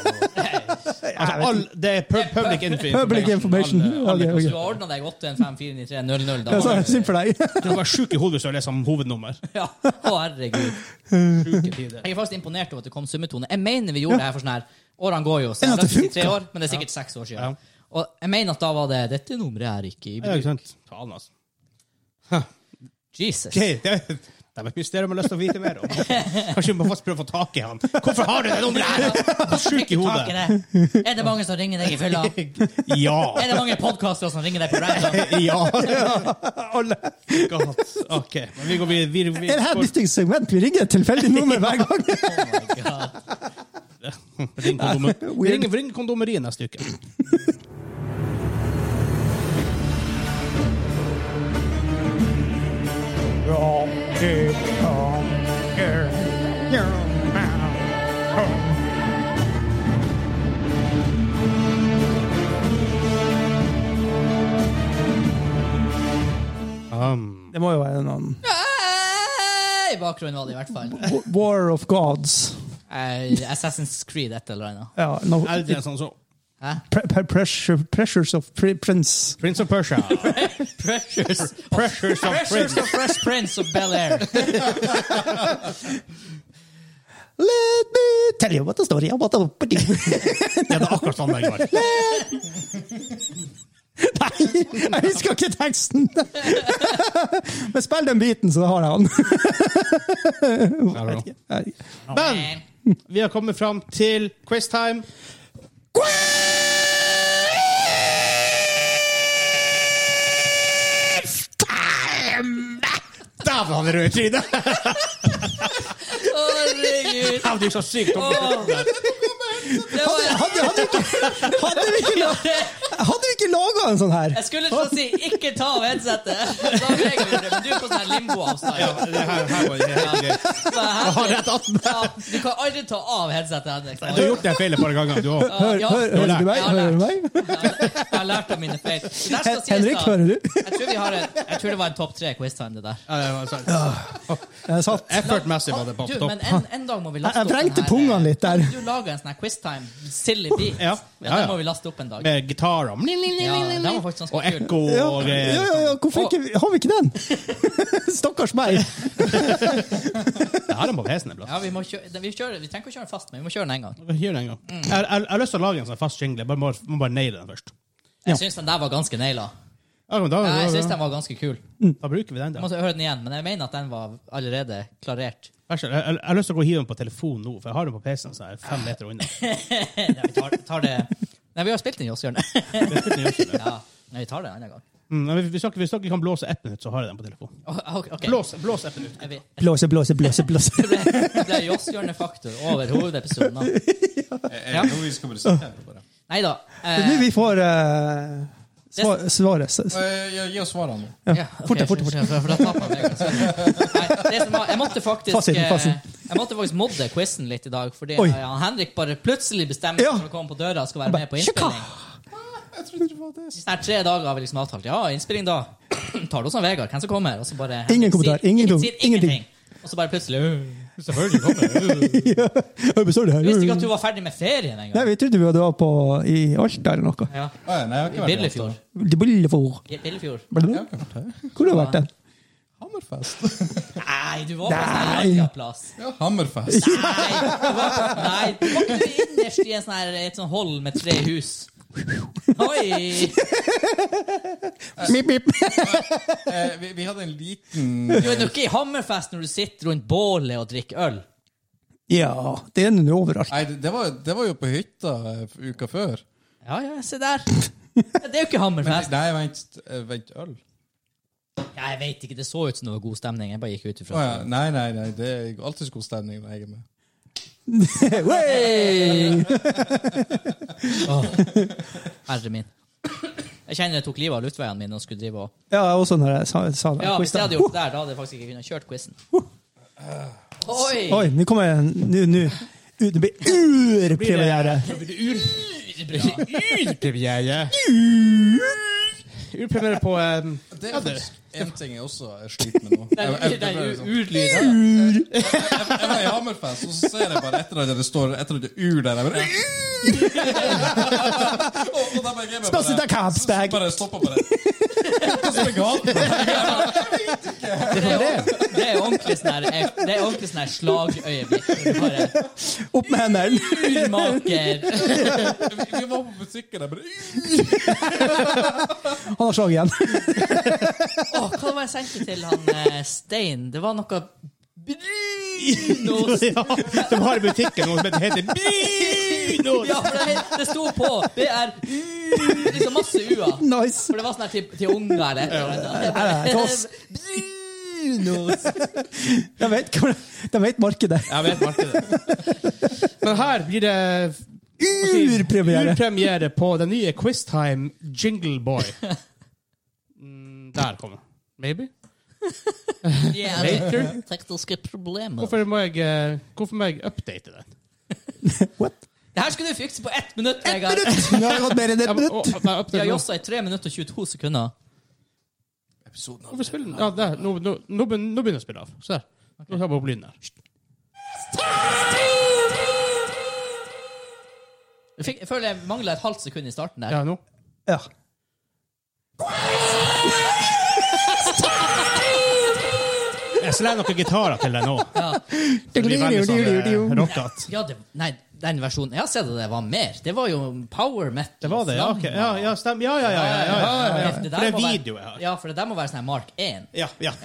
[SPEAKER 3] Altså, all, det er pub, public info.
[SPEAKER 2] Public information.
[SPEAKER 3] Alle,
[SPEAKER 2] Ok,
[SPEAKER 3] alle.
[SPEAKER 2] ok.
[SPEAKER 1] Hvis du har ordna deg 815-493-00, da
[SPEAKER 2] Ja, så er
[SPEAKER 1] har
[SPEAKER 2] det synd for deg.
[SPEAKER 3] Du var sjuk i hodet hvis du har lest om hovednummer.
[SPEAKER 1] Ja, å herregud.
[SPEAKER 3] Sjuke tider.
[SPEAKER 1] Jeg er faktisk imponert over at det kom summetone. Jeg mener vi gjorde det her for sånn her Årene går jo, så
[SPEAKER 2] Ja,
[SPEAKER 1] jeg har
[SPEAKER 2] at det
[SPEAKER 1] lagt det i
[SPEAKER 2] funker.
[SPEAKER 1] tre år, men det er sikkert seks år siden. Og jeg mener at da var det Dette nummeret er ikke i
[SPEAKER 3] Ja,
[SPEAKER 1] bruk.
[SPEAKER 3] ikke sant? Faen, altså.
[SPEAKER 1] Jesus.
[SPEAKER 3] Det, det, det er et mysterium jeg har lyst til å vite mer om. Kanskje vi må faktisk prøve å få tak i han. Hvorfor har du det nummeret her?! Du er Sjuk
[SPEAKER 1] Tak
[SPEAKER 3] i
[SPEAKER 1] i
[SPEAKER 3] hodet.
[SPEAKER 1] det. Er det mange som ringer deg i fylla?
[SPEAKER 3] Ja.
[SPEAKER 1] Er det mange podkastere som ringer deg på random?
[SPEAKER 3] Ja.
[SPEAKER 2] Alle.
[SPEAKER 3] God. OK. Men vi går videre. Vi, vi,
[SPEAKER 2] Er det her et nyttig segment? Vi ringer et tilfeldig nummer hver gang.
[SPEAKER 1] Oh my god.
[SPEAKER 3] Ring, kondomer.
[SPEAKER 2] Weird.
[SPEAKER 3] ring, ring kondomeriet neste uke. Um,
[SPEAKER 2] Det må jo være noen
[SPEAKER 1] Nei, I bakgrunnen var det i hvert fall.
[SPEAKER 2] War of Gods.
[SPEAKER 1] Eh, Assassin's Creed et eller annet.
[SPEAKER 2] Ja, no,
[SPEAKER 3] er det en sånn som
[SPEAKER 1] Hæ?
[SPEAKER 2] pre pre pressure, pressures of pre Prince.
[SPEAKER 3] Prince of Persia.
[SPEAKER 1] Pressures
[SPEAKER 3] Pressures of
[SPEAKER 1] Pressures
[SPEAKER 3] Prince.
[SPEAKER 1] of Fresh Prince of Bel-Air.
[SPEAKER 2] Let me tell you what the story about the
[SPEAKER 3] Ja, det er akkurat sånn det går.
[SPEAKER 2] Nei, jeg husker ikke teksten! Men spill den biten, så har jeg den.
[SPEAKER 3] Her og nå.
[SPEAKER 2] Nei.
[SPEAKER 3] Men vi har kommet fram til quiztime. Dæven, han røde trynet!
[SPEAKER 1] Herregud!
[SPEAKER 3] Han blir så sykt opp.
[SPEAKER 1] Åh. Det
[SPEAKER 2] Hadde,
[SPEAKER 1] var,
[SPEAKER 2] hadde, hadde, vi ikke, hadde, vi ikke, la- hadde vi ikke laga en sånn her?
[SPEAKER 1] jeg skulle til å si 'ikke ta av headsetet', Da beveger vi det, men du er på sånn her limbo-avstand.
[SPEAKER 3] Ja, det her, her var det helt greit.
[SPEAKER 1] Så her-
[SPEAKER 3] Har rett attmed.
[SPEAKER 1] Ja, du kan aldri ta av headsetet, Henrik.
[SPEAKER 3] Du har gjort den feilen et par ganger, du òg.
[SPEAKER 2] Hør,
[SPEAKER 1] Ja.
[SPEAKER 2] hør, hører du meg?
[SPEAKER 1] Ja,
[SPEAKER 2] Hører
[SPEAKER 1] lært.
[SPEAKER 2] du meg?
[SPEAKER 1] Ja, Jeg har lært av mine feil. Det der skal sies da.
[SPEAKER 2] Henrik, hører du?
[SPEAKER 1] Jeg tror, vi har en, jeg tror det var en topp tre quiztime, det der.
[SPEAKER 4] altså,
[SPEAKER 2] Jeg satt
[SPEAKER 3] Effortmessig var det på
[SPEAKER 1] Du,
[SPEAKER 3] topp.
[SPEAKER 1] men en, en dag må vi
[SPEAKER 2] Jeg-
[SPEAKER 1] laste
[SPEAKER 2] jeg
[SPEAKER 1] opp den
[SPEAKER 2] vrengte
[SPEAKER 1] her,
[SPEAKER 2] pungene
[SPEAKER 1] eh,
[SPEAKER 2] litt der.
[SPEAKER 1] Du lager en sånn her quiztime, silly beat.
[SPEAKER 3] Ja, ja, ja.
[SPEAKER 1] Den må vi laste opp en dag.
[SPEAKER 3] Med gitarer
[SPEAKER 1] Ja, den var faktisk ganske
[SPEAKER 3] og
[SPEAKER 1] kul.
[SPEAKER 3] ekko
[SPEAKER 2] ja,
[SPEAKER 3] og eh,
[SPEAKER 2] ja,
[SPEAKER 3] greier.
[SPEAKER 2] ja, ja, hvorfor ikke, har vi ikke den? Stakkars meg.
[SPEAKER 3] Jeg har den på PC-en iblant.
[SPEAKER 1] Ja, vi, må kjøre, den- vi, kjører, vi trenger ikke å kjøre den fast, men vi må kjøre den en gang.
[SPEAKER 3] Gjør det en gang.
[SPEAKER 1] Mm.
[SPEAKER 3] Jeg, jeg, jeg har lyst til å lage en sånn fast jingle. Jeg bare må, må bare naile den først.
[SPEAKER 1] Jeg syns den der var ganske naila.
[SPEAKER 3] Ja, men da,
[SPEAKER 1] Ja, jeg
[SPEAKER 3] da,
[SPEAKER 1] synes
[SPEAKER 3] da,
[SPEAKER 1] den var ganske kul.
[SPEAKER 3] bruker vi den,
[SPEAKER 1] Jeg
[SPEAKER 3] da.
[SPEAKER 1] måtte høre den igjen, men jeg mener at den var allerede klarert.
[SPEAKER 3] Vær så snill, Jeg, jeg, jeg har lyst til å gå og hive den på telefonen nå, for jeg har den på PC-en så jeg er fem meter unna.
[SPEAKER 1] Nei, vi tar, tar det Nei, vi har spilt den i oss, Jørn. Ja. Nei, vi tar det en annen gang.
[SPEAKER 3] Mm, men hvis, dere, hvis dere kan blåse appen ut, så har jeg den på telefonen.
[SPEAKER 1] Å, ok, ok.
[SPEAKER 3] Blås, blås appen ut.
[SPEAKER 1] Jeg vet-
[SPEAKER 2] Blåse, blåse, blåse, blåse.
[SPEAKER 1] Det ble, det ble Joss-hjørnefaktor over hovedepisoden. da.
[SPEAKER 4] Er det noe vi Eh, skal presisere på det?
[SPEAKER 1] Nei da.
[SPEAKER 2] Det er nå
[SPEAKER 1] Eh,
[SPEAKER 2] vi får eh, svar, svaret. S- s-
[SPEAKER 4] Eh, ja, Gi oss svarene nå.
[SPEAKER 1] ja, ok,
[SPEAKER 2] fortere, fortere,
[SPEAKER 1] skjønner, For, for da taper man det. Nei, det som var, jeg måtte faktisk
[SPEAKER 2] Fasiten, fasiten.
[SPEAKER 1] eh, Jeg måtte faktisk modde quizen litt i dag, fordi
[SPEAKER 2] Oi.
[SPEAKER 1] eh, han Henrik bare plutselig bestemmer
[SPEAKER 2] Ja.
[SPEAKER 1] seg for å komme på døra og skal være
[SPEAKER 2] bare,
[SPEAKER 1] med på
[SPEAKER 2] «Tjekka!»
[SPEAKER 1] innspilling.
[SPEAKER 4] Jeg trodde det var det.
[SPEAKER 1] I sånne her tre dager har vi liksom avtalt Ja, innspilling da. Tar det hos han Vegard. Hvem som kommer? Og så bare
[SPEAKER 2] Ingen kommentar,
[SPEAKER 1] sier-
[SPEAKER 2] ingen dum,
[SPEAKER 1] sier
[SPEAKER 2] ingenting.
[SPEAKER 1] Og så bare plutselig «Øh,
[SPEAKER 3] Selvfølgelig kommer den.
[SPEAKER 2] Ja, jeg består det her.
[SPEAKER 1] Jeg visste ikke at du var ferdig med ferien
[SPEAKER 2] Nei,
[SPEAKER 1] engang.
[SPEAKER 2] vi trodde vi hadde vært på i Alta eller noe.
[SPEAKER 1] Ja.
[SPEAKER 4] Å, Ah, ja, nei, jeg
[SPEAKER 1] I
[SPEAKER 4] har ikke vært i
[SPEAKER 1] Billefjord.
[SPEAKER 2] Det blir for.
[SPEAKER 1] I Billefjord.
[SPEAKER 4] Jeg har ikke vært her.
[SPEAKER 2] Hvor har du vært den?
[SPEAKER 4] Hammerfest.
[SPEAKER 1] Nei, du var på en
[SPEAKER 2] Nei.
[SPEAKER 1] sånn her plass.
[SPEAKER 4] Ja, Hammerfest.
[SPEAKER 1] Nei, du var ikke du innerst i en sånn her, et sånn hold med tre hus. Oi!
[SPEAKER 2] Mip, mip.
[SPEAKER 4] Eh, vi, vi hadde en liten eh,
[SPEAKER 1] Du er nå ikke i Hammerfest når du sitter rundt bålet og drikker øl.
[SPEAKER 2] Ja, det er nå overalt.
[SPEAKER 4] Nei, det, det, var, det var jo på hytta eh, uka før.
[SPEAKER 1] Ja, ja, se der. Det er jo ikke Hammerfest.
[SPEAKER 4] Nei, vent, eh, vent øl?
[SPEAKER 1] Ja, jeg vet ikke, det så ut som det var god stemning. Jeg bare gikk ut
[SPEAKER 4] Å
[SPEAKER 1] ifra
[SPEAKER 4] ja. Nei, nei, nei. Det er alltid så god stemning når jeg er med.
[SPEAKER 2] Wey!
[SPEAKER 1] Ah. herre min. Jeg kjenner jeg tok livet av luftveien min og skulle drive og
[SPEAKER 2] Ja, også når jeg sa, sa det.
[SPEAKER 1] Ja, hvis jeg hadde gjort
[SPEAKER 2] Quiz,
[SPEAKER 1] det der, da hadde jeg faktisk ikke kunnet kjørt quizen. Oi!
[SPEAKER 2] Oi, nå kommer jeg Nå, nå. U- Det blir urpremiere.
[SPEAKER 3] Urpremiere! Urpremiere på um,
[SPEAKER 4] Det er faktisk en ting jeg også sliter med nå. Jeg, jeg,
[SPEAKER 1] Den
[SPEAKER 4] jeg, jeg,
[SPEAKER 1] urlyden.
[SPEAKER 4] jeg var i Hammerfest, og så ser jeg bare etter at det står etter at det er ur der. Jeg bare, og, og da bare jeg bare-
[SPEAKER 2] Spasita Kapsberg.
[SPEAKER 4] Så Bare stopper bare. Hva som er galt med deg?
[SPEAKER 1] Det er jo- det er jo ordentlig sånn her Det er ordentlig sånn her slagøyeblikk. hvor du Bare
[SPEAKER 2] Opp med hendene!
[SPEAKER 1] Urmaker.
[SPEAKER 4] Vi, vi var på butikken, jeg bare
[SPEAKER 2] Han har slag igjen.
[SPEAKER 1] Åh, hva var jeg sendte til han eh, Stein? Det var noe Brunos.
[SPEAKER 3] ja, De har i butikken noe som heter- heter Bino!
[SPEAKER 1] Ja, for det, det sto på. Det er liksom masse u-er.
[SPEAKER 2] Nice.
[SPEAKER 1] For det var sånn her til, til unger eller et eller
[SPEAKER 2] Ja, ja, toss.
[SPEAKER 1] annet. Brunos.
[SPEAKER 2] De vet, hvor- de vet markedet.
[SPEAKER 3] Jeg vet markedet. Men her blir det
[SPEAKER 2] Urpremiere.
[SPEAKER 3] urpremiere på den nye Quiztime Jingle Boy. Mm, Der kom den. Maybe?
[SPEAKER 1] Yeah,
[SPEAKER 3] Later.
[SPEAKER 1] Tekniske problemer.
[SPEAKER 3] Hvorfor må jeg, eh, hvorfor må jeg update den?
[SPEAKER 2] What?
[SPEAKER 1] Det her skulle du fikse på ett minutt.
[SPEAKER 2] Ett
[SPEAKER 1] Vegard.
[SPEAKER 2] minutt! Nå har jeg gått mer enn
[SPEAKER 3] Ja,
[SPEAKER 2] ett
[SPEAKER 3] men-
[SPEAKER 2] minutt.
[SPEAKER 3] å, nei, update
[SPEAKER 1] Vi har
[SPEAKER 3] nå.
[SPEAKER 1] jossa i 3 minutter og 22 sekunder.
[SPEAKER 3] Hvorfor spiller den? Ja, der. Nå, nå, nå begyn- nå begynner jeg å spille av. Se her. Nå tar jeg opp lyden her.
[SPEAKER 1] Jeg, fikk, jeg føler jeg mangla et halvt sekund i starten der.
[SPEAKER 3] Ja, nå.
[SPEAKER 2] Ja.
[SPEAKER 3] Jeg så lærer jeg noen gitarer til deg nå.
[SPEAKER 1] Ja.
[SPEAKER 3] Det blir veldig sånn eh, rockete.
[SPEAKER 1] Ja, det, nei, den versjonen Jeg har sett at det var mer. Det var jo power metal.
[SPEAKER 3] Det var det, ja. ok. Ja, ja, stem. ja, ja, ja, ja, ja, ja, ja.
[SPEAKER 1] der
[SPEAKER 3] For det er
[SPEAKER 1] må være-
[SPEAKER 3] video jeg har.
[SPEAKER 1] Ja, for det der må være sånn her Mark 1.
[SPEAKER 3] Ja, ja.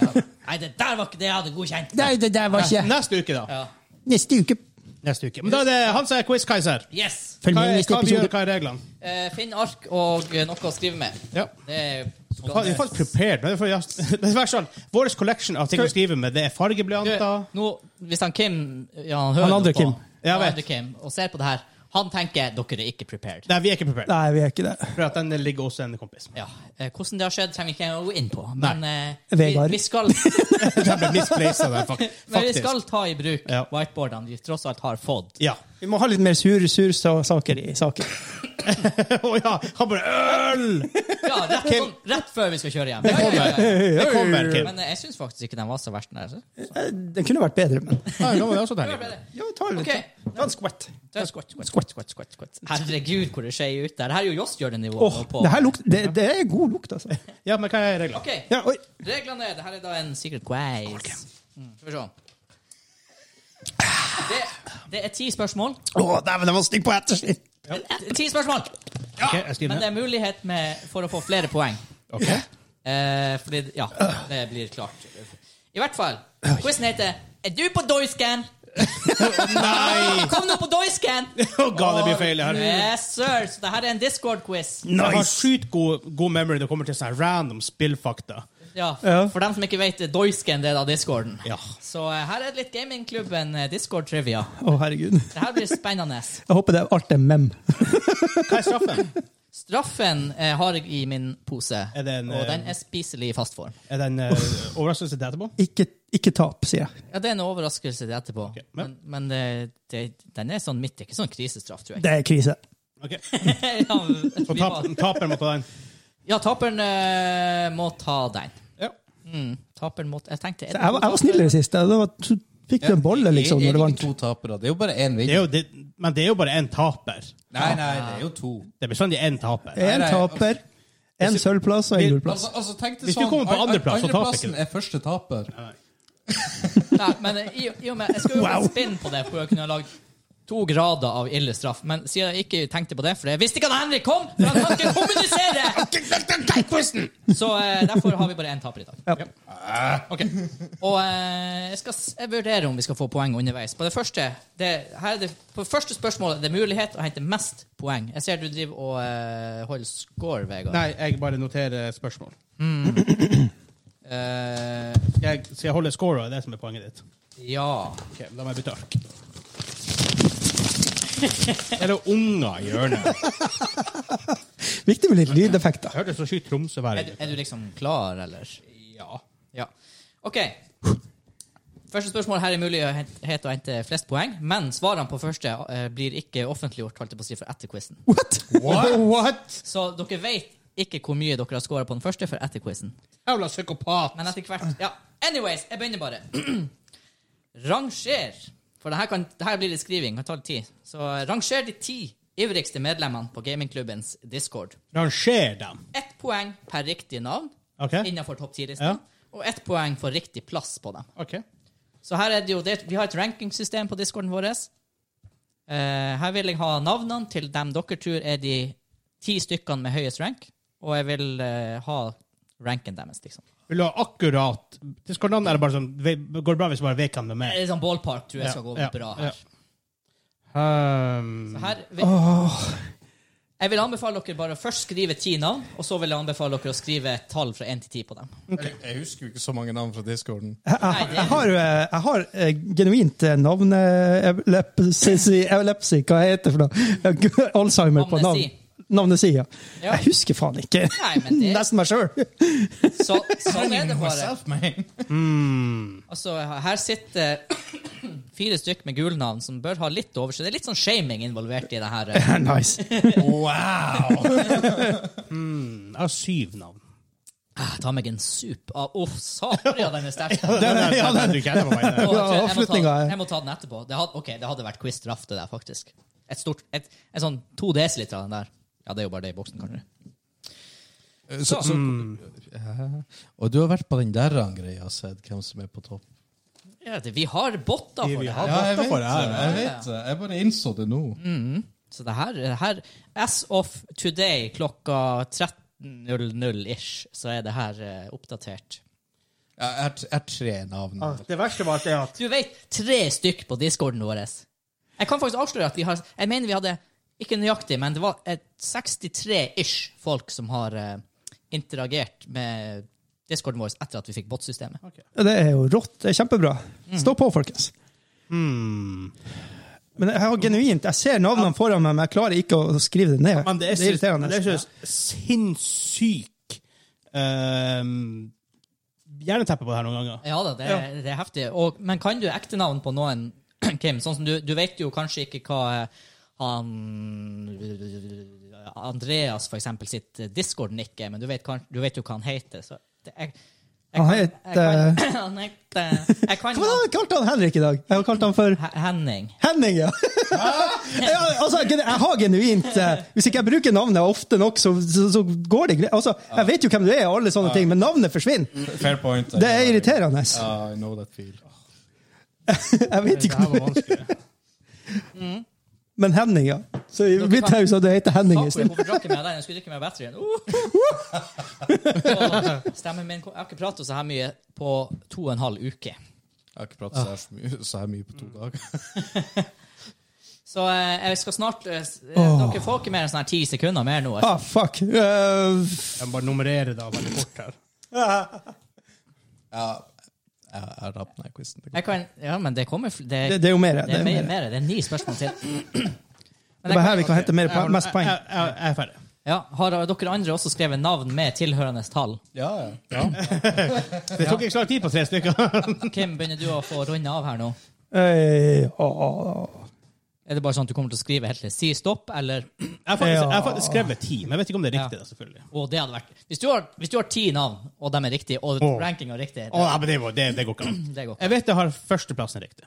[SPEAKER 1] Nei, det der var ikke det jeg hadde godkjent.
[SPEAKER 2] Nei, det der var ikke
[SPEAKER 3] Neste uke, da.
[SPEAKER 1] Ja.
[SPEAKER 2] Neste uke.
[SPEAKER 3] Neste uke. Men da er det han som er quiz-keiser.
[SPEAKER 1] Yes!
[SPEAKER 2] Følg
[SPEAKER 3] Hva,
[SPEAKER 2] med i
[SPEAKER 3] er-
[SPEAKER 2] neste
[SPEAKER 3] hva, vi gjør,
[SPEAKER 2] episode.
[SPEAKER 3] hva er reglene?
[SPEAKER 1] Eh, finn ark og eh, noe å skrive med.
[SPEAKER 3] Ja.
[SPEAKER 1] Det er
[SPEAKER 3] Vi er faktisk prepared. men det er for- ja, Det er bare sånn, Vår collection av ting å skrive med, det er fargeblyanter
[SPEAKER 1] Nå, hvis han Kim ja, han, hører
[SPEAKER 2] Han andre
[SPEAKER 1] nå på,
[SPEAKER 2] Kim.
[SPEAKER 3] Ja, jeg
[SPEAKER 1] Han
[SPEAKER 3] vet.
[SPEAKER 1] andre Kim. Og ser på det her, han tenker dere er ikke prepared.
[SPEAKER 3] Nei, vi er ikke prepared.
[SPEAKER 2] Nei, vi er ikke det.
[SPEAKER 3] For at den ligger hos en kompis.
[SPEAKER 1] Ja. Eh, hvordan det har skjedd, trenger vi ikke å gå inn på. Men, eh,
[SPEAKER 2] Vegard.
[SPEAKER 1] Vi, vi, skal,
[SPEAKER 3] Den ble misplaced der, fak-
[SPEAKER 1] men vi
[SPEAKER 3] faktisk.
[SPEAKER 1] skal ta i bruk
[SPEAKER 3] Ja.
[SPEAKER 1] whiteboardene vi tross alt har fått.
[SPEAKER 3] Ja.
[SPEAKER 2] Vi må ha litt mer sur, sur sa- saker i saken.
[SPEAKER 3] Å ja, han bare Øl!
[SPEAKER 1] Ja, rett, sånn, rett før vi skal kjøre hjem. Ja, ja, ja, ja.
[SPEAKER 3] Det kommer, Kim.
[SPEAKER 1] Men eh, jeg syns faktisk ikke den var så verst. den der. altså. så.
[SPEAKER 2] Eh, Den kunne vært bedre, men
[SPEAKER 3] Ja, nå var det også deilig.
[SPEAKER 2] Ja, ta litt.
[SPEAKER 1] Ok.
[SPEAKER 2] Ta en skvett.
[SPEAKER 1] Det- Herregud, hvor det skjer ut der. Her er jo Joss-Jørgen-nivået.
[SPEAKER 2] Åh, det, her lukter- det, det er god lukt, altså.
[SPEAKER 3] Ja, men hva er reglene?
[SPEAKER 1] Ok,
[SPEAKER 2] Ja, oi.
[SPEAKER 1] Reglene er det her er da en secret quiz. Mm. Skal vi se. Det, det er ti spørsmål.
[SPEAKER 2] Åh, dæven, den var stygg på ettersnitt!
[SPEAKER 1] Det er Eh, Ti spørsmål!
[SPEAKER 3] Ok, jeg skriver
[SPEAKER 1] Men det
[SPEAKER 3] ned.
[SPEAKER 1] er mulighet med, for å få flere poeng.
[SPEAKER 3] Ok.
[SPEAKER 1] Eh, fordi Ja, det blir klart. I hvert fall. Quizen heter Er du på doisken?
[SPEAKER 3] Nei!
[SPEAKER 1] Kom nå på doisken!
[SPEAKER 3] Å ga, det blir feil. Jeg har,
[SPEAKER 1] Yes, sir! Så det her er en Discord-quiz.
[SPEAKER 3] jeg har sjukt god, god memory når det kommer til sånne random
[SPEAKER 1] Ja,
[SPEAKER 3] spillfakta.
[SPEAKER 2] Ja.
[SPEAKER 1] For dem som ikke vet, doisken det er da discorden.
[SPEAKER 3] Ja.
[SPEAKER 1] Så eh, her er det litt gamingklubben eh, Discord-trivia.
[SPEAKER 2] Å, herregud.
[SPEAKER 1] Det her blir spennende.
[SPEAKER 2] Jeg håper det er alt er mem.
[SPEAKER 3] Hva er straffen?
[SPEAKER 1] Straffen eh, har jeg i min pose,
[SPEAKER 3] Er det en,
[SPEAKER 1] og
[SPEAKER 3] eh,
[SPEAKER 1] den er spiselig i fast form.
[SPEAKER 3] Er det en eh, overraskelse til etterpå?
[SPEAKER 2] Ikke, ikke tap, sier jeg.
[SPEAKER 1] Ja, Det er en overraskelse til etterpå,
[SPEAKER 3] ja.
[SPEAKER 1] men, men det, det, den er sånn midt, ikke sånn krisestraff, tror jeg.
[SPEAKER 2] Det er krise.
[SPEAKER 3] Ok.
[SPEAKER 1] ja, vi
[SPEAKER 3] Så tap,
[SPEAKER 1] må-
[SPEAKER 3] taperen må ta den.
[SPEAKER 1] ja, taperen eh, må ta den.
[SPEAKER 3] Ja.
[SPEAKER 1] Mm, taperen må Jeg tenkte er det
[SPEAKER 2] Jeg var,
[SPEAKER 1] to
[SPEAKER 2] jeg var snill i det siste. Da var- så fikk du en bolle, liksom,
[SPEAKER 4] Det er
[SPEAKER 2] når du
[SPEAKER 4] ikke
[SPEAKER 2] vant.
[SPEAKER 4] to tapere. Det er jo bare én
[SPEAKER 3] Det er
[SPEAKER 4] vinner.
[SPEAKER 3] jo, det, men det er jo bare én taper.
[SPEAKER 4] Nei, nei, det er jo to.
[SPEAKER 3] Det er bestandig én taper.
[SPEAKER 2] En taper,
[SPEAKER 1] altså,
[SPEAKER 2] en sølvplass og en gullplass.
[SPEAKER 4] Altså, altså tenk det
[SPEAKER 3] Hvis du
[SPEAKER 4] sånn.
[SPEAKER 3] kommer på
[SPEAKER 4] an-
[SPEAKER 3] andreplass, så taper
[SPEAKER 4] andreplassen
[SPEAKER 3] ikke du.
[SPEAKER 4] er første taper.
[SPEAKER 1] Nei, men i, i og med, jeg skulle jo wow. spinn på det for å kunne lage to grader av ille straff, men siden jeg ikke tenkte på det, for jeg visste ikke at Henrik kom, for han kan ikke kommunisere! Så eh, derfor har vi bare én taper i dag.
[SPEAKER 2] Ja.
[SPEAKER 1] Ok. Og eh, jeg skal s- jeg vurderer om vi skal få poeng underveis. På det første, det, her er det, på det første spørsmålet det er mulighet å hente mest poeng. Jeg ser du driver og eh, holder score, Vegard.
[SPEAKER 3] Nei, jeg bare noterer spørsmål.
[SPEAKER 1] Eh,
[SPEAKER 3] Jeg, skal jeg holde score? Det er det som er poenget ditt.
[SPEAKER 1] ja.
[SPEAKER 3] Ok, La meg bytte ark. Er det unger i hjørnet?
[SPEAKER 2] Viktig med litt lydeffekter.
[SPEAKER 3] Jeg hørte så sjukt Tromsø være
[SPEAKER 1] Er du, er du liksom klar, eller? Ja. OK. Første spørsmål her er mulig å hente, å hente flest poeng, men svarene på første eh, blir ikke offentliggjort holdt jeg på å si, for etter quizen.
[SPEAKER 2] What?!
[SPEAKER 3] What? What?
[SPEAKER 1] Så dere vet ikke hvor mye dere har scora på den første for etter quizen.
[SPEAKER 3] Jævla psykopat.
[SPEAKER 1] Men etter hvert Ja. Anyways, jeg begynner bare. Ranger For det her, kan, det her blir litt skriving. Kan ta litt tid. Så eh, ranger de ti ivrigste medlemmene på gamingklubbens discord.
[SPEAKER 3] Ranger dem.
[SPEAKER 1] Ett poeng per riktig navn
[SPEAKER 3] Ok.
[SPEAKER 1] innenfor topp 10-listen.
[SPEAKER 3] Ja.
[SPEAKER 1] Og ett poeng for riktig plass på dem.
[SPEAKER 3] Ok.
[SPEAKER 1] Så her er det jo det, Vi har et rankingsystem på discorden vår. Eh, her vil jeg ha navnene til dem dere tror er de ti stykkene med høyest rank. Og jeg vil eh, ha ranken deres, liksom.
[SPEAKER 3] Vil du ha akkurat Det skal navnet er bare sånn ve- Går det bra hvis du bare vet hvem de
[SPEAKER 1] Det
[SPEAKER 3] er?
[SPEAKER 1] er sånn ballpark tror jeg skal gå
[SPEAKER 3] Ja, ja,
[SPEAKER 1] bra her.
[SPEAKER 3] ja. Um,
[SPEAKER 1] Så her vil, jeg vil anbefale dere bare å først skrive ti navn, og så vil jeg anbefale dere å skrive et tall fra én til ti på dem.
[SPEAKER 4] Jeg, jeg husker jo ikke så mange navn fra discorden.
[SPEAKER 2] Jeg, jeg, jeg har, eh, jeg har eh, genuint eh, navne... Epilepsi, epilepsi, hva heter det for noe? Alzheimer på navn.
[SPEAKER 1] Amnesi.
[SPEAKER 2] Navnet sier jeg.
[SPEAKER 1] Ja.
[SPEAKER 2] Jeg husker faen ikke.
[SPEAKER 1] Nei, men det-
[SPEAKER 2] Nesten meg sjøl.
[SPEAKER 1] Så, sånn er det bare.
[SPEAKER 4] man.
[SPEAKER 1] Altså, her sitter fire stykk med gulnavn som bør ha litt over seg. Det er litt sånn shaming involvert i det her. eh.
[SPEAKER 2] Nice.
[SPEAKER 4] Wow!
[SPEAKER 3] Hmm, jeg har syv navn.
[SPEAKER 1] Ah, ta meg en sup av Å, sabria, den er sterk.
[SPEAKER 3] Den er, den er, du ikke etter på meg.
[SPEAKER 1] Å, jeg,
[SPEAKER 3] den.
[SPEAKER 1] tror jeg, må ta,
[SPEAKER 2] avslutninga er-
[SPEAKER 1] jeg må ta den etterpå. Det hadde, ok, det hadde vært quiz straff, det der, faktisk. Et stort, et, en sånn to desiliter av den der. Ja, det er jo bare det i boksen, kanskje.
[SPEAKER 4] Mm. Så, så, Hæ? og du har vært på den der greia og sett hvem som er på topp.
[SPEAKER 1] Ja, det- vi har botter for
[SPEAKER 3] Vi- vi
[SPEAKER 1] det her.
[SPEAKER 3] har
[SPEAKER 4] Ja, jeg
[SPEAKER 3] Botta
[SPEAKER 4] vet
[SPEAKER 3] for
[SPEAKER 4] det.
[SPEAKER 3] det her,
[SPEAKER 4] Jeg vet det. Jeg bare innså det nå.
[SPEAKER 1] Så det her, det her As of today klokka 13.00-ish, så er det her eh, oppdatert.
[SPEAKER 4] Jeg jeg har t- jeg har tre navn.
[SPEAKER 3] Ah.
[SPEAKER 2] Det verste var at det at
[SPEAKER 1] Du vet tre stykk på discorden vår. Jeg kan faktisk avsløre at vi har Jeg mener vi hadde ikke nøyaktig, men det var et 63-ish folk som har eh, interagert med discorden vår etter at vi fikk bot-systemet.
[SPEAKER 2] Det er jo rått. Det er kjempebra.
[SPEAKER 3] Mm.
[SPEAKER 2] Stå på, folkens. Men jeg har genuint, jeg ser navnene foran meg, men jeg klarer ikke å skrive det ned.
[SPEAKER 3] Men det er,
[SPEAKER 2] det er irriterende.
[SPEAKER 3] Det er så sinnssyk ehm, Hjerneteppe på det her noen ganger.
[SPEAKER 1] Ja da, det, er- det er heftig. Og, men kan du ektenavn på noen, Kim? Sånn som du, du vet jo kanskje ikke hva eh, han Andreas, for eksempel, sitt eh, Discord-nikk er, men du vet, kan, du vet jo hva han heter. Så det, jeg, jeg
[SPEAKER 2] Han
[SPEAKER 1] kan- jeg
[SPEAKER 2] heter-
[SPEAKER 1] kan- Han heter Jeg kan
[SPEAKER 2] Hva har jeg kalt han Henrik i dag? Jeg har kalt han for
[SPEAKER 1] H- Henning.
[SPEAKER 2] Henning, ja! ja altså, jeg jeg har genuint eh, Hvis ikke jeg bruker navnet ofte nok, så, så, så går det greit. Altså, jeg vet jo hvem du er, og alle sånne ting, men navnet
[SPEAKER 3] Mm.
[SPEAKER 2] forsvinner.
[SPEAKER 4] Fair point.
[SPEAKER 2] Det er irriterende.
[SPEAKER 4] Ja, I know that feel.
[SPEAKER 2] Jeg vet
[SPEAKER 3] Det
[SPEAKER 2] ikke
[SPEAKER 3] her
[SPEAKER 2] om
[SPEAKER 3] var vanskelig.
[SPEAKER 2] Men Henning, ja. Så i mitt hus hadde det hett Henning i
[SPEAKER 1] Hvorfor
[SPEAKER 2] stedet.
[SPEAKER 1] hvorfor drakk jeg meg den? Jeg skulle drikke meg batterien. Uh! Og Stemmen min kom- Jeg har ikke pratet så her mye på to og en halv uke.
[SPEAKER 4] Jeg har ikke pratet så her, så mye, så her mye på to dager.
[SPEAKER 1] Så eh, jeg skal snart eh, s- eh,
[SPEAKER 2] Åh.
[SPEAKER 1] Dere får ikke mer enn sånn her ti sekunder mer nå.
[SPEAKER 2] Ah, fuck. Eh,
[SPEAKER 3] Jeg må bare nummerere da veldig fort her.
[SPEAKER 4] Ja, jeg jeg har tapt denne quizen.
[SPEAKER 1] Jeg kan, ja, men det kommer fl-
[SPEAKER 2] det, det er jo mer.
[SPEAKER 1] det er mye mer. Det er ni spørsmål til. Men
[SPEAKER 2] Det er bare her
[SPEAKER 1] jeg
[SPEAKER 2] vi kan hente mer,
[SPEAKER 3] Jeg har-
[SPEAKER 2] mest poeng.
[SPEAKER 3] Jeg, jeg, jeg er ferdig.
[SPEAKER 1] kan- ja, har dere andre også skrevet navn med tilhørende tall?
[SPEAKER 4] Ja, ja. ja.
[SPEAKER 3] Det tok ikke så lang tid på tre stykker.
[SPEAKER 1] Kim, begynner du å få runde av her nå?
[SPEAKER 2] Eh, åh.
[SPEAKER 1] Er det bare sånn at du kommer til å skrive helt til si stopp, eller
[SPEAKER 3] Jeg har faktisk, jeg har faktisk skrevet ti, men jeg vet ikke om det er riktig.
[SPEAKER 1] Ja.
[SPEAKER 3] da, selvfølgelig.
[SPEAKER 1] Å, det hadde vært Hvis du har, hvis du har ti navn, og de er riktige, og
[SPEAKER 3] Åh.
[SPEAKER 1] rankinga er riktig,
[SPEAKER 3] Å,
[SPEAKER 1] det,
[SPEAKER 3] ja, men det, var- det, det går ikke an.
[SPEAKER 1] det går.
[SPEAKER 3] Jeg vet jeg har førsteplassen riktig.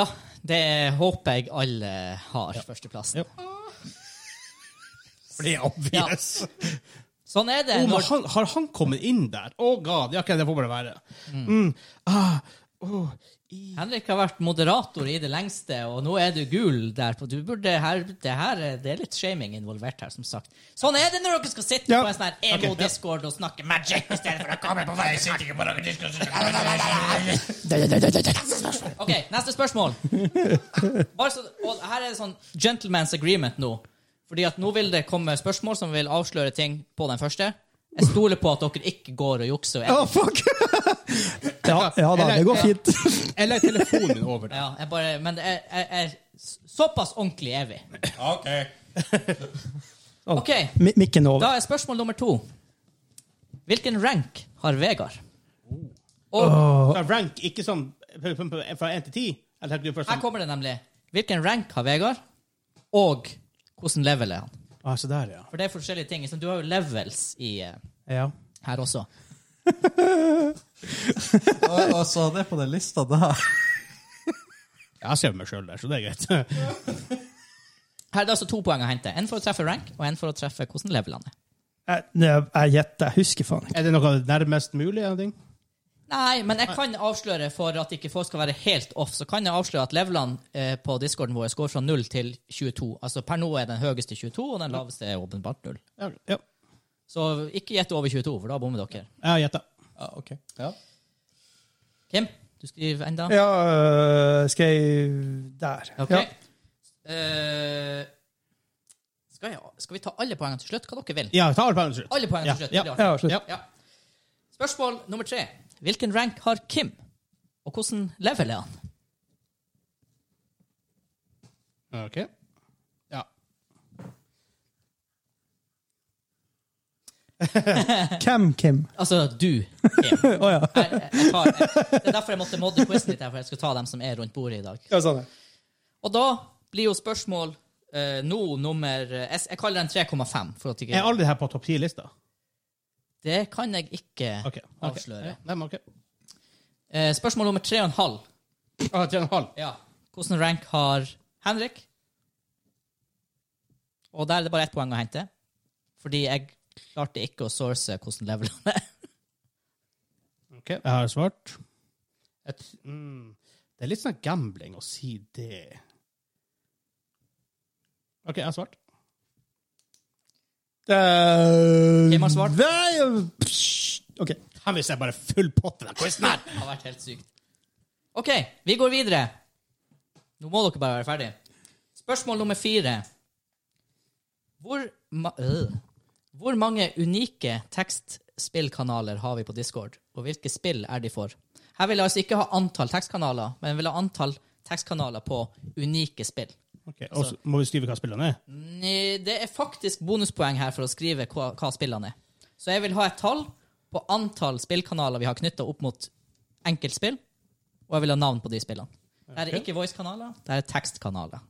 [SPEAKER 1] Ja, det håper jeg alle har, førsteplassen.
[SPEAKER 3] Jo. For det er obvious.
[SPEAKER 1] Sånn er det.
[SPEAKER 3] Å, men
[SPEAKER 1] når-
[SPEAKER 3] han, har han kommet inn der? Å god, ja, ok, det får bare være. Mm. Ah, oh, i,
[SPEAKER 1] Henrik har vært moderator i det lengste, og nå er du gul der. på- Du burde her, det, her, er- det er litt shaming involvert her, som sagt. Sånn er det når dere skal sitte
[SPEAKER 2] Ja.
[SPEAKER 1] på en sånn her emo-discord og snakke magic i stedet for å komme på Ok, neste spørsmål. Bare så, og her er det sånn gentleman's agreement nå. Fordi at nå vil det komme spørsmål som vil avsløre ting på den første. Jeg stoler på at dere ikke går og jukser.
[SPEAKER 2] Å,
[SPEAKER 1] Jeg,
[SPEAKER 2] Ah, fuck! ja, ja da, det går fint.
[SPEAKER 3] eller telefonen min over der.
[SPEAKER 1] ja, jeg bare, men jeg, jeg, jeg, såpass ordentlig er vi.
[SPEAKER 4] OK.
[SPEAKER 1] Ok,
[SPEAKER 2] Mi- Mikken er
[SPEAKER 1] Da
[SPEAKER 2] over.
[SPEAKER 1] er spørsmål nummer to. Hvilken rank har Vegard? Og
[SPEAKER 3] Fra rank, ikke sånn p- p- p- fra 1 til 10. Eller tenker du først
[SPEAKER 1] her
[SPEAKER 3] sånn,
[SPEAKER 1] kommer det nemlig. Hvilken rank har Vegard, og hvordan level er han?
[SPEAKER 3] ah, så der, ja.
[SPEAKER 1] For det er forskjellige ting. Så Du har jo levels i, eh,
[SPEAKER 3] ja.
[SPEAKER 1] her også.
[SPEAKER 4] Og, og så hadde jeg på den lista der.
[SPEAKER 3] Jeg ser meg sjøl der, så det er greit.
[SPEAKER 1] Her er det altså to poeng å hente. En for å treffe rank, og en for å treffe hvordan level han er.
[SPEAKER 2] Jeg jeg- jeg gjetter. Jeg husker faen ikke.
[SPEAKER 3] Er det noe nærmest mulig? eller ting?
[SPEAKER 1] Nei, men jeg kan avsløre, for at ikke folk skal være helt off, så kan jeg avsløre at levelene eh, på discorden vår går fra 0 til 22. Altså per nå er den høyeste 22, og den laveste er åpenbart 0.
[SPEAKER 3] Ja, ja.
[SPEAKER 1] Så ikke gjett over 22, for da bommer dere.
[SPEAKER 3] Jeg gjetter.
[SPEAKER 4] Ja, OK. Ja.
[SPEAKER 1] Kim, du skriver enda?
[SPEAKER 2] Ja, øh, skal jeg Der.
[SPEAKER 1] Ok.
[SPEAKER 2] Ja.
[SPEAKER 1] Eh, skal, jeg, skal vi ta alle poengene til slutt? Hva dere vil?
[SPEAKER 3] Ja, ta all poenget til slutt.
[SPEAKER 1] Alle poengene til
[SPEAKER 3] Ja,
[SPEAKER 1] slutt.
[SPEAKER 3] ja,
[SPEAKER 1] det er
[SPEAKER 2] Ja,
[SPEAKER 1] artig.
[SPEAKER 2] slutt.
[SPEAKER 1] Ja. Spørsmål nummer tre. Hvilken rank har Kim? Og hvordan level er han?
[SPEAKER 3] Ok. Ja.
[SPEAKER 2] Hvem, Kim?
[SPEAKER 1] Altså du, Kim.
[SPEAKER 2] Å ja.
[SPEAKER 1] Jeg, jeg tar, jeg, det er derfor jeg måtte modde quizen litt, her, for jeg skulle ta dem som er rundt bordet i dag.
[SPEAKER 2] ja sånn. ja.
[SPEAKER 1] Og da blir jo spørsmål eh, nå nummer eh, Jeg, jeg kaller den 3,5. for at
[SPEAKER 3] Er
[SPEAKER 1] ikke-
[SPEAKER 3] alle de her på topp 10-lista?
[SPEAKER 1] Det kan jeg ikke
[SPEAKER 3] Ok. ok.
[SPEAKER 1] avsløre.
[SPEAKER 3] Ja, nei, men ok.
[SPEAKER 1] Eh, spørsmål nummer 3,5.
[SPEAKER 3] Ah, tre og en halv.
[SPEAKER 1] Ja. Hvordan rank har Henrik? Og der er det bare ett poeng å hente. Fordi jeg klarte ikke å source hvordan level han er.
[SPEAKER 3] Ok, jeg har svart. Jeg t- Mm. Det er litt sånn gambling å si det. OK, jeg har svart.
[SPEAKER 2] Hvem
[SPEAKER 3] Eh,
[SPEAKER 1] Hvem har svart?
[SPEAKER 2] OK.
[SPEAKER 3] Her hvis jeg bare full pott i den quizen her!
[SPEAKER 1] Det har vært helt sykt. OK, vi går videre. Nå må dere bare være ferdige. Spørsmål nummer fire. Hvor, ma øh. Hvor mange unike tekstspillkanaler har vi på Discord, og hvilke spill er de for? Her vil jeg altså ikke ha antall tekstkanaler, men vil ha antall tekstkanaler på unike spill.
[SPEAKER 3] Ok, og så må vi skrive hva spillene er?
[SPEAKER 1] Nei, Det er faktisk bonuspoeng her for å skrive hva, hva spillene er. Så jeg vil ha et tall på antall spillkanaler vi har knytta opp mot enkeltspill, og jeg vil ha navn på de spillene. Her er
[SPEAKER 3] Ok.
[SPEAKER 1] ikke voice-kanaler, det her er tekstkanaler.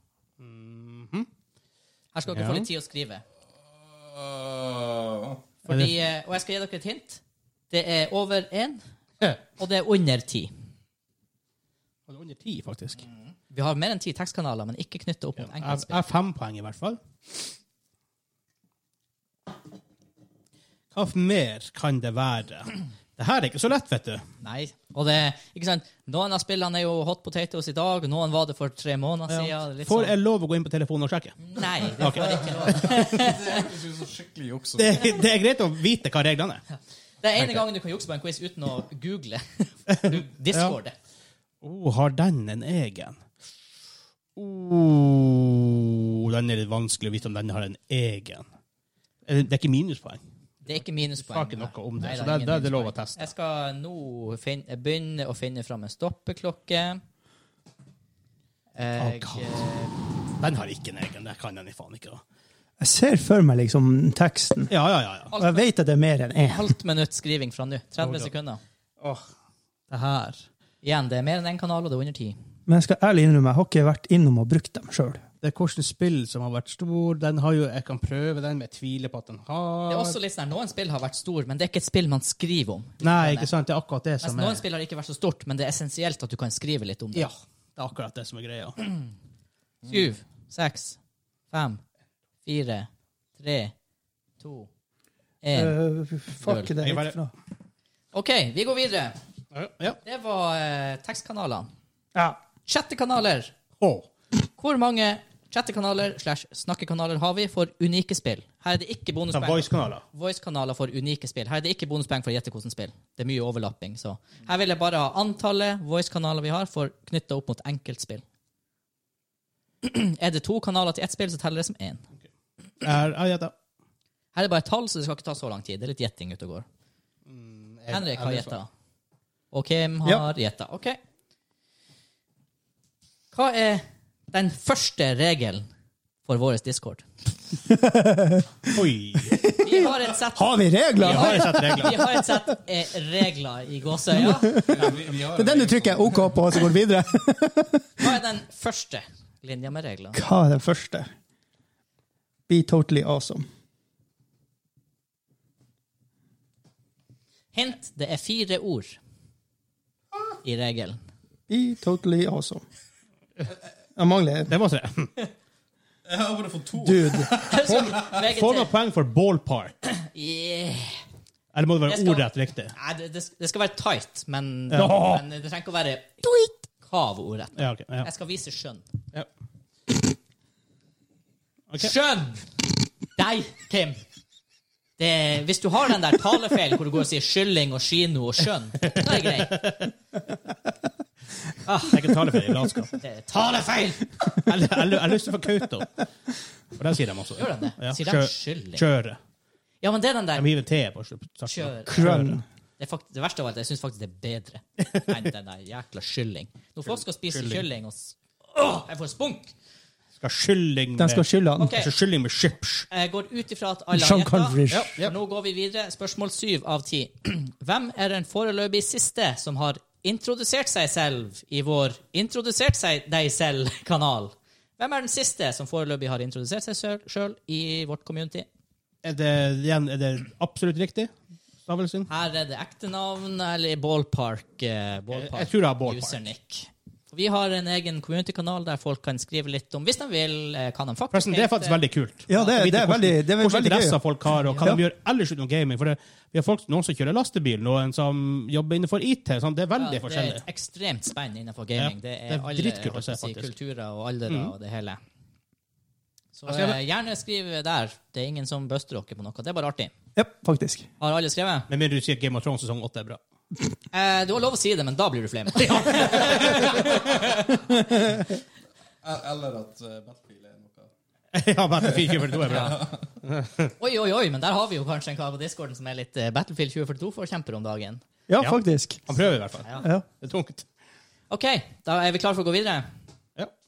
[SPEAKER 1] Her skal dere
[SPEAKER 3] Mhm. Ja.
[SPEAKER 1] få litt tid å skrive.
[SPEAKER 4] Øh,
[SPEAKER 1] Fordi, eh, og jeg skal gi dere et hint. Det er over én, og det er under ti.
[SPEAKER 3] Og det er under ti, faktisk.
[SPEAKER 1] Vi har mer enn ti tekstkanaler, men ikke knytta opp mot
[SPEAKER 3] Jeg jeg
[SPEAKER 1] enkeltspill.
[SPEAKER 3] har fem poeng, i hvert fall. Hva mer kan det være? Det her er ikke så lett, vet du.
[SPEAKER 1] Nei. Og det, ikke sant? Noen av spillene er jo hot potatoes i dag, og noen var det for tre måneder siden. det er litt
[SPEAKER 3] Får
[SPEAKER 1] sånn-
[SPEAKER 3] jeg lov å gå inn på telefonen og sjekke?
[SPEAKER 1] Nei, det får jeg ikke lov til.
[SPEAKER 4] Det høres ut som skikkelig juks.
[SPEAKER 3] Det, det er greit å vite hva reglene er.
[SPEAKER 1] Det er ene gangen du kan jukse på en quiz uten å google. Du Discordet.
[SPEAKER 3] Oh, har den en egen? Oh, den er litt vanskelig å vite om den har en egen. Eh, Det er ikke minuspoeng.
[SPEAKER 1] Det er ikke
[SPEAKER 3] Du sa
[SPEAKER 1] minuspoeng.
[SPEAKER 3] ikke
[SPEAKER 1] nei.
[SPEAKER 3] noe om det,
[SPEAKER 1] Nei,
[SPEAKER 3] så
[SPEAKER 1] er
[SPEAKER 3] det-
[SPEAKER 1] ingen
[SPEAKER 3] det er lov å
[SPEAKER 1] minuspoeng.
[SPEAKER 3] teste.
[SPEAKER 1] Jeg skal nå fin- begynne å finne fram en stoppeklokke. Jeg,
[SPEAKER 3] God.
[SPEAKER 1] eh,
[SPEAKER 3] Den har ikke en egen. Det kan den i faen ikke. da.
[SPEAKER 2] Jeg ser for meg liksom teksten,
[SPEAKER 3] Ja, ja, ja. ja.
[SPEAKER 2] og jeg vet at det er mer enn én.
[SPEAKER 1] halvt minutt skriving fra nå. 30
[SPEAKER 3] Oh, God.
[SPEAKER 1] sekunder.
[SPEAKER 3] Det her.
[SPEAKER 1] Igjen, det er mer enn én kanal, og det er under ti.
[SPEAKER 2] Men jeg skal ærlig innrømme, jeg har ikke vært innom og brukt dem sjøl.
[SPEAKER 3] Det er hvilket spill som har vært stor. Den har jo, Jeg kan prøve den, men jeg tviler på at den har
[SPEAKER 1] Det er også litt sånn, her, Noen spill har vært store, men det er ikke et spill man skriver om.
[SPEAKER 3] Nei, ikke sant. Det er akkurat det
[SPEAKER 1] Mens
[SPEAKER 3] som
[SPEAKER 1] noen
[SPEAKER 3] er
[SPEAKER 1] spill har ikke vært så stort, men det er essensielt at du kan skrive litt om det.
[SPEAKER 3] Ja, det er akkurat det som er greia.
[SPEAKER 1] Syv, seks, fem, fire, tre, to, én.
[SPEAKER 2] fuck, det er
[SPEAKER 3] bare-
[SPEAKER 2] ikke bra.
[SPEAKER 1] OK, vi går videre.
[SPEAKER 3] Ja.
[SPEAKER 1] Det var eh, tekstkanalene.
[SPEAKER 2] Ja.
[SPEAKER 1] Chattekanaler.
[SPEAKER 3] Å. sånn
[SPEAKER 1] Hvor mange chattekanaler slash snakkekanaler har vi for unike spill? Her er det ikke
[SPEAKER 3] Som
[SPEAKER 1] bonuspoeng.
[SPEAKER 3] voice-kanaler.
[SPEAKER 1] Voice-kanaler for unike spill. Her er det ikke bonuspoeng for å gjette hvordan spill. Det er mye overlapping, så her vil jeg bare ha antallet voice-kanaler vi har, for knytta opp mot enkeltspill. er det to kanaler til ett spill, så teller det som én.
[SPEAKER 3] Er- Ja, ja, da.
[SPEAKER 1] Her er det bare et tall, så det skal ikke ta så lang tid. Det er litt gjetting ute og går. Henrik har
[SPEAKER 3] Mm, jeg-
[SPEAKER 1] gjetta. Og Kim
[SPEAKER 2] Ja.
[SPEAKER 1] har gjetta. OK. Hva er den første regelen for vår Discord?
[SPEAKER 3] Oi!
[SPEAKER 1] Vi har et sett
[SPEAKER 2] Har vi regler?
[SPEAKER 3] Jeg har sett regler.
[SPEAKER 1] vi har et sett eh, regler i gåseøya.
[SPEAKER 2] Det er den du trykker OK på, og så går du videre?
[SPEAKER 1] Hva er den første linja med regler?
[SPEAKER 2] Hva er den første? Be totally awesome.
[SPEAKER 1] Hint, det er fire ord i regelen.
[SPEAKER 2] Be totally awesome. Jeg mangler
[SPEAKER 3] Det må jeg si.
[SPEAKER 4] Jeg har bare fått to.
[SPEAKER 2] Dude.
[SPEAKER 3] Få
[SPEAKER 1] VGT.
[SPEAKER 3] noen poeng for ballpark.
[SPEAKER 1] Yeah.
[SPEAKER 3] Eller må det
[SPEAKER 1] Jeg
[SPEAKER 3] være
[SPEAKER 1] skal-
[SPEAKER 3] ordrett riktig?
[SPEAKER 1] Nei, det, det, det skal være tight, men,
[SPEAKER 3] Ja.
[SPEAKER 1] men det trenger ikke å være kavorett.
[SPEAKER 3] Ja, ok. Ja.
[SPEAKER 1] Jeg skal vise skjønn.
[SPEAKER 3] Ja. Ok.
[SPEAKER 1] Skjønn! Deg, Kim. Det, hvis du har den der talefeilen hvor du går og sier kylling og kino og skjønn, da er det greit.
[SPEAKER 3] Det er ikke talefeil i latskap.
[SPEAKER 1] Det er talefeil!
[SPEAKER 3] Jeg jeg- jeg har lyst til å få Kautokeino. For der sier de også.
[SPEAKER 1] Gjør de det?
[SPEAKER 3] Ja.
[SPEAKER 1] Sier de
[SPEAKER 3] Kjø-
[SPEAKER 1] skyldig?
[SPEAKER 3] Kjøre.
[SPEAKER 1] Ja, men det er den
[SPEAKER 3] De
[SPEAKER 1] der
[SPEAKER 3] hiver te på starten.
[SPEAKER 1] Kjøre.
[SPEAKER 2] Krønn.
[SPEAKER 1] Det, er fakt- det verste av alt, jeg syns faktisk det er bedre enn den der jækla kylling. Når folk skal spise
[SPEAKER 3] Kylling.
[SPEAKER 1] kylling og s- Åh, jeg får spunk!
[SPEAKER 3] Skal kylling
[SPEAKER 2] Den
[SPEAKER 3] med
[SPEAKER 2] skal skylde han.
[SPEAKER 1] Ok.
[SPEAKER 3] skal kylling med chips.
[SPEAKER 1] Jeg Eh, går ut ifra at alle
[SPEAKER 2] Sean
[SPEAKER 1] har
[SPEAKER 2] Connery.
[SPEAKER 1] gjetta. For Nå går vi videre. Spørsmål syv av ti. Hvem er den foreløpig siste som har introdusert seg selv i vår Introdusert seg deg selv-kanal? Hvem er den siste som foreløpig har introdusert seg sjøl i vårt community?
[SPEAKER 3] Er det, igjen, er det absolutt riktig? Stavelsen?
[SPEAKER 1] Her er det ekte navn eller ballpark. eh, ballpark
[SPEAKER 3] Jeg tror det er ballpark.
[SPEAKER 1] Usernick. Og Vi har en egen community-kanal der folk kan skrive litt om, hvis de vil, eh, hva de faktisk
[SPEAKER 3] Forresten, det er faktisk veldig kult.
[SPEAKER 2] Ja, det,
[SPEAKER 3] Vite
[SPEAKER 2] det er
[SPEAKER 3] hvordan-
[SPEAKER 2] veldig, det er
[SPEAKER 3] Hvilke
[SPEAKER 2] veldig gøy.
[SPEAKER 3] interesser folk har, og hva de
[SPEAKER 2] Ja.
[SPEAKER 3] gjør ellers utenom gaming. For det, vi har folk, noen som kjører lastebil, noen som jobber innenfor IT. Sånn, det er veldig
[SPEAKER 1] Ja, det er
[SPEAKER 3] forskjellig.
[SPEAKER 1] et ekstremt spenn innenfor gaming. Det
[SPEAKER 3] Ja, det
[SPEAKER 1] er,
[SPEAKER 3] er dritkult å
[SPEAKER 1] alle
[SPEAKER 3] se,
[SPEAKER 1] si,
[SPEAKER 3] faktisk. Mm.
[SPEAKER 1] kulturer og aldre og det hele. Så
[SPEAKER 3] Jeg skrev-
[SPEAKER 1] eh, gjerne skriv der. Det er ingen som buster dere på noe. Det er bare artig.
[SPEAKER 2] Ja, faktisk.
[SPEAKER 1] Har alle skrevet?
[SPEAKER 3] Med mindre du sier Game of Thrones sesong 8 er bra.
[SPEAKER 1] Eh, du har lov å si det, men da blir du flau.
[SPEAKER 4] Eller at eh, Battlefield er noe.
[SPEAKER 3] ja, Battlefield 2042 er bra.
[SPEAKER 1] Oi, oi, oi, men der har vi jo kanskje en kar på discorden som er litt eh, Battlefield 2042-forkjemper om dagen.
[SPEAKER 2] Ja,
[SPEAKER 3] Ja.
[SPEAKER 2] faktisk.
[SPEAKER 3] Han prøver i hvert fall.
[SPEAKER 2] Ja.
[SPEAKER 3] Det er tungt.
[SPEAKER 1] OK, da er vi klare for å gå videre.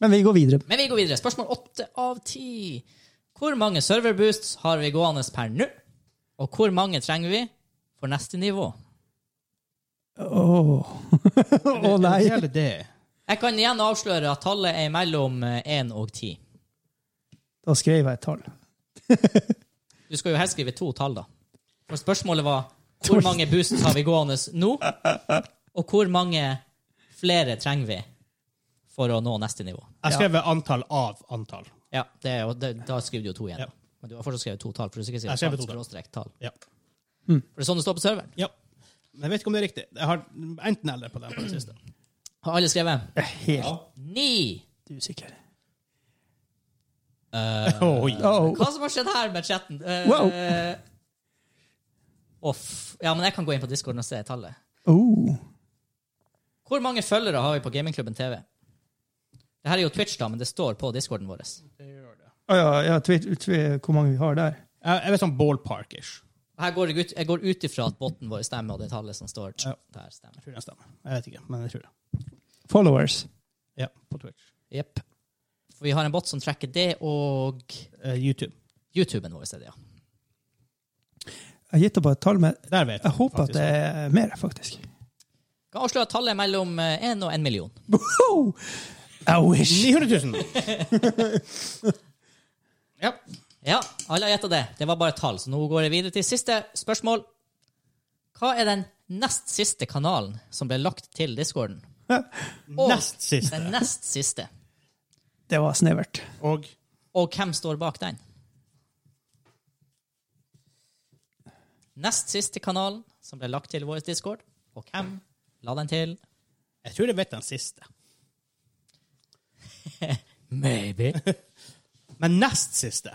[SPEAKER 2] Men vi går videre.
[SPEAKER 1] Men vi går videre. Spørsmål åtte av ti. Hvor mange serverboosts har vi gående per nå? Og hvor mange trenger vi for neste nivå?
[SPEAKER 2] Åh. Å nei.
[SPEAKER 3] Det gjelder det.
[SPEAKER 1] Jeg kan igjen avsløre at tallet er mellom eh, 1 og 10.
[SPEAKER 2] Da skrev jeg et tall.
[SPEAKER 1] Du skal jo helst skrive to tall, da. For spørsmålet var hvor mange boosts har vi gående nå? Og hvor mange flere trenger vi for å nå neste nivå?
[SPEAKER 3] Jeg skrev antall av antall.
[SPEAKER 1] Ja, det er, jo- det, Da skriver du jo to igjen.
[SPEAKER 3] Ja.
[SPEAKER 1] Men du har fortsatt skrevet to tall. For du sikkert
[SPEAKER 3] Jeg skrev
[SPEAKER 1] skriver
[SPEAKER 3] to
[SPEAKER 1] tall,
[SPEAKER 3] tall.
[SPEAKER 1] skråstrek tall.
[SPEAKER 3] Ja.
[SPEAKER 1] For det er sånn det står på serveren.
[SPEAKER 3] ja. Men jeg vet ikke om det er riktig. Jeg har enten eller på den på den siste.
[SPEAKER 1] Har alle skrevet?
[SPEAKER 2] Jeg er helt
[SPEAKER 1] Ni!
[SPEAKER 2] usikker.
[SPEAKER 3] Oi.
[SPEAKER 2] Åh.
[SPEAKER 1] Hva som har skjedd her med chatten? Eh,
[SPEAKER 2] Wow.
[SPEAKER 1] off. Ja, men jeg kan gå inn på discorden og se tallet.
[SPEAKER 2] Åh.
[SPEAKER 1] Hvor mange følgere har vi på Gamingklubben TV? Det her er jo Twitch, da, men det står på discorden vår.
[SPEAKER 2] Å ja, ja tvi- tvi- hvor mange vi har der.
[SPEAKER 3] Jeg jeg vet sånn ballpark-ish.
[SPEAKER 1] Her går jeg ut, jeg går ut ifra at botten vår stemmer, og det tallet som står
[SPEAKER 3] Ja.
[SPEAKER 1] der, stemmer.
[SPEAKER 3] Jeg tror det stemmer. Jeg vet ikke, men jeg tror det.
[SPEAKER 2] Followers.
[SPEAKER 3] Ja, på Twitch.
[SPEAKER 1] Jepp. For vi har en bot som trekker det, og
[SPEAKER 3] Eh, YouTube.
[SPEAKER 1] YouTuben vår er det, ja.
[SPEAKER 2] Jeg har gitt opp et tall, men
[SPEAKER 3] Der vet
[SPEAKER 2] jeg håper at det er mer, faktisk.
[SPEAKER 1] Kan avsløre at tallet er mellom én og én million.
[SPEAKER 2] Wow! I wish.
[SPEAKER 3] 900 000! ja.
[SPEAKER 1] Ja, alle har gjetta det. Det var bare tall. Så nå går jeg videre til siste spørsmål. Hva er den nest siste kanalen som ble lagt til discorden? Og
[SPEAKER 3] Nest siste.
[SPEAKER 1] Den nest siste.
[SPEAKER 2] Det var snevert.
[SPEAKER 3] Og
[SPEAKER 1] Og hvem står bak den? Nest siste kanalen som ble lagt til vår discord. Og hvem la den til?
[SPEAKER 3] jeg tror jeg vet den siste.
[SPEAKER 1] Maybe.
[SPEAKER 3] Men nest siste.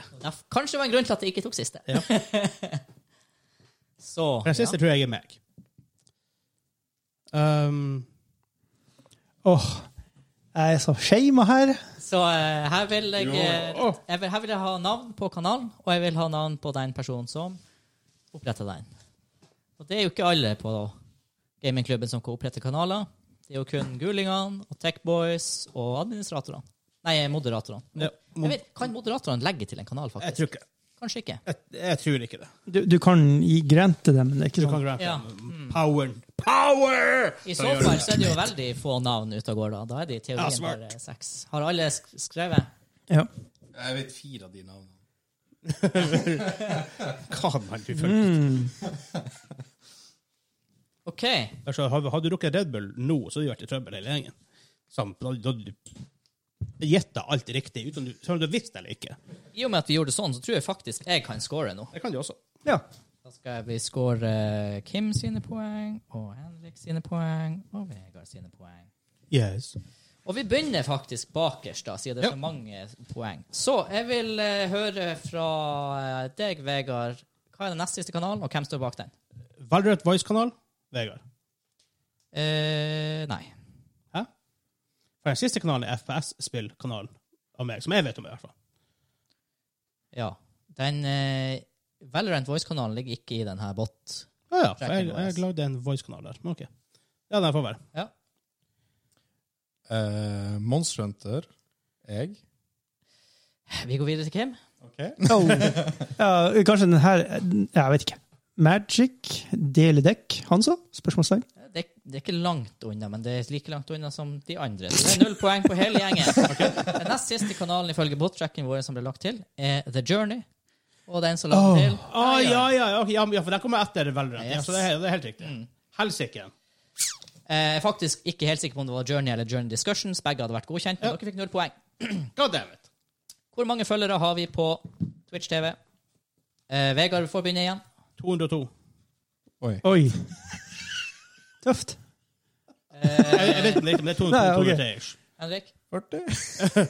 [SPEAKER 1] Kanskje det var en grunn til at det ikke tok siste.
[SPEAKER 3] Ja.
[SPEAKER 1] Så
[SPEAKER 3] For den
[SPEAKER 1] ja.
[SPEAKER 3] siste tror jeg er meg. Um,
[SPEAKER 2] Åh, jeg er så shama her.
[SPEAKER 1] Så eh, her, vil jeg, eh,
[SPEAKER 3] Jo, åh.
[SPEAKER 1] jeg vil, her vil jeg ha navn på kanalen, og jeg vil ha navn på den personen som oppretta den. Og det er jo ikke alle på gamingklubben som kan opprette kanaler. Det er jo kun gulingene og Techboys og administratorene. Nei, moderatorene.
[SPEAKER 3] ja,
[SPEAKER 1] Jeg vet, kan moderatorene legge til en kanal,
[SPEAKER 3] jeg,
[SPEAKER 1] faktisk?
[SPEAKER 3] tror ikke,
[SPEAKER 1] Kanskje ikke.
[SPEAKER 3] jeg, jeg tror ikke det.
[SPEAKER 2] Du, du kan gi grente dem, men det er ikke
[SPEAKER 3] Du kan
[SPEAKER 2] sånn.
[SPEAKER 3] grante
[SPEAKER 1] Ja.
[SPEAKER 3] dem. Poweren. Power!
[SPEAKER 1] I så fall så er det jo veldig få navn ute og går, da. Da er det i
[SPEAKER 3] Ja,
[SPEAKER 1] teorien
[SPEAKER 3] smart.
[SPEAKER 1] bare seks. Har alle sk- skrevet?
[SPEAKER 2] Ja.
[SPEAKER 4] Jeg vet fire av de navnene.
[SPEAKER 3] Hva man du
[SPEAKER 2] Mm.
[SPEAKER 3] føler.
[SPEAKER 1] OK.
[SPEAKER 3] Altså, hadde, hadde du drukket Red Bull nå, så hadde du vært i trøbbel hele gjengen. Sam- Da da hadde du gjetta alt riktig, uten du, selv om du visste det eller ikke.
[SPEAKER 1] I og med at vi gjorde det sånn, så tror jeg faktisk jeg kan score nå.
[SPEAKER 3] Det kan du også.
[SPEAKER 2] ja.
[SPEAKER 1] Da skal vi score eh, Kim sine poeng, og Henrik sine poeng, og Vegard sine poeng.
[SPEAKER 3] Yes.
[SPEAKER 1] Og vi begynner faktisk bakerst, da, siden det er
[SPEAKER 3] Ja.
[SPEAKER 1] så mange poeng. Så jeg vil eh, høre fra eh, deg, Vegard. Hva er den nest siste kanalen, og hvem står bak den?
[SPEAKER 3] Valrødt Voice-kanal, Vegard.
[SPEAKER 1] Eh, nei.
[SPEAKER 3] Hæ? For den siste kanalen er FPS-spillkanalen av meg, som jeg vet om, i hvert fall.
[SPEAKER 1] Ja. Den eh, Valorant Voice-kanalen ligger ikke i denne bot.
[SPEAKER 3] Ja, ja. For jeg, jeg lagde en voice-kanal der. Men ok. Ja, den får være.
[SPEAKER 1] Ja.
[SPEAKER 4] Eh, Monster Hunter. Jeg.
[SPEAKER 1] Vi går videre til Kim.
[SPEAKER 2] Oh. ja. Kanskje den her Jeg vet ikke. Magic, deledekk, han så? Spørsmålstegn.
[SPEAKER 1] Det, det er ikke langt unna, men det er like langt unna som de andre. Så det er null poeng på hele gjengen. Den nest siste kanalen ifølge bot-tracken vår som ble lagt til, er The Journey. Og den som la
[SPEAKER 2] Åh.
[SPEAKER 1] den til
[SPEAKER 3] Å, ja, ja, ja, ok, ja, men- ja, for den kommer etter Valorant. Ja,
[SPEAKER 1] Yes.
[SPEAKER 3] så det er, det er helt riktig. Helsike.
[SPEAKER 1] Eh, Jeg er faktisk ikke helt sikker på om det var Journey eller Journey Discussions. Begge hadde vært godkjent, men dere fikk null poeng.
[SPEAKER 3] God damn it.
[SPEAKER 1] Hvor mange følgere har vi på Twitch TV? Eh, Vegard får begynne igjen.
[SPEAKER 3] 202.
[SPEAKER 4] Oi.
[SPEAKER 2] Oi. Tøft.
[SPEAKER 3] Jeg, jeg vet ikke, men det er 202,
[SPEAKER 2] Nei, ok.
[SPEAKER 3] 203 ish.
[SPEAKER 1] Henrik?
[SPEAKER 4] 40?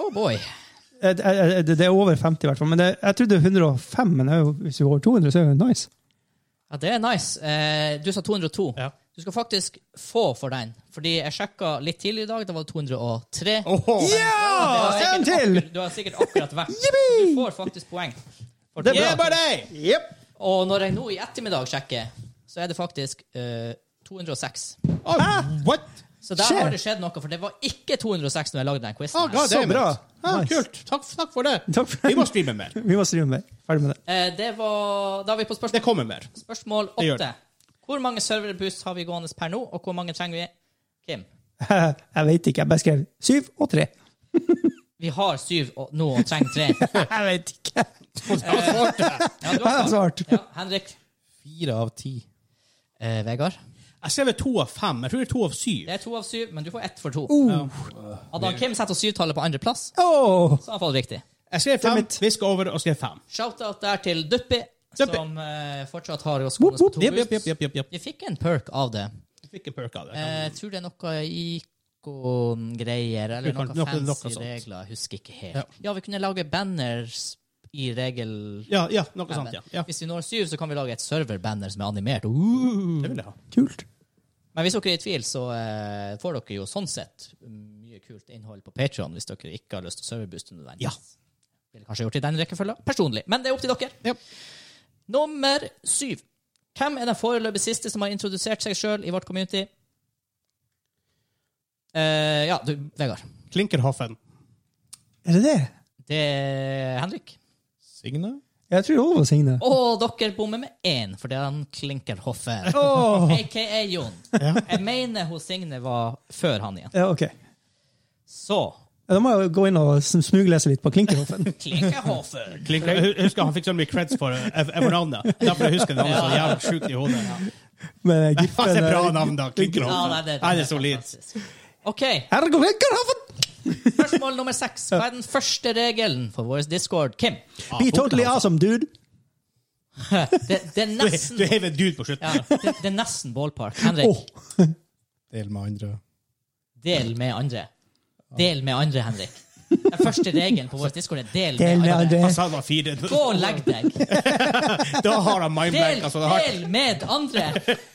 [SPEAKER 1] Oh boy.
[SPEAKER 2] Eh, eh, eh, Det er over 50 i hvert fall. Men det, jeg trodde 105, men det er jo, hvis vi går over 200, så er det jo nice.
[SPEAKER 1] Ja, det er nice. Eh, Du sa 202.
[SPEAKER 3] Ja.
[SPEAKER 1] Du skal faktisk få for den, fordi jeg sjekka litt tidligere i dag. Da var det 203.
[SPEAKER 2] Ja!
[SPEAKER 1] Du har sikkert
[SPEAKER 2] En til!
[SPEAKER 1] akkur- Du har sikkert akkurat vært. Du får faktisk poeng. For
[SPEAKER 2] Det er
[SPEAKER 1] det.
[SPEAKER 3] Yeah, buddy!
[SPEAKER 1] Og når jeg nå i ettermiddag sjekker, så er det faktisk eh, 206.
[SPEAKER 3] Oh, what?
[SPEAKER 1] Så der
[SPEAKER 2] Skjer.
[SPEAKER 1] har det skjedd noe, for det var ikke 206 når jeg lagde den quizen.
[SPEAKER 3] Oh,
[SPEAKER 1] her.
[SPEAKER 3] God
[SPEAKER 2] Så
[SPEAKER 3] damn it.
[SPEAKER 2] bra.
[SPEAKER 3] Ja,
[SPEAKER 2] Nice.
[SPEAKER 3] Kult. Takk, takk for det.
[SPEAKER 2] Takk for det.
[SPEAKER 3] Vi må streame mer.
[SPEAKER 2] Vi må streame mer. Ferdig med det.
[SPEAKER 1] Eh, det var, da er vi på
[SPEAKER 3] Det
[SPEAKER 1] spørsmål,
[SPEAKER 3] kommer mer.
[SPEAKER 1] spørsmål
[SPEAKER 3] Det gjør
[SPEAKER 1] 8. Hvor mange serverboost har vi gående per nå, og hvor mange trenger vi? Kim?
[SPEAKER 2] Jeg vet ikke. Jeg bare skrev 7 og 3.
[SPEAKER 1] Vi har syv og, nå og trenger tre. Eh,
[SPEAKER 2] Jeg vet ikke.
[SPEAKER 1] Ja, du
[SPEAKER 2] Jeg har svart.
[SPEAKER 1] Ja, Henrik.
[SPEAKER 4] Fire av ti.
[SPEAKER 1] Eh, Vegard.
[SPEAKER 3] Jeg skrev to av fem. Jeg tror det er to av syv.
[SPEAKER 1] Det er to av syv, men du får ett for to.
[SPEAKER 2] Oh.
[SPEAKER 3] Uh.
[SPEAKER 1] Hadde han Kim satt oss syvtallet på andreplass,
[SPEAKER 2] Oh.
[SPEAKER 1] så hadde han fått riktig.
[SPEAKER 3] Jeg skrev
[SPEAKER 2] Damn
[SPEAKER 3] fem,
[SPEAKER 2] it.
[SPEAKER 3] viska over og skrev fem.
[SPEAKER 1] Shout-out der til Duppi,
[SPEAKER 3] Duppi.
[SPEAKER 1] som eh, fortsatt har oss gående på to
[SPEAKER 3] Jepp, jepp,
[SPEAKER 1] boost.
[SPEAKER 3] jepp, jepp, jepp, jepp.
[SPEAKER 1] Vi fikk en perk av det.
[SPEAKER 3] Jeg Fikk en perk av det.
[SPEAKER 1] Eh, Jeg tror det er noe ikongreier eller
[SPEAKER 3] Du kan-
[SPEAKER 1] noe,
[SPEAKER 3] noe-
[SPEAKER 1] fancy
[SPEAKER 3] noe sånt.
[SPEAKER 1] regler. Jeg husker ikke helt.
[SPEAKER 3] Ja.
[SPEAKER 1] Ja. vi kunne lage banners i regel...
[SPEAKER 3] Ja, ja, noe sånt, ja. ja.
[SPEAKER 1] Hvis vi når syv, så kan vi lage et serverbanner som er animert. Uh.
[SPEAKER 3] Det vil jeg ha.
[SPEAKER 2] Kult.
[SPEAKER 1] Men hvis dere er i tvil, så eh, får dere jo sånn sett mye kult innhold på Patreon hvis dere ikke har lyst til å serverbooste nødvendigvis.
[SPEAKER 3] Ja.
[SPEAKER 1] Ville kanskje gjort det i den rekkefølgen personlig, men det er opp til dere.
[SPEAKER 3] Ja.
[SPEAKER 1] Nummer syv. Hvem er den foreløpig siste som har introdusert seg sjøl i vårt community? Eh, ja, du, Vegard.
[SPEAKER 3] Klinkerhoffen.
[SPEAKER 2] Er det det?
[SPEAKER 1] Det er Henrik.
[SPEAKER 4] Signe?
[SPEAKER 2] Jeg tror det var Signe.
[SPEAKER 1] Og dere bommer med én, for det er han Klinkerhoffen.
[SPEAKER 2] Åh.
[SPEAKER 1] AKA Jon. Jeg mener hun Signe var før han igjen.
[SPEAKER 2] Ja, ok. Ja,
[SPEAKER 1] Så
[SPEAKER 2] Da må jeg jo gå inn og sm- smuglese litt på Klinkerhoffen.
[SPEAKER 1] Klinkerhoffen.
[SPEAKER 3] Klinker, jeg husker han fikk så mye creds for eh, for navnet. Derfor jeg husker navnet så jævlig sjukt i hodet.
[SPEAKER 2] Med
[SPEAKER 3] Faen, det
[SPEAKER 2] giffen eh,
[SPEAKER 3] er bra navn, da.
[SPEAKER 1] Ja, nei,
[SPEAKER 3] Klinkerhoffen.
[SPEAKER 1] det,
[SPEAKER 3] Nei, det er solid.
[SPEAKER 1] fantastisk. OK,
[SPEAKER 2] Ergo Klinkerhoffen!
[SPEAKER 1] spørsmål nummer seks. Hva er den første regelen for vår Discord? Kim?
[SPEAKER 2] Be totally awesome, dude.
[SPEAKER 1] Det, det er
[SPEAKER 3] altså. Du,
[SPEAKER 1] nesten
[SPEAKER 3] du heiv en dude på
[SPEAKER 1] ja,
[SPEAKER 3] slutten.
[SPEAKER 1] det, det er nesten ballpark. Henrik,
[SPEAKER 2] Åh.
[SPEAKER 4] Del med andre.
[SPEAKER 1] del med andre. Del med andre, Henrik. Den første regelen på vår Discord er del,
[SPEAKER 2] Del med andre.
[SPEAKER 1] Altså,
[SPEAKER 3] Han sa det var fire.
[SPEAKER 1] Gå og legg deg.
[SPEAKER 3] Da har han mindblank.
[SPEAKER 1] Del,
[SPEAKER 3] Altså, det har-
[SPEAKER 1] del med andre.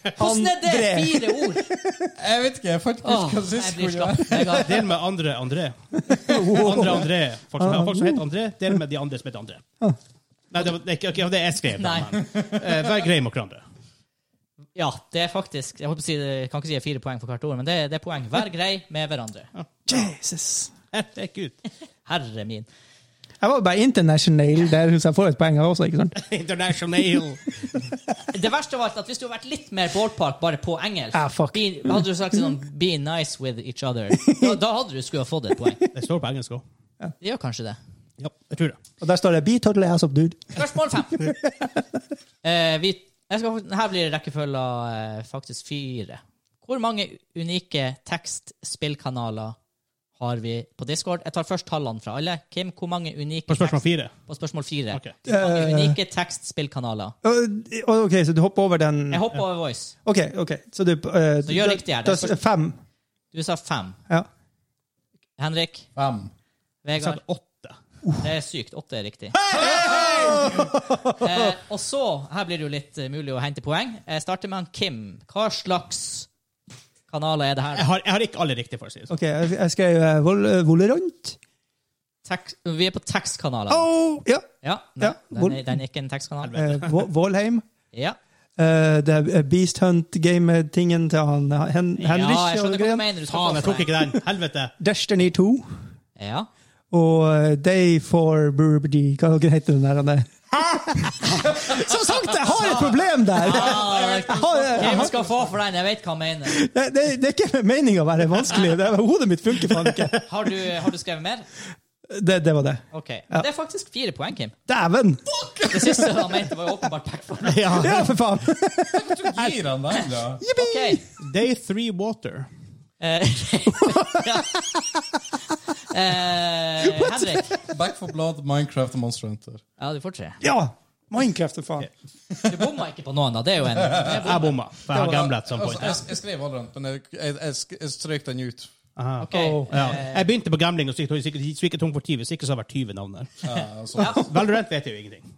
[SPEAKER 1] Hvordan er det
[SPEAKER 2] Andre.
[SPEAKER 1] fire ord?
[SPEAKER 4] Jeg vet ikke, jeg fant ikke
[SPEAKER 1] Åh,
[SPEAKER 4] ut hva
[SPEAKER 1] jeg
[SPEAKER 4] sist
[SPEAKER 1] blir
[SPEAKER 4] skulle være.
[SPEAKER 1] slapp. Jeg har-
[SPEAKER 3] Del med andre André. Andre André. Folk som, folk som heter André, del med de andre som heter André. Nei, det var det er ikke ok, det er jeg skrev. da,
[SPEAKER 1] Nei.
[SPEAKER 3] men, eh, Vær grei mot hverandre.
[SPEAKER 1] Ja, det er faktisk Jeg, håper å si, det- jeg kan ikke si det er fire poeng for hvert ord, men det, det er poeng. Vær grei med hverandre.
[SPEAKER 2] Jesus.
[SPEAKER 3] Herregud.
[SPEAKER 1] Herre min.
[SPEAKER 2] Jeg var bare international der, så jeg får et poeng her også, ikke sant?
[SPEAKER 3] International.
[SPEAKER 1] Det verste av alt at hvis du hadde vært litt mer ballpark bare på engelsk,
[SPEAKER 2] Ah, fuck.
[SPEAKER 1] be, hadde du sagt sånn Be nice with each other. Da, da hadde du skulle ha fått et poeng.
[SPEAKER 3] Det står på engelsk òg.
[SPEAKER 1] Det gjør kanskje det.
[SPEAKER 3] Ja, jeg tror det.
[SPEAKER 2] Og der står det Be totally awesome, dude.
[SPEAKER 1] Spørsmål fem. Eh, vi, jeg skal, her blir rekkefølga eh, faktisk fire. Hvor mange unike tekstspillkanaler har vi på Discord? Jeg tar først tallene fra alle. Kim, hvor mange unike
[SPEAKER 3] På spørsmål
[SPEAKER 1] tekst-
[SPEAKER 3] fire.
[SPEAKER 1] på spørsmål fire.
[SPEAKER 3] Ok.
[SPEAKER 1] Hvor mange
[SPEAKER 2] Eh.
[SPEAKER 1] unike tekstspillkanaler?
[SPEAKER 2] Og- og- Ok, så du hopper over den
[SPEAKER 1] Jeg hopper over Voice.
[SPEAKER 2] Ok, ok. Så du eh,
[SPEAKER 1] Så gjør riktig her.
[SPEAKER 2] da-
[SPEAKER 1] Det er først-
[SPEAKER 2] Fem.
[SPEAKER 1] Du sa fem.
[SPEAKER 2] Ja.
[SPEAKER 1] Henrik?
[SPEAKER 4] Fem.
[SPEAKER 3] Jeg sa
[SPEAKER 1] Vegard?
[SPEAKER 3] åtte.
[SPEAKER 1] Det er sykt. Åtte er riktig. eh, og så, her blir det jo litt eh, mulig å hente poeng. Jeg starter med han Kim. Hva slags kanaler er det her?
[SPEAKER 3] Jeg har, jeg har ikke alle riktige, for å si det sånn.
[SPEAKER 2] Ok, jeg, jeg skrev eh, vol- eh, Volerant.
[SPEAKER 1] Tekst- vi er på tekstkanaler.
[SPEAKER 2] Oh, ja.
[SPEAKER 1] Ja, nei,
[SPEAKER 2] Ja, hvor-
[SPEAKER 1] den, er, den er ikke en tekstkanal.
[SPEAKER 2] Eh, Vo- Volheim.
[SPEAKER 1] Ja.
[SPEAKER 2] Eh, det er Beast Hunt-game-tingen til han Hen Henrik
[SPEAKER 1] ja, jeg
[SPEAKER 2] og
[SPEAKER 1] skjønner hva du
[SPEAKER 2] Graham.
[SPEAKER 1] mener. Du skal
[SPEAKER 3] Faen, jeg
[SPEAKER 1] få
[SPEAKER 3] tok ikke den. Helvete.
[SPEAKER 2] Destiny 2
[SPEAKER 1] poeng. Ja.
[SPEAKER 2] og eh, Day for Burberdy. Hva dere heter den der? han der? Som sagt, jeg har et problem der!
[SPEAKER 1] Ah,
[SPEAKER 2] Jeg har, jeg
[SPEAKER 1] Kim
[SPEAKER 2] har,
[SPEAKER 1] skal få for den. Jeg vet hva han mener.
[SPEAKER 2] det, det, det er ikke meninga å være vanskelig. Det er, hodet mitt funker faen ikke.
[SPEAKER 1] Har du, har du skrevet mer?
[SPEAKER 2] Det, det var det.
[SPEAKER 1] Ok. Men Det er faktisk fire poeng, Kim.
[SPEAKER 2] Dæven!
[SPEAKER 1] Det siste han mente, var jo åpenbart backfire.
[SPEAKER 2] Ja, for faen!
[SPEAKER 4] Gir han den, da?
[SPEAKER 1] Ok.
[SPEAKER 3] Day Three Water.
[SPEAKER 1] Eh, ja. eh, Henrik.
[SPEAKER 4] Back for Blood, Minecraft og Monster Hunter.
[SPEAKER 1] Ja, du får tre.
[SPEAKER 2] Ja! Minecraft, for faen.
[SPEAKER 1] Du bomma ikke på noen, da. Det er jo en det er
[SPEAKER 3] Jeg bomma, for jeg har gamblet som
[SPEAKER 4] Altså,
[SPEAKER 3] point.
[SPEAKER 4] jeg, jeg skrev alderen, men jeg, jeg, jeg, sk- jeg strøk den ut.
[SPEAKER 1] altså, Ok.
[SPEAKER 3] Ja.
[SPEAKER 1] Eh,
[SPEAKER 3] Jeg begynte på gambling og så gikk- så gikk så gikk jeg tom for 20, hvis ikke så har det vært 20 navn der.
[SPEAKER 4] Ja, altså.
[SPEAKER 3] Valorant vet jeg jo ingenting.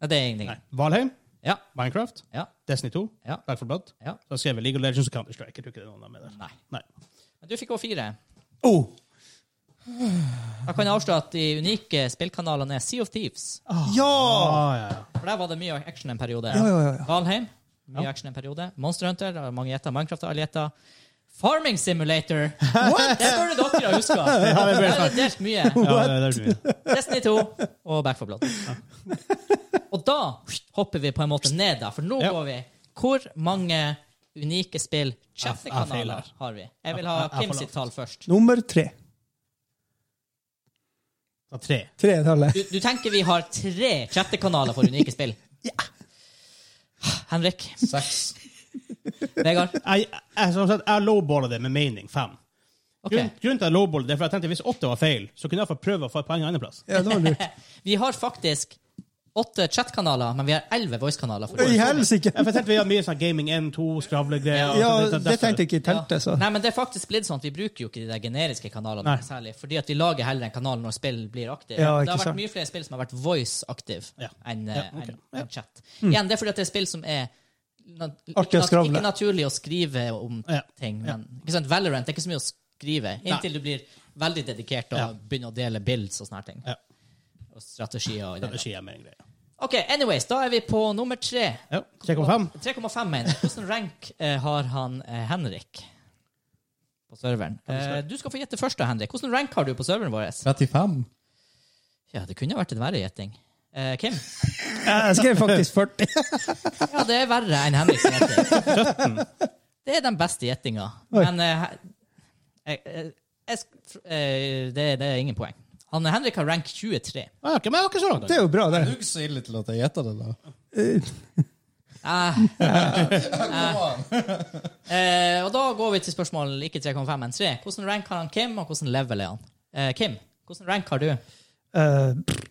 [SPEAKER 1] Nei, det er ingenting.
[SPEAKER 3] Nei. Valheim,
[SPEAKER 1] Ja.
[SPEAKER 3] Minecraft,
[SPEAKER 1] Ja.
[SPEAKER 3] Destiny 2,
[SPEAKER 1] Ja.
[SPEAKER 3] Back for Blood.
[SPEAKER 1] Ja.
[SPEAKER 3] Så skrev jeg League of Legends og Counter-Strike. Jeg tror ikke det er noen av dem er der.
[SPEAKER 1] Nei.
[SPEAKER 3] Nei.
[SPEAKER 1] Men du fikk også fire.
[SPEAKER 2] Oh.
[SPEAKER 1] Da kan jeg avslå at de unike spillkanalene er Sea of Thieves.
[SPEAKER 2] Ja!
[SPEAKER 3] Ah, ja, ja.
[SPEAKER 1] For der var det mye action en periode.
[SPEAKER 2] Ja, ja, ja, ja.
[SPEAKER 1] Valheim, mye action en periode. Monster Hunter, har mange gjetter. Minecraft, alle gjetter. Farming Simulator! Det burde dere ha huska.
[SPEAKER 3] det burde
[SPEAKER 1] Der
[SPEAKER 3] jeg
[SPEAKER 1] er det delt mye.
[SPEAKER 3] Ja, det er det du vil.
[SPEAKER 1] Destiny 2 og Back 4 Blood. Og da hopper vi på en måte ned, da, for nå
[SPEAKER 3] Ja.
[SPEAKER 1] går vi Hvor mange unike spill
[SPEAKER 3] Jeg- jeg feiler.
[SPEAKER 1] chaffekanaler har vi? Jeg vil ha
[SPEAKER 3] Jeg- jeg- jeg
[SPEAKER 1] Kim
[SPEAKER 3] får
[SPEAKER 1] sitt
[SPEAKER 3] lov.
[SPEAKER 1] tall først.
[SPEAKER 2] Nummer tre.
[SPEAKER 3] Da tre.
[SPEAKER 2] Tre tallet.
[SPEAKER 1] Du, du tenker vi har tre chattekanaler for unike spill? Henrik.
[SPEAKER 4] Seks.
[SPEAKER 1] Vegard.
[SPEAKER 3] Jeg, jeg, som sagt, jeg lowballa det med mening fem.
[SPEAKER 1] Ok.
[SPEAKER 3] Grunn, grunnen til at jeg lowballet det er for jeg tenkte hvis åtte var feil, så kunne jeg iallfall prøve å få et poeng andreplass.
[SPEAKER 2] Ja, det var lurt.
[SPEAKER 1] Vi har faktisk åtte chatkanaler, men vi har elleve voicekanaler. for
[SPEAKER 2] I
[SPEAKER 1] voice.
[SPEAKER 2] helsike!
[SPEAKER 3] Jeg tenkte vi har mye sånn gaming 1-2, skravlegreier.
[SPEAKER 2] Ja, det tenkte jeg ikke telte, så.
[SPEAKER 1] Nei, men det er faktisk blitt sånn at Vi bruker jo ikke de der generiske kanalene
[SPEAKER 3] Nei.
[SPEAKER 1] særlig, fordi at vi lager heller en kanal når spill blir aktive.
[SPEAKER 2] Ja,
[SPEAKER 1] det
[SPEAKER 2] ikke
[SPEAKER 1] har vært
[SPEAKER 2] sant.
[SPEAKER 1] mye flere spill som har vært voice-aktive
[SPEAKER 3] Ja.
[SPEAKER 1] enn eh,
[SPEAKER 3] Ja, ok.
[SPEAKER 1] enn- enn chat. Igjen, Det er fordi at det er spill som er nat
[SPEAKER 2] Artig å
[SPEAKER 1] nat
[SPEAKER 2] skravle.
[SPEAKER 1] ikke naturlig å skrive om
[SPEAKER 3] Ja.
[SPEAKER 1] ting. Men, ikke sant? Valorant det er ikke så mye å skrive, inntil du blir veldig dedikert og
[SPEAKER 3] Ja.
[SPEAKER 1] begynner å dele bilds og sånne her ting.
[SPEAKER 3] Ja.
[SPEAKER 1] Og strategier og ideer.
[SPEAKER 3] Strategi er mer en greie.
[SPEAKER 1] OK, anyways, da er vi på nummer tre.
[SPEAKER 3] Ja, 3,5.
[SPEAKER 1] 3,5 mener jeg. Hvordan rank eh, har han eh, Henrik på serveren? Eh, du skal få gjette først, da, Henrik. Hvordan rank har du på serveren vår?
[SPEAKER 4] 35.
[SPEAKER 1] Ja, det kunne vært en verre gjetting. Eh, Kim?
[SPEAKER 2] Jeg skrev faktisk 40.
[SPEAKER 1] Ja, det er verre enn Henriks gjetting. Det er den beste gjettinga.
[SPEAKER 2] Oi.
[SPEAKER 1] Men eh, he- eh, eh, jeg, sk- eh, det, det er ingen poeng. Han, Henrik har rank 23.
[SPEAKER 3] Ah, ok, men jeg var ikke så langt.
[SPEAKER 2] Det er jo bra, det.
[SPEAKER 4] Dugg så ille til at jeg gjetta det, da.
[SPEAKER 1] Eh, eh, og da går vi til spørsmål ikke 3,5, men 3. Hvordan rank har han Kim, og hvordan level er han? Eh, Kim, hvordan rank har du?
[SPEAKER 2] Eh,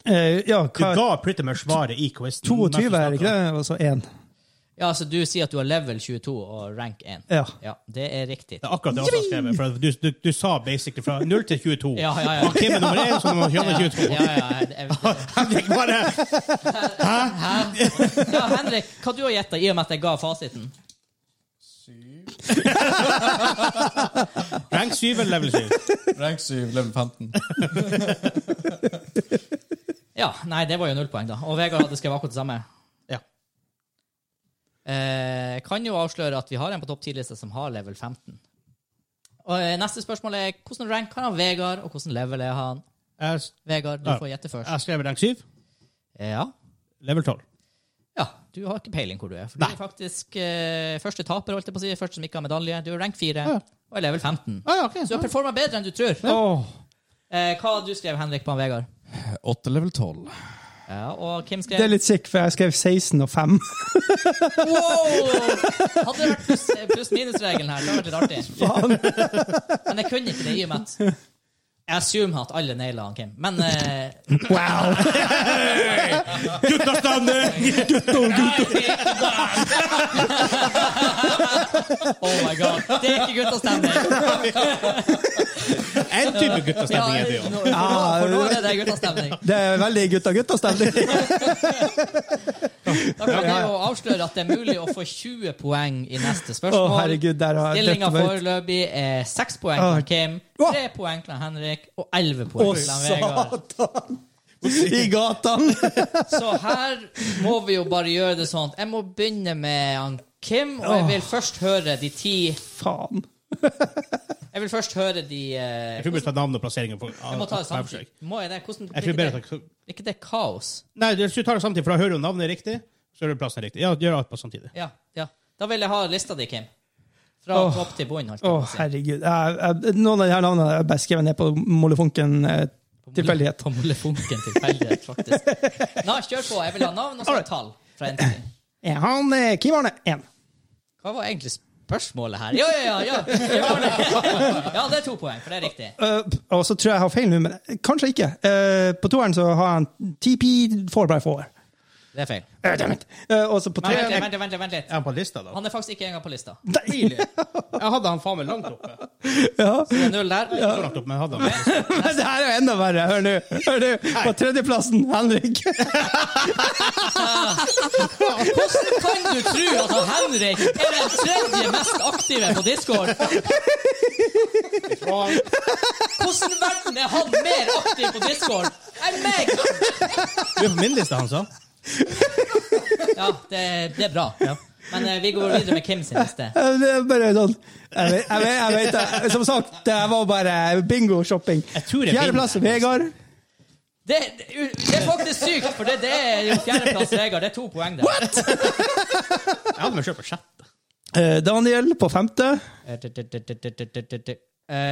[SPEAKER 2] eh, ja,
[SPEAKER 3] Du
[SPEAKER 2] hva
[SPEAKER 3] ga pretty much svaret i quizen.
[SPEAKER 2] 22 er det ikke det? Altså, Og så én.
[SPEAKER 1] Ja, så du sier at du har level 22 og rank 1.
[SPEAKER 2] Ja.
[SPEAKER 1] Ja, det er riktig.
[SPEAKER 3] Det er akkurat det jeg også har skrevet. For du, du, du sa basically fra 0 til 22.
[SPEAKER 1] Ja, ja, ja.
[SPEAKER 3] Og Kim er nummer 1, så nummer
[SPEAKER 1] Ja,
[SPEAKER 3] 22.
[SPEAKER 1] ja, ja, jeg vet det.
[SPEAKER 3] Henrik bare
[SPEAKER 1] ja, Henrik, hva du har gjetta i og med at jeg ga fasiten?
[SPEAKER 4] Syv.
[SPEAKER 3] Rank 7 eller level 7?
[SPEAKER 4] Rank 7, level 15.
[SPEAKER 1] Ja, nei, det var jo null poeng, da. Og Vegard hadde skrevet akkurat det samme.
[SPEAKER 3] Ja.
[SPEAKER 1] Eh, jeg kan jo avsløre at vi har en på topp 10-lista som har level 15. Og eh, Neste spørsmål er hvordan rank har han Vegard, og hvordan level er han?
[SPEAKER 3] Jeg s-
[SPEAKER 1] Vegard, du
[SPEAKER 3] Ja.
[SPEAKER 1] får gjette først.
[SPEAKER 3] jeg skrev rank 7,
[SPEAKER 1] Ja.
[SPEAKER 3] level 12.
[SPEAKER 1] ja. Du har ikke peiling hvor du er. For du er faktisk eh, første taper, holdt jeg på å si. Første som ikke har medalje. Du er rank 4
[SPEAKER 3] Ja.
[SPEAKER 1] og er level 15.
[SPEAKER 3] Ah, ja, ok.
[SPEAKER 1] Så du har performa bedre enn du tror.
[SPEAKER 2] Åh.
[SPEAKER 1] Eh, hva du skrev Henrik på han Vegard?
[SPEAKER 4] 8 level 12.
[SPEAKER 1] Ja, og Kim
[SPEAKER 2] Det
[SPEAKER 1] skrev
[SPEAKER 2] er litt sick, for jeg skrev 16 og 5.
[SPEAKER 1] Wow! Hadde det vært pluss, pluss-minus-regelen her, det hadde vært litt artig. Men jeg kunne ikke det i og med at jeg assumer at alle naila han Kim. Men eh,
[SPEAKER 2] Wow!
[SPEAKER 3] Guttastemning!
[SPEAKER 1] oh my god, det er ikke guttastemning!
[SPEAKER 3] En type
[SPEAKER 1] Ja,
[SPEAKER 3] guttastemning er det jo.
[SPEAKER 1] nå- for nå for nå er det guttastemning.
[SPEAKER 2] Det er veldig gutta-gutta-stemning.
[SPEAKER 1] Da kan jeg jo avsløre at det er mulig å få 20 poeng i neste
[SPEAKER 2] Å,
[SPEAKER 1] spørsmål.
[SPEAKER 2] herregud, der har jeg
[SPEAKER 1] Stillinga
[SPEAKER 2] dødt meg ut. Ah.
[SPEAKER 1] foreløpig er 6 poeng til Kim, 3 poeng til Henrik og 11
[SPEAKER 2] Å,
[SPEAKER 1] poeng til Vegard.
[SPEAKER 2] satan! I gatene!
[SPEAKER 1] Så her må vi jo bare gjøre det sånn. Jeg må begynne med han Kim, og
[SPEAKER 2] Ah.
[SPEAKER 1] jeg vil først høre de ti
[SPEAKER 2] Faen.
[SPEAKER 1] Jeg vil først høre de eh,
[SPEAKER 3] Jeg tror vi bør ta navn og plasseringen. For,
[SPEAKER 1] Jeg må ta det samtidig. Må jeg det? Hvordan
[SPEAKER 3] Jeg tror
[SPEAKER 1] blir
[SPEAKER 3] bedre
[SPEAKER 1] ikke det,
[SPEAKER 3] at
[SPEAKER 1] blir ikke det kaos?
[SPEAKER 3] Nei, du du tar det samtidig, for da hører du navnet riktig, så hører du plassen riktig. Ja, gjør alt på samtidig.
[SPEAKER 1] Ja, ja. Da vil jeg ha lista di, Kim. Fra
[SPEAKER 2] Åh.
[SPEAKER 1] topp til bunn. holdt
[SPEAKER 2] Å,
[SPEAKER 1] jeg på å si.
[SPEAKER 2] herregud. Jeg, jeg, noen av de her navnene har jeg bare skrevet ned på molefonken eh, Tilfeldighet.
[SPEAKER 1] På molefonken tilfeldighet, faktisk. Nei, kjør på. Jeg vil ha navn og så et tall. fra en til ti.
[SPEAKER 2] Er han eh, Kim Arne én?
[SPEAKER 1] Hva var egentlig spørsmålet her? Ja, ja, ja! Ja, ja, det. ja det er to poeng, for det er riktig.
[SPEAKER 2] Eh, og så tror jeg jeg har feil nå, men kanskje ikke. Eh, på toeren så har han TP 4x4.
[SPEAKER 1] Det er feil.
[SPEAKER 2] Eh, damn it. Eh, og så på
[SPEAKER 1] Men vent, litt, vent,
[SPEAKER 2] treeren
[SPEAKER 1] litt, vent, litt, vent litt.
[SPEAKER 3] Er han på lista, da?
[SPEAKER 1] Han er faktisk ikke engang på lista.
[SPEAKER 3] Tidlig. Jeg hadde han faen meg langt oppe.
[SPEAKER 2] ja.
[SPEAKER 1] Det er null der.
[SPEAKER 3] Så langt oppe, men jeg hadde han.
[SPEAKER 2] Men det her er jo enda verre. Hør nå. Hør nå. På tredjeplassen, Henrik.
[SPEAKER 1] Hvordan kan du tro at han Henrik er den tredje mest aktive på Discord? Hvordan i verden er han mer aktiv på Discord enn meg?
[SPEAKER 3] Du er på min liste, han sa.
[SPEAKER 1] Ja, det, det er bra. Men eh, vi går videre med Kim sin liste.
[SPEAKER 2] Eh, Det er bare sånn Jeg vet, jeg vet, jeg vet det. Som sagt, det var bare bingo-shopping.
[SPEAKER 3] Jeg tror jeg
[SPEAKER 2] Fjerdeplass,
[SPEAKER 3] vinner.
[SPEAKER 2] Vegard.
[SPEAKER 1] Det, det er faktisk sykt, for det, det er jo fjerdeplass, Vegard. Det er to poeng der.
[SPEAKER 3] Jeg hadde meg sjøl på sjette.
[SPEAKER 2] Eh, Daniel på femte.
[SPEAKER 1] Eh,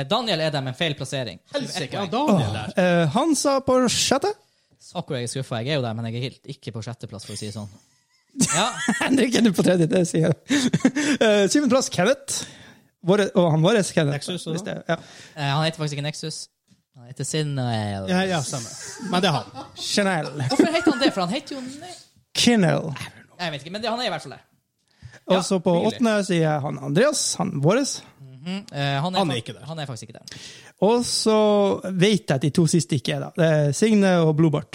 [SPEAKER 1] Daniel er der med en feil plassering. Ett
[SPEAKER 3] Helsike,
[SPEAKER 1] poeng.
[SPEAKER 3] han Daniel der.
[SPEAKER 2] Eh, Hansa på sjette.
[SPEAKER 1] Akkurat jeg er skuffa. Jeg er jo der, men jeg er helt ikke på sjetteplass, for å si det sånn. Ja,
[SPEAKER 2] Henrik er nå på tredje, det sier jeg. Eh, Syvendeplass, Kenneth. Våre, og han vår Kenneth.
[SPEAKER 3] Nexus, og
[SPEAKER 2] hvis det- ja.
[SPEAKER 1] eh, Han heter faktisk ikke Nexus. Han heter Sinnoel.
[SPEAKER 3] Ja, ja, stemmer. Men det er han.
[SPEAKER 2] Chanel.
[SPEAKER 1] Hvorfor heter han det? For han heter jo Nei,
[SPEAKER 2] Kinnell.
[SPEAKER 1] Jeg vet ikke, men det, han er i hvert fall der.
[SPEAKER 2] Og så på
[SPEAKER 3] hyggelig.
[SPEAKER 2] åttende sier jeg han Andreas. Han vår.
[SPEAKER 1] Eh, han, er
[SPEAKER 3] Han er
[SPEAKER 1] fak-
[SPEAKER 3] ikke der.
[SPEAKER 1] Han er faktisk ikke der.
[SPEAKER 2] Og så vet jeg at de to siste ikke er da. Det er Signe og Blodbart.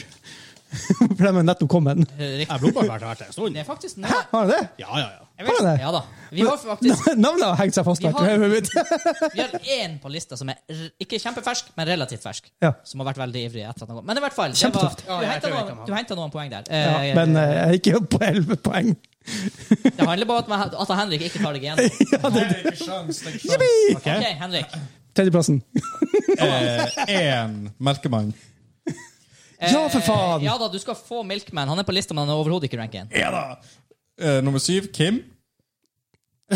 [SPEAKER 2] For de er nettopp kommet.
[SPEAKER 1] Eh,
[SPEAKER 3] Jeg
[SPEAKER 1] Riktig.
[SPEAKER 3] har blodbart vært her en stund.
[SPEAKER 1] Det er faktisk Nei,
[SPEAKER 2] Har de det?
[SPEAKER 3] Ja, ja, ja.
[SPEAKER 1] jeg
[SPEAKER 2] Har
[SPEAKER 1] vet,
[SPEAKER 2] han det?
[SPEAKER 1] Ja da. Vi har faktisk
[SPEAKER 2] Navnet har hengt seg fast.
[SPEAKER 1] Vi
[SPEAKER 2] vet du, i
[SPEAKER 1] har-
[SPEAKER 2] hodet mitt.
[SPEAKER 1] Vi har én på lista som er r- ikke kjempefersk, men relativt fersk.
[SPEAKER 2] Ja.
[SPEAKER 1] Som har vært veldig ivrig etter at han kom. Men i hvert fall, det var,
[SPEAKER 2] Kjempetøft.
[SPEAKER 1] du henta noen, du hentet noen poeng der. Eh,
[SPEAKER 2] Ja, men eh, jeg gikk jo på elleve poeng.
[SPEAKER 1] Det handler bare om at- at Henrik ikke tar deg igjennom.
[SPEAKER 4] Nei, ikke sjans, det er ikke sjans.
[SPEAKER 2] Yippee!
[SPEAKER 3] Ok.
[SPEAKER 1] Ok, Henrik.
[SPEAKER 2] Tredjeplassen.
[SPEAKER 4] Én merkemann.
[SPEAKER 1] Eh,
[SPEAKER 2] Ja, for faen!
[SPEAKER 1] Ja da, du skal få Milkman. Han er på lista, men han er overhodet ikke ranken.
[SPEAKER 4] Ja da! Eh, nummer syv, Kim.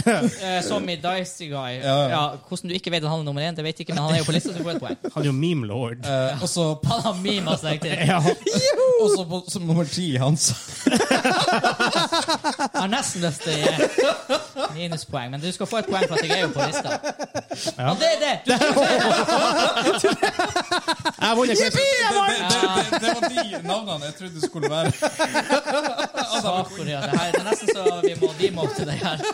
[SPEAKER 1] Eh, som i Dicey Guy.
[SPEAKER 4] Ja,
[SPEAKER 1] Ja, hvordan du ikke vet at han er nummer én, det vet jeg ikke, men han er jo på lista, så du får et poeng.
[SPEAKER 3] Han er jo meme lord.
[SPEAKER 4] Eh, og så
[SPEAKER 1] Han har altså, mima seg til.
[SPEAKER 3] Ja.
[SPEAKER 4] og så på- som nummer ti, Hans.
[SPEAKER 1] Jeg har nesten lyst til å gi minuspoeng, men du skal få et poeng for at jeg er jo på lista. Ja, det er det! Du,
[SPEAKER 3] Jeg vant en quiz.
[SPEAKER 4] Det, det, det, det var de navnene jeg trodde det skulle være.
[SPEAKER 1] Sakori, ja, det, her, det er nesten så vi må demote deg her.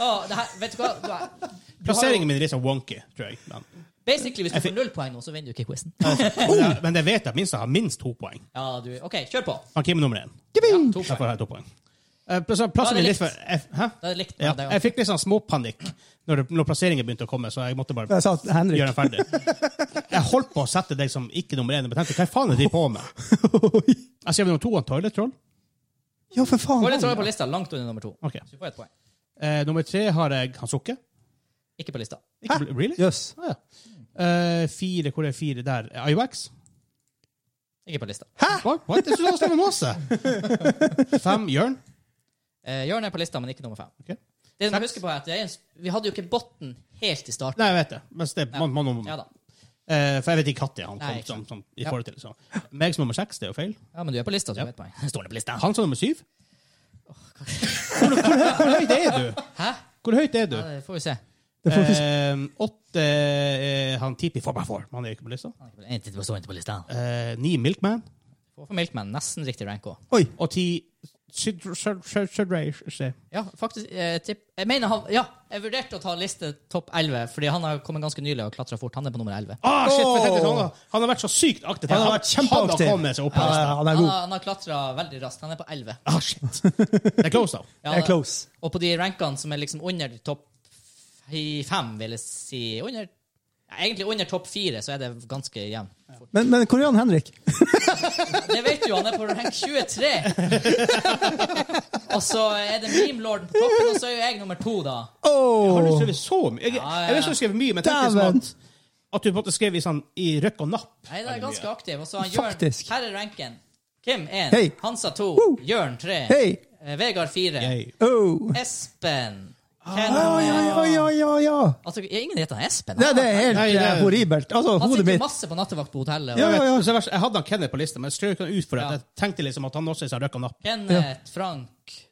[SPEAKER 1] Å, det her. Vet du hva? Du er,
[SPEAKER 3] Plasseringen min er litt sånn wonky, tror jeg. Men,
[SPEAKER 1] basically, hvis du får null poeng nå, så vinner du ikke quizen.
[SPEAKER 3] men, jeg, men jeg vet at minst jeg har minst to poeng.
[SPEAKER 1] Ja, du, OK, kjør på.
[SPEAKER 3] Han Kim er nummer én.
[SPEAKER 2] Yippee!
[SPEAKER 1] To
[SPEAKER 3] Jeg får
[SPEAKER 1] poeng.
[SPEAKER 3] ha to poeng. Eh, plass-
[SPEAKER 1] Da er det
[SPEAKER 3] Plassen min er litt for
[SPEAKER 1] likt.
[SPEAKER 3] jeg- Hæ?
[SPEAKER 1] Da er det likt.
[SPEAKER 3] Ja,
[SPEAKER 1] med deg.
[SPEAKER 3] jeg fikk litt sånn småpanikk når, det- når plasseringen begynte å komme, så jeg måtte bare
[SPEAKER 2] Jeg sa Henrik.
[SPEAKER 3] gjøre den ferdig. Jeg holdt på å sette deg som ikke nummer én, men tenkte hva faen er de på med? Jeg skrev nummer to, han Toilet Troll.
[SPEAKER 2] Ja, for faen.
[SPEAKER 1] Hvor er det sånn? som er på lista? Langt under nummer to.
[SPEAKER 3] Ok.
[SPEAKER 1] Så du får et poeng.
[SPEAKER 3] Eh, nummer tre har jeg han Sukke.
[SPEAKER 1] Ikke på lista.
[SPEAKER 3] Ikke bl- Really?
[SPEAKER 2] Jøss.
[SPEAKER 3] Ah, ja. Eh, fire, hvor er fire der? Eh, Iwax?
[SPEAKER 1] Ikke på lista.
[SPEAKER 3] What? What? Jeg synes han var masse. Fem, Jørn.
[SPEAKER 1] Eh, Jørn er på lista, men ikke nummer fem.
[SPEAKER 3] Ok.
[SPEAKER 1] Det du må huske på er at det er en, Vi hadde jo ikke botten helt i starten.
[SPEAKER 3] Nei, jeg vet det. Men det man, man, man,
[SPEAKER 1] Ja da.
[SPEAKER 3] Eh, for jeg vet ikke når han
[SPEAKER 1] Nei,
[SPEAKER 3] kom
[SPEAKER 1] ikke
[SPEAKER 3] som,
[SPEAKER 1] sant.
[SPEAKER 3] som, i forhold til. Så. Meg som nummer seks, det er jo feil.
[SPEAKER 1] Ja, men du er på lista, så du vet poeng.
[SPEAKER 3] Står det på lista? Han som nummer syv. hvor, hvor, hvor høyt er du?
[SPEAKER 1] Hæ?
[SPEAKER 3] Hvor høyt er du?
[SPEAKER 1] Ja, det får vi se.
[SPEAKER 3] Eh, åtte eh, Han Tipi 4x4. Han er jo ikke på lista.
[SPEAKER 1] Han er ikke på- en til- står ikke på lista.
[SPEAKER 3] Eh, ni Milkman.
[SPEAKER 1] Få for Milkman. Nesten riktig rank òg.
[SPEAKER 3] Og ti Sydra- Syd- Syd- Sydra- Syd-
[SPEAKER 1] Ja, faktisk. Eh, tipp. Jeg mener han Ja, jeg vurderte å ta liste topp 11, fordi han har kommet ganske nylig og klatra fort. Han er på nummer 11.
[SPEAKER 3] Ah, shit, for tenkte, sånn, da. han har vært så sykt aktiv.
[SPEAKER 2] Han har vært
[SPEAKER 3] Han
[SPEAKER 2] kjempeaktiv.
[SPEAKER 3] har kommet seg opp på
[SPEAKER 2] Ja,
[SPEAKER 3] lista.
[SPEAKER 2] han er
[SPEAKER 1] Han
[SPEAKER 2] god.
[SPEAKER 1] har, han har klatra veldig raskt. Han er på 11.
[SPEAKER 3] Ah, shit. Det er close, da.
[SPEAKER 1] Ja,
[SPEAKER 2] Jeg er close.
[SPEAKER 1] Og på de rankene som er liksom under topp i fem, vil jeg si under, ja, Egentlig under topp fire, så er det ganske jevnt.
[SPEAKER 2] Men, men hvor er han Henrik?
[SPEAKER 1] Det vet du, han er på rank 23! og så er det memelorden på toppen, og så er jo jeg nummer to, da.
[SPEAKER 3] Har du
[SPEAKER 2] Oh.
[SPEAKER 3] skrevet så mye? Jeg,
[SPEAKER 1] Ja, ja,
[SPEAKER 3] jeg visste du skrev mye, men tenkte
[SPEAKER 2] Dæven.
[SPEAKER 3] liksom at, at du på en måte skrev i, sånn, i røkk og napp.
[SPEAKER 1] Nei, det er ganske aktiv. Og så han Jørn
[SPEAKER 2] Faktisk.
[SPEAKER 1] Her er ranken. Kim 1,
[SPEAKER 2] Hei.
[SPEAKER 1] Hansa 2,
[SPEAKER 2] Woo.
[SPEAKER 1] Jørn 3,
[SPEAKER 2] Hei.
[SPEAKER 1] eh, Vegard 4,
[SPEAKER 3] Yay.
[SPEAKER 2] Oh.
[SPEAKER 1] Espen Ken,
[SPEAKER 2] Ja, ja, ja, ja, ja, ja.
[SPEAKER 1] Altså, ingen heter han Espen.
[SPEAKER 2] Nei, det er helt
[SPEAKER 3] Nei, det-
[SPEAKER 2] eh, horribelt. Altså,
[SPEAKER 1] han
[SPEAKER 2] hodet
[SPEAKER 1] sitter jo
[SPEAKER 2] mitt
[SPEAKER 1] masse på nattevakt på hotellet. Og
[SPEAKER 2] Ja, ja, ja.
[SPEAKER 3] Så det verste- Jeg hadde han Kenneth på lista, men jeg strøk han ut for det.
[SPEAKER 1] Ja.
[SPEAKER 3] Jeg tenkte liksom at han også er røkka napp.
[SPEAKER 1] Kenneth, Frank,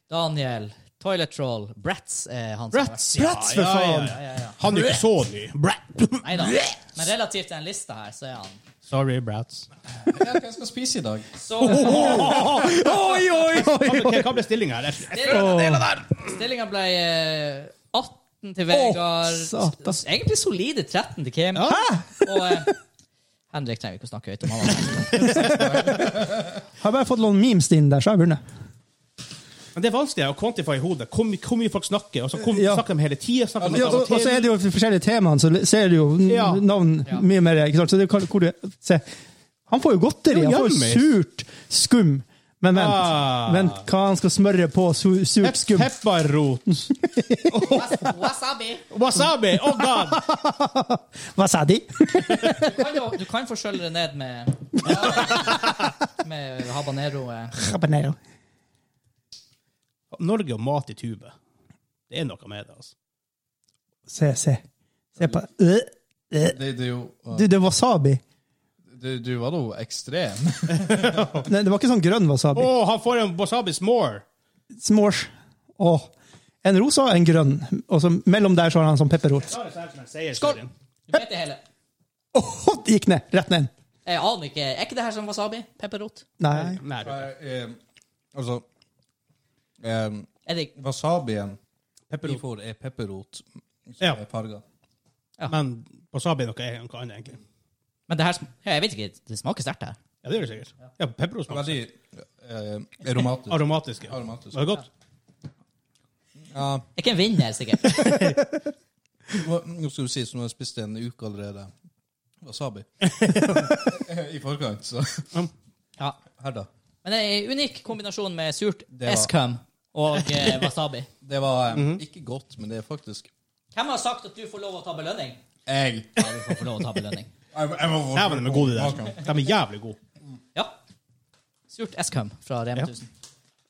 [SPEAKER 1] Daniel, Toilet Troll, Bratz er han som har vært-
[SPEAKER 3] ja,
[SPEAKER 2] Bratz, for
[SPEAKER 3] ja, ja,
[SPEAKER 2] faen!
[SPEAKER 1] Ja, ja, ja.
[SPEAKER 3] Han er jo ikke så ny. Brat.
[SPEAKER 1] Neida. Men relativt til den lista her, så er han
[SPEAKER 3] Sorry, Brats.
[SPEAKER 4] Ja, hva skal jeg spise i dag?
[SPEAKER 1] Så
[SPEAKER 2] Oi, oi, oi!
[SPEAKER 3] Hva ble- hva ble stillinga her? Jeg-
[SPEAKER 1] stillinga ble eh, 18 til Vegard.
[SPEAKER 2] satan.
[SPEAKER 1] s- Egentlig solide 13 til Kim. Og eh, Henrik trenger vi ikke å snakke høyt om. Han var-
[SPEAKER 2] Har bare fått noen memes inn der, så har jeg vunnet.
[SPEAKER 3] Men det er vanskelig å quantify i hodet. Hvor, my- hvor mye folk snakker, og så kom,
[SPEAKER 2] Ja.
[SPEAKER 3] snakker de hele tida. Snakker
[SPEAKER 2] Ja, og, og så er
[SPEAKER 3] det
[SPEAKER 2] det jo for forskjellige temaer, så ser du jo n-
[SPEAKER 3] altså, Ja.
[SPEAKER 2] navn
[SPEAKER 1] Ja.
[SPEAKER 2] mye mer. Ikke sant? Så det er hvor du, se. Han får jo godteri,
[SPEAKER 3] Jo,
[SPEAKER 2] han får
[SPEAKER 3] jammis.
[SPEAKER 2] jo surt skum. Men vent,
[SPEAKER 3] Ah.
[SPEAKER 2] vent hva han skal smøre på su, surt skum?
[SPEAKER 3] Pepperrot.
[SPEAKER 1] Was- Wasabi.
[SPEAKER 3] Wasabi! Oh god!
[SPEAKER 2] Hva sa de?
[SPEAKER 1] Du kan, jo, du kan forskjølle det ned med Med habanero. eh.
[SPEAKER 2] Habanero.
[SPEAKER 3] Norge og mat i tube. Det er noe med det, altså.
[SPEAKER 2] Se, se. Se på Øh, øh.
[SPEAKER 4] Det, det er jo
[SPEAKER 2] Du, det er wasabi.
[SPEAKER 4] Du, du var da ekstrem.
[SPEAKER 2] Nei, det var ikke sånn grønn
[SPEAKER 3] Å,
[SPEAKER 2] wasabi.
[SPEAKER 3] han får en wasabi s'more!
[SPEAKER 2] S'mores. Åh. En rosa og en grønn. Og så mellom der så har han sånn pepperrot.
[SPEAKER 3] Skål!
[SPEAKER 1] Du vet det hele.
[SPEAKER 2] Åh, det gikk ned! Rett ned.
[SPEAKER 1] Jeg aner ikke. Er ikke det her som wasabi? Pepperrot?
[SPEAKER 2] Nei.
[SPEAKER 3] Nei, du.
[SPEAKER 4] altså um,
[SPEAKER 1] Er det ikke?
[SPEAKER 4] Wasabien
[SPEAKER 3] Pepperrot.
[SPEAKER 4] vi får, er pepperrot som
[SPEAKER 3] Ja.
[SPEAKER 4] er farga.
[SPEAKER 3] Men wasabi er noe, er noe annet, egentlig.
[SPEAKER 1] Men det her sm- ja, Jeg vet ikke. Det smaker sterkt, det her.
[SPEAKER 3] Ja, det gjør det sikkert. Ja, pepperrot smaker
[SPEAKER 4] Veldig eh, aromatisk.
[SPEAKER 3] aromatisk. ja.
[SPEAKER 4] Aromatisk.
[SPEAKER 3] Var det godt?
[SPEAKER 4] Ja,
[SPEAKER 1] Ikke en vinner, sikkert.
[SPEAKER 4] hva- nå skal du si som du har spist en uke allerede. Wasabi. I forkant, så
[SPEAKER 1] Ja.
[SPEAKER 4] Her, da.
[SPEAKER 1] Men det er en unik kombinasjon med surt
[SPEAKER 4] var-
[SPEAKER 1] eskum og eh, wasabi.
[SPEAKER 4] Det var eh, ikke godt, men det er faktisk
[SPEAKER 1] Hvem har sagt at du får lov å ta belønning?
[SPEAKER 4] Jeg
[SPEAKER 1] Ja, du får få lov å ta belønning.
[SPEAKER 4] Jeg, jeg må-
[SPEAKER 3] Dæven, de er gode, de der. De er jævlig gode.
[SPEAKER 1] Ja. Surt eskum fra Rema
[SPEAKER 3] Ja.
[SPEAKER 1] 1000.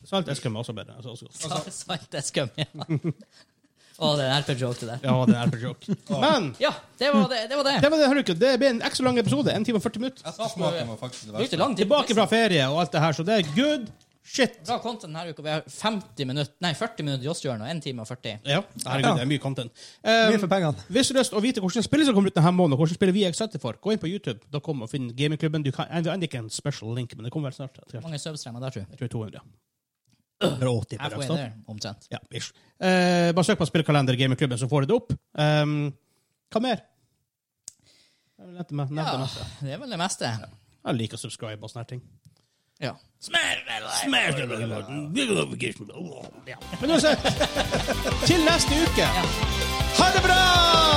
[SPEAKER 3] Salt eskum er også bedre. Altså, også godt.
[SPEAKER 1] Ja. Salt eskum, ja. Å, det er en RP-joke, det der.
[SPEAKER 3] Ja, det er for joke. Men
[SPEAKER 1] Ja, det var det. det, var det.
[SPEAKER 3] det var det, Henrik. Det ble en ekstra lang episode. 1 time og 40 minutter.
[SPEAKER 4] Ettersmaken var faktisk det
[SPEAKER 1] Det gikk
[SPEAKER 4] verste.
[SPEAKER 1] jo lang tid. på
[SPEAKER 3] Tilbake fra ferie og alt det her, så det er good shit.
[SPEAKER 1] Bra content denne uka. Vi har 50 minutter, nei, 40 minutter i Åsshjørnet og 1 time og 40.
[SPEAKER 3] Ja, herregud,
[SPEAKER 2] Ja.
[SPEAKER 3] det er mye content. Um,
[SPEAKER 2] Mye for pengene.
[SPEAKER 3] hvis du har lyst til å vite hvilke spill som kommer ut denne måneden, og hvilke spill vi er excited for, gå inn på YouTube. Da kommer og finn gamingklubben. Du kan enda ikke en special link, men det kommer vel snart. etter hvert.
[SPEAKER 1] Mange substreamer der, tror jeg.
[SPEAKER 3] Jeg tror 200. 180 per
[SPEAKER 1] Halfway
[SPEAKER 3] dagsdato.
[SPEAKER 1] there, omtrent.
[SPEAKER 3] Ja, ish. Eh, bare søk på spillkalender i gamingklubben, så får du det opp. Um, hva mer? Jeg vil nevne meg- nevne
[SPEAKER 1] Ja,
[SPEAKER 3] meg.
[SPEAKER 1] det er vel det meste.
[SPEAKER 3] Jeg liker å subscribe og sånne her ting.
[SPEAKER 1] Ja.
[SPEAKER 3] Men uansett, til neste uke. Ha det bra!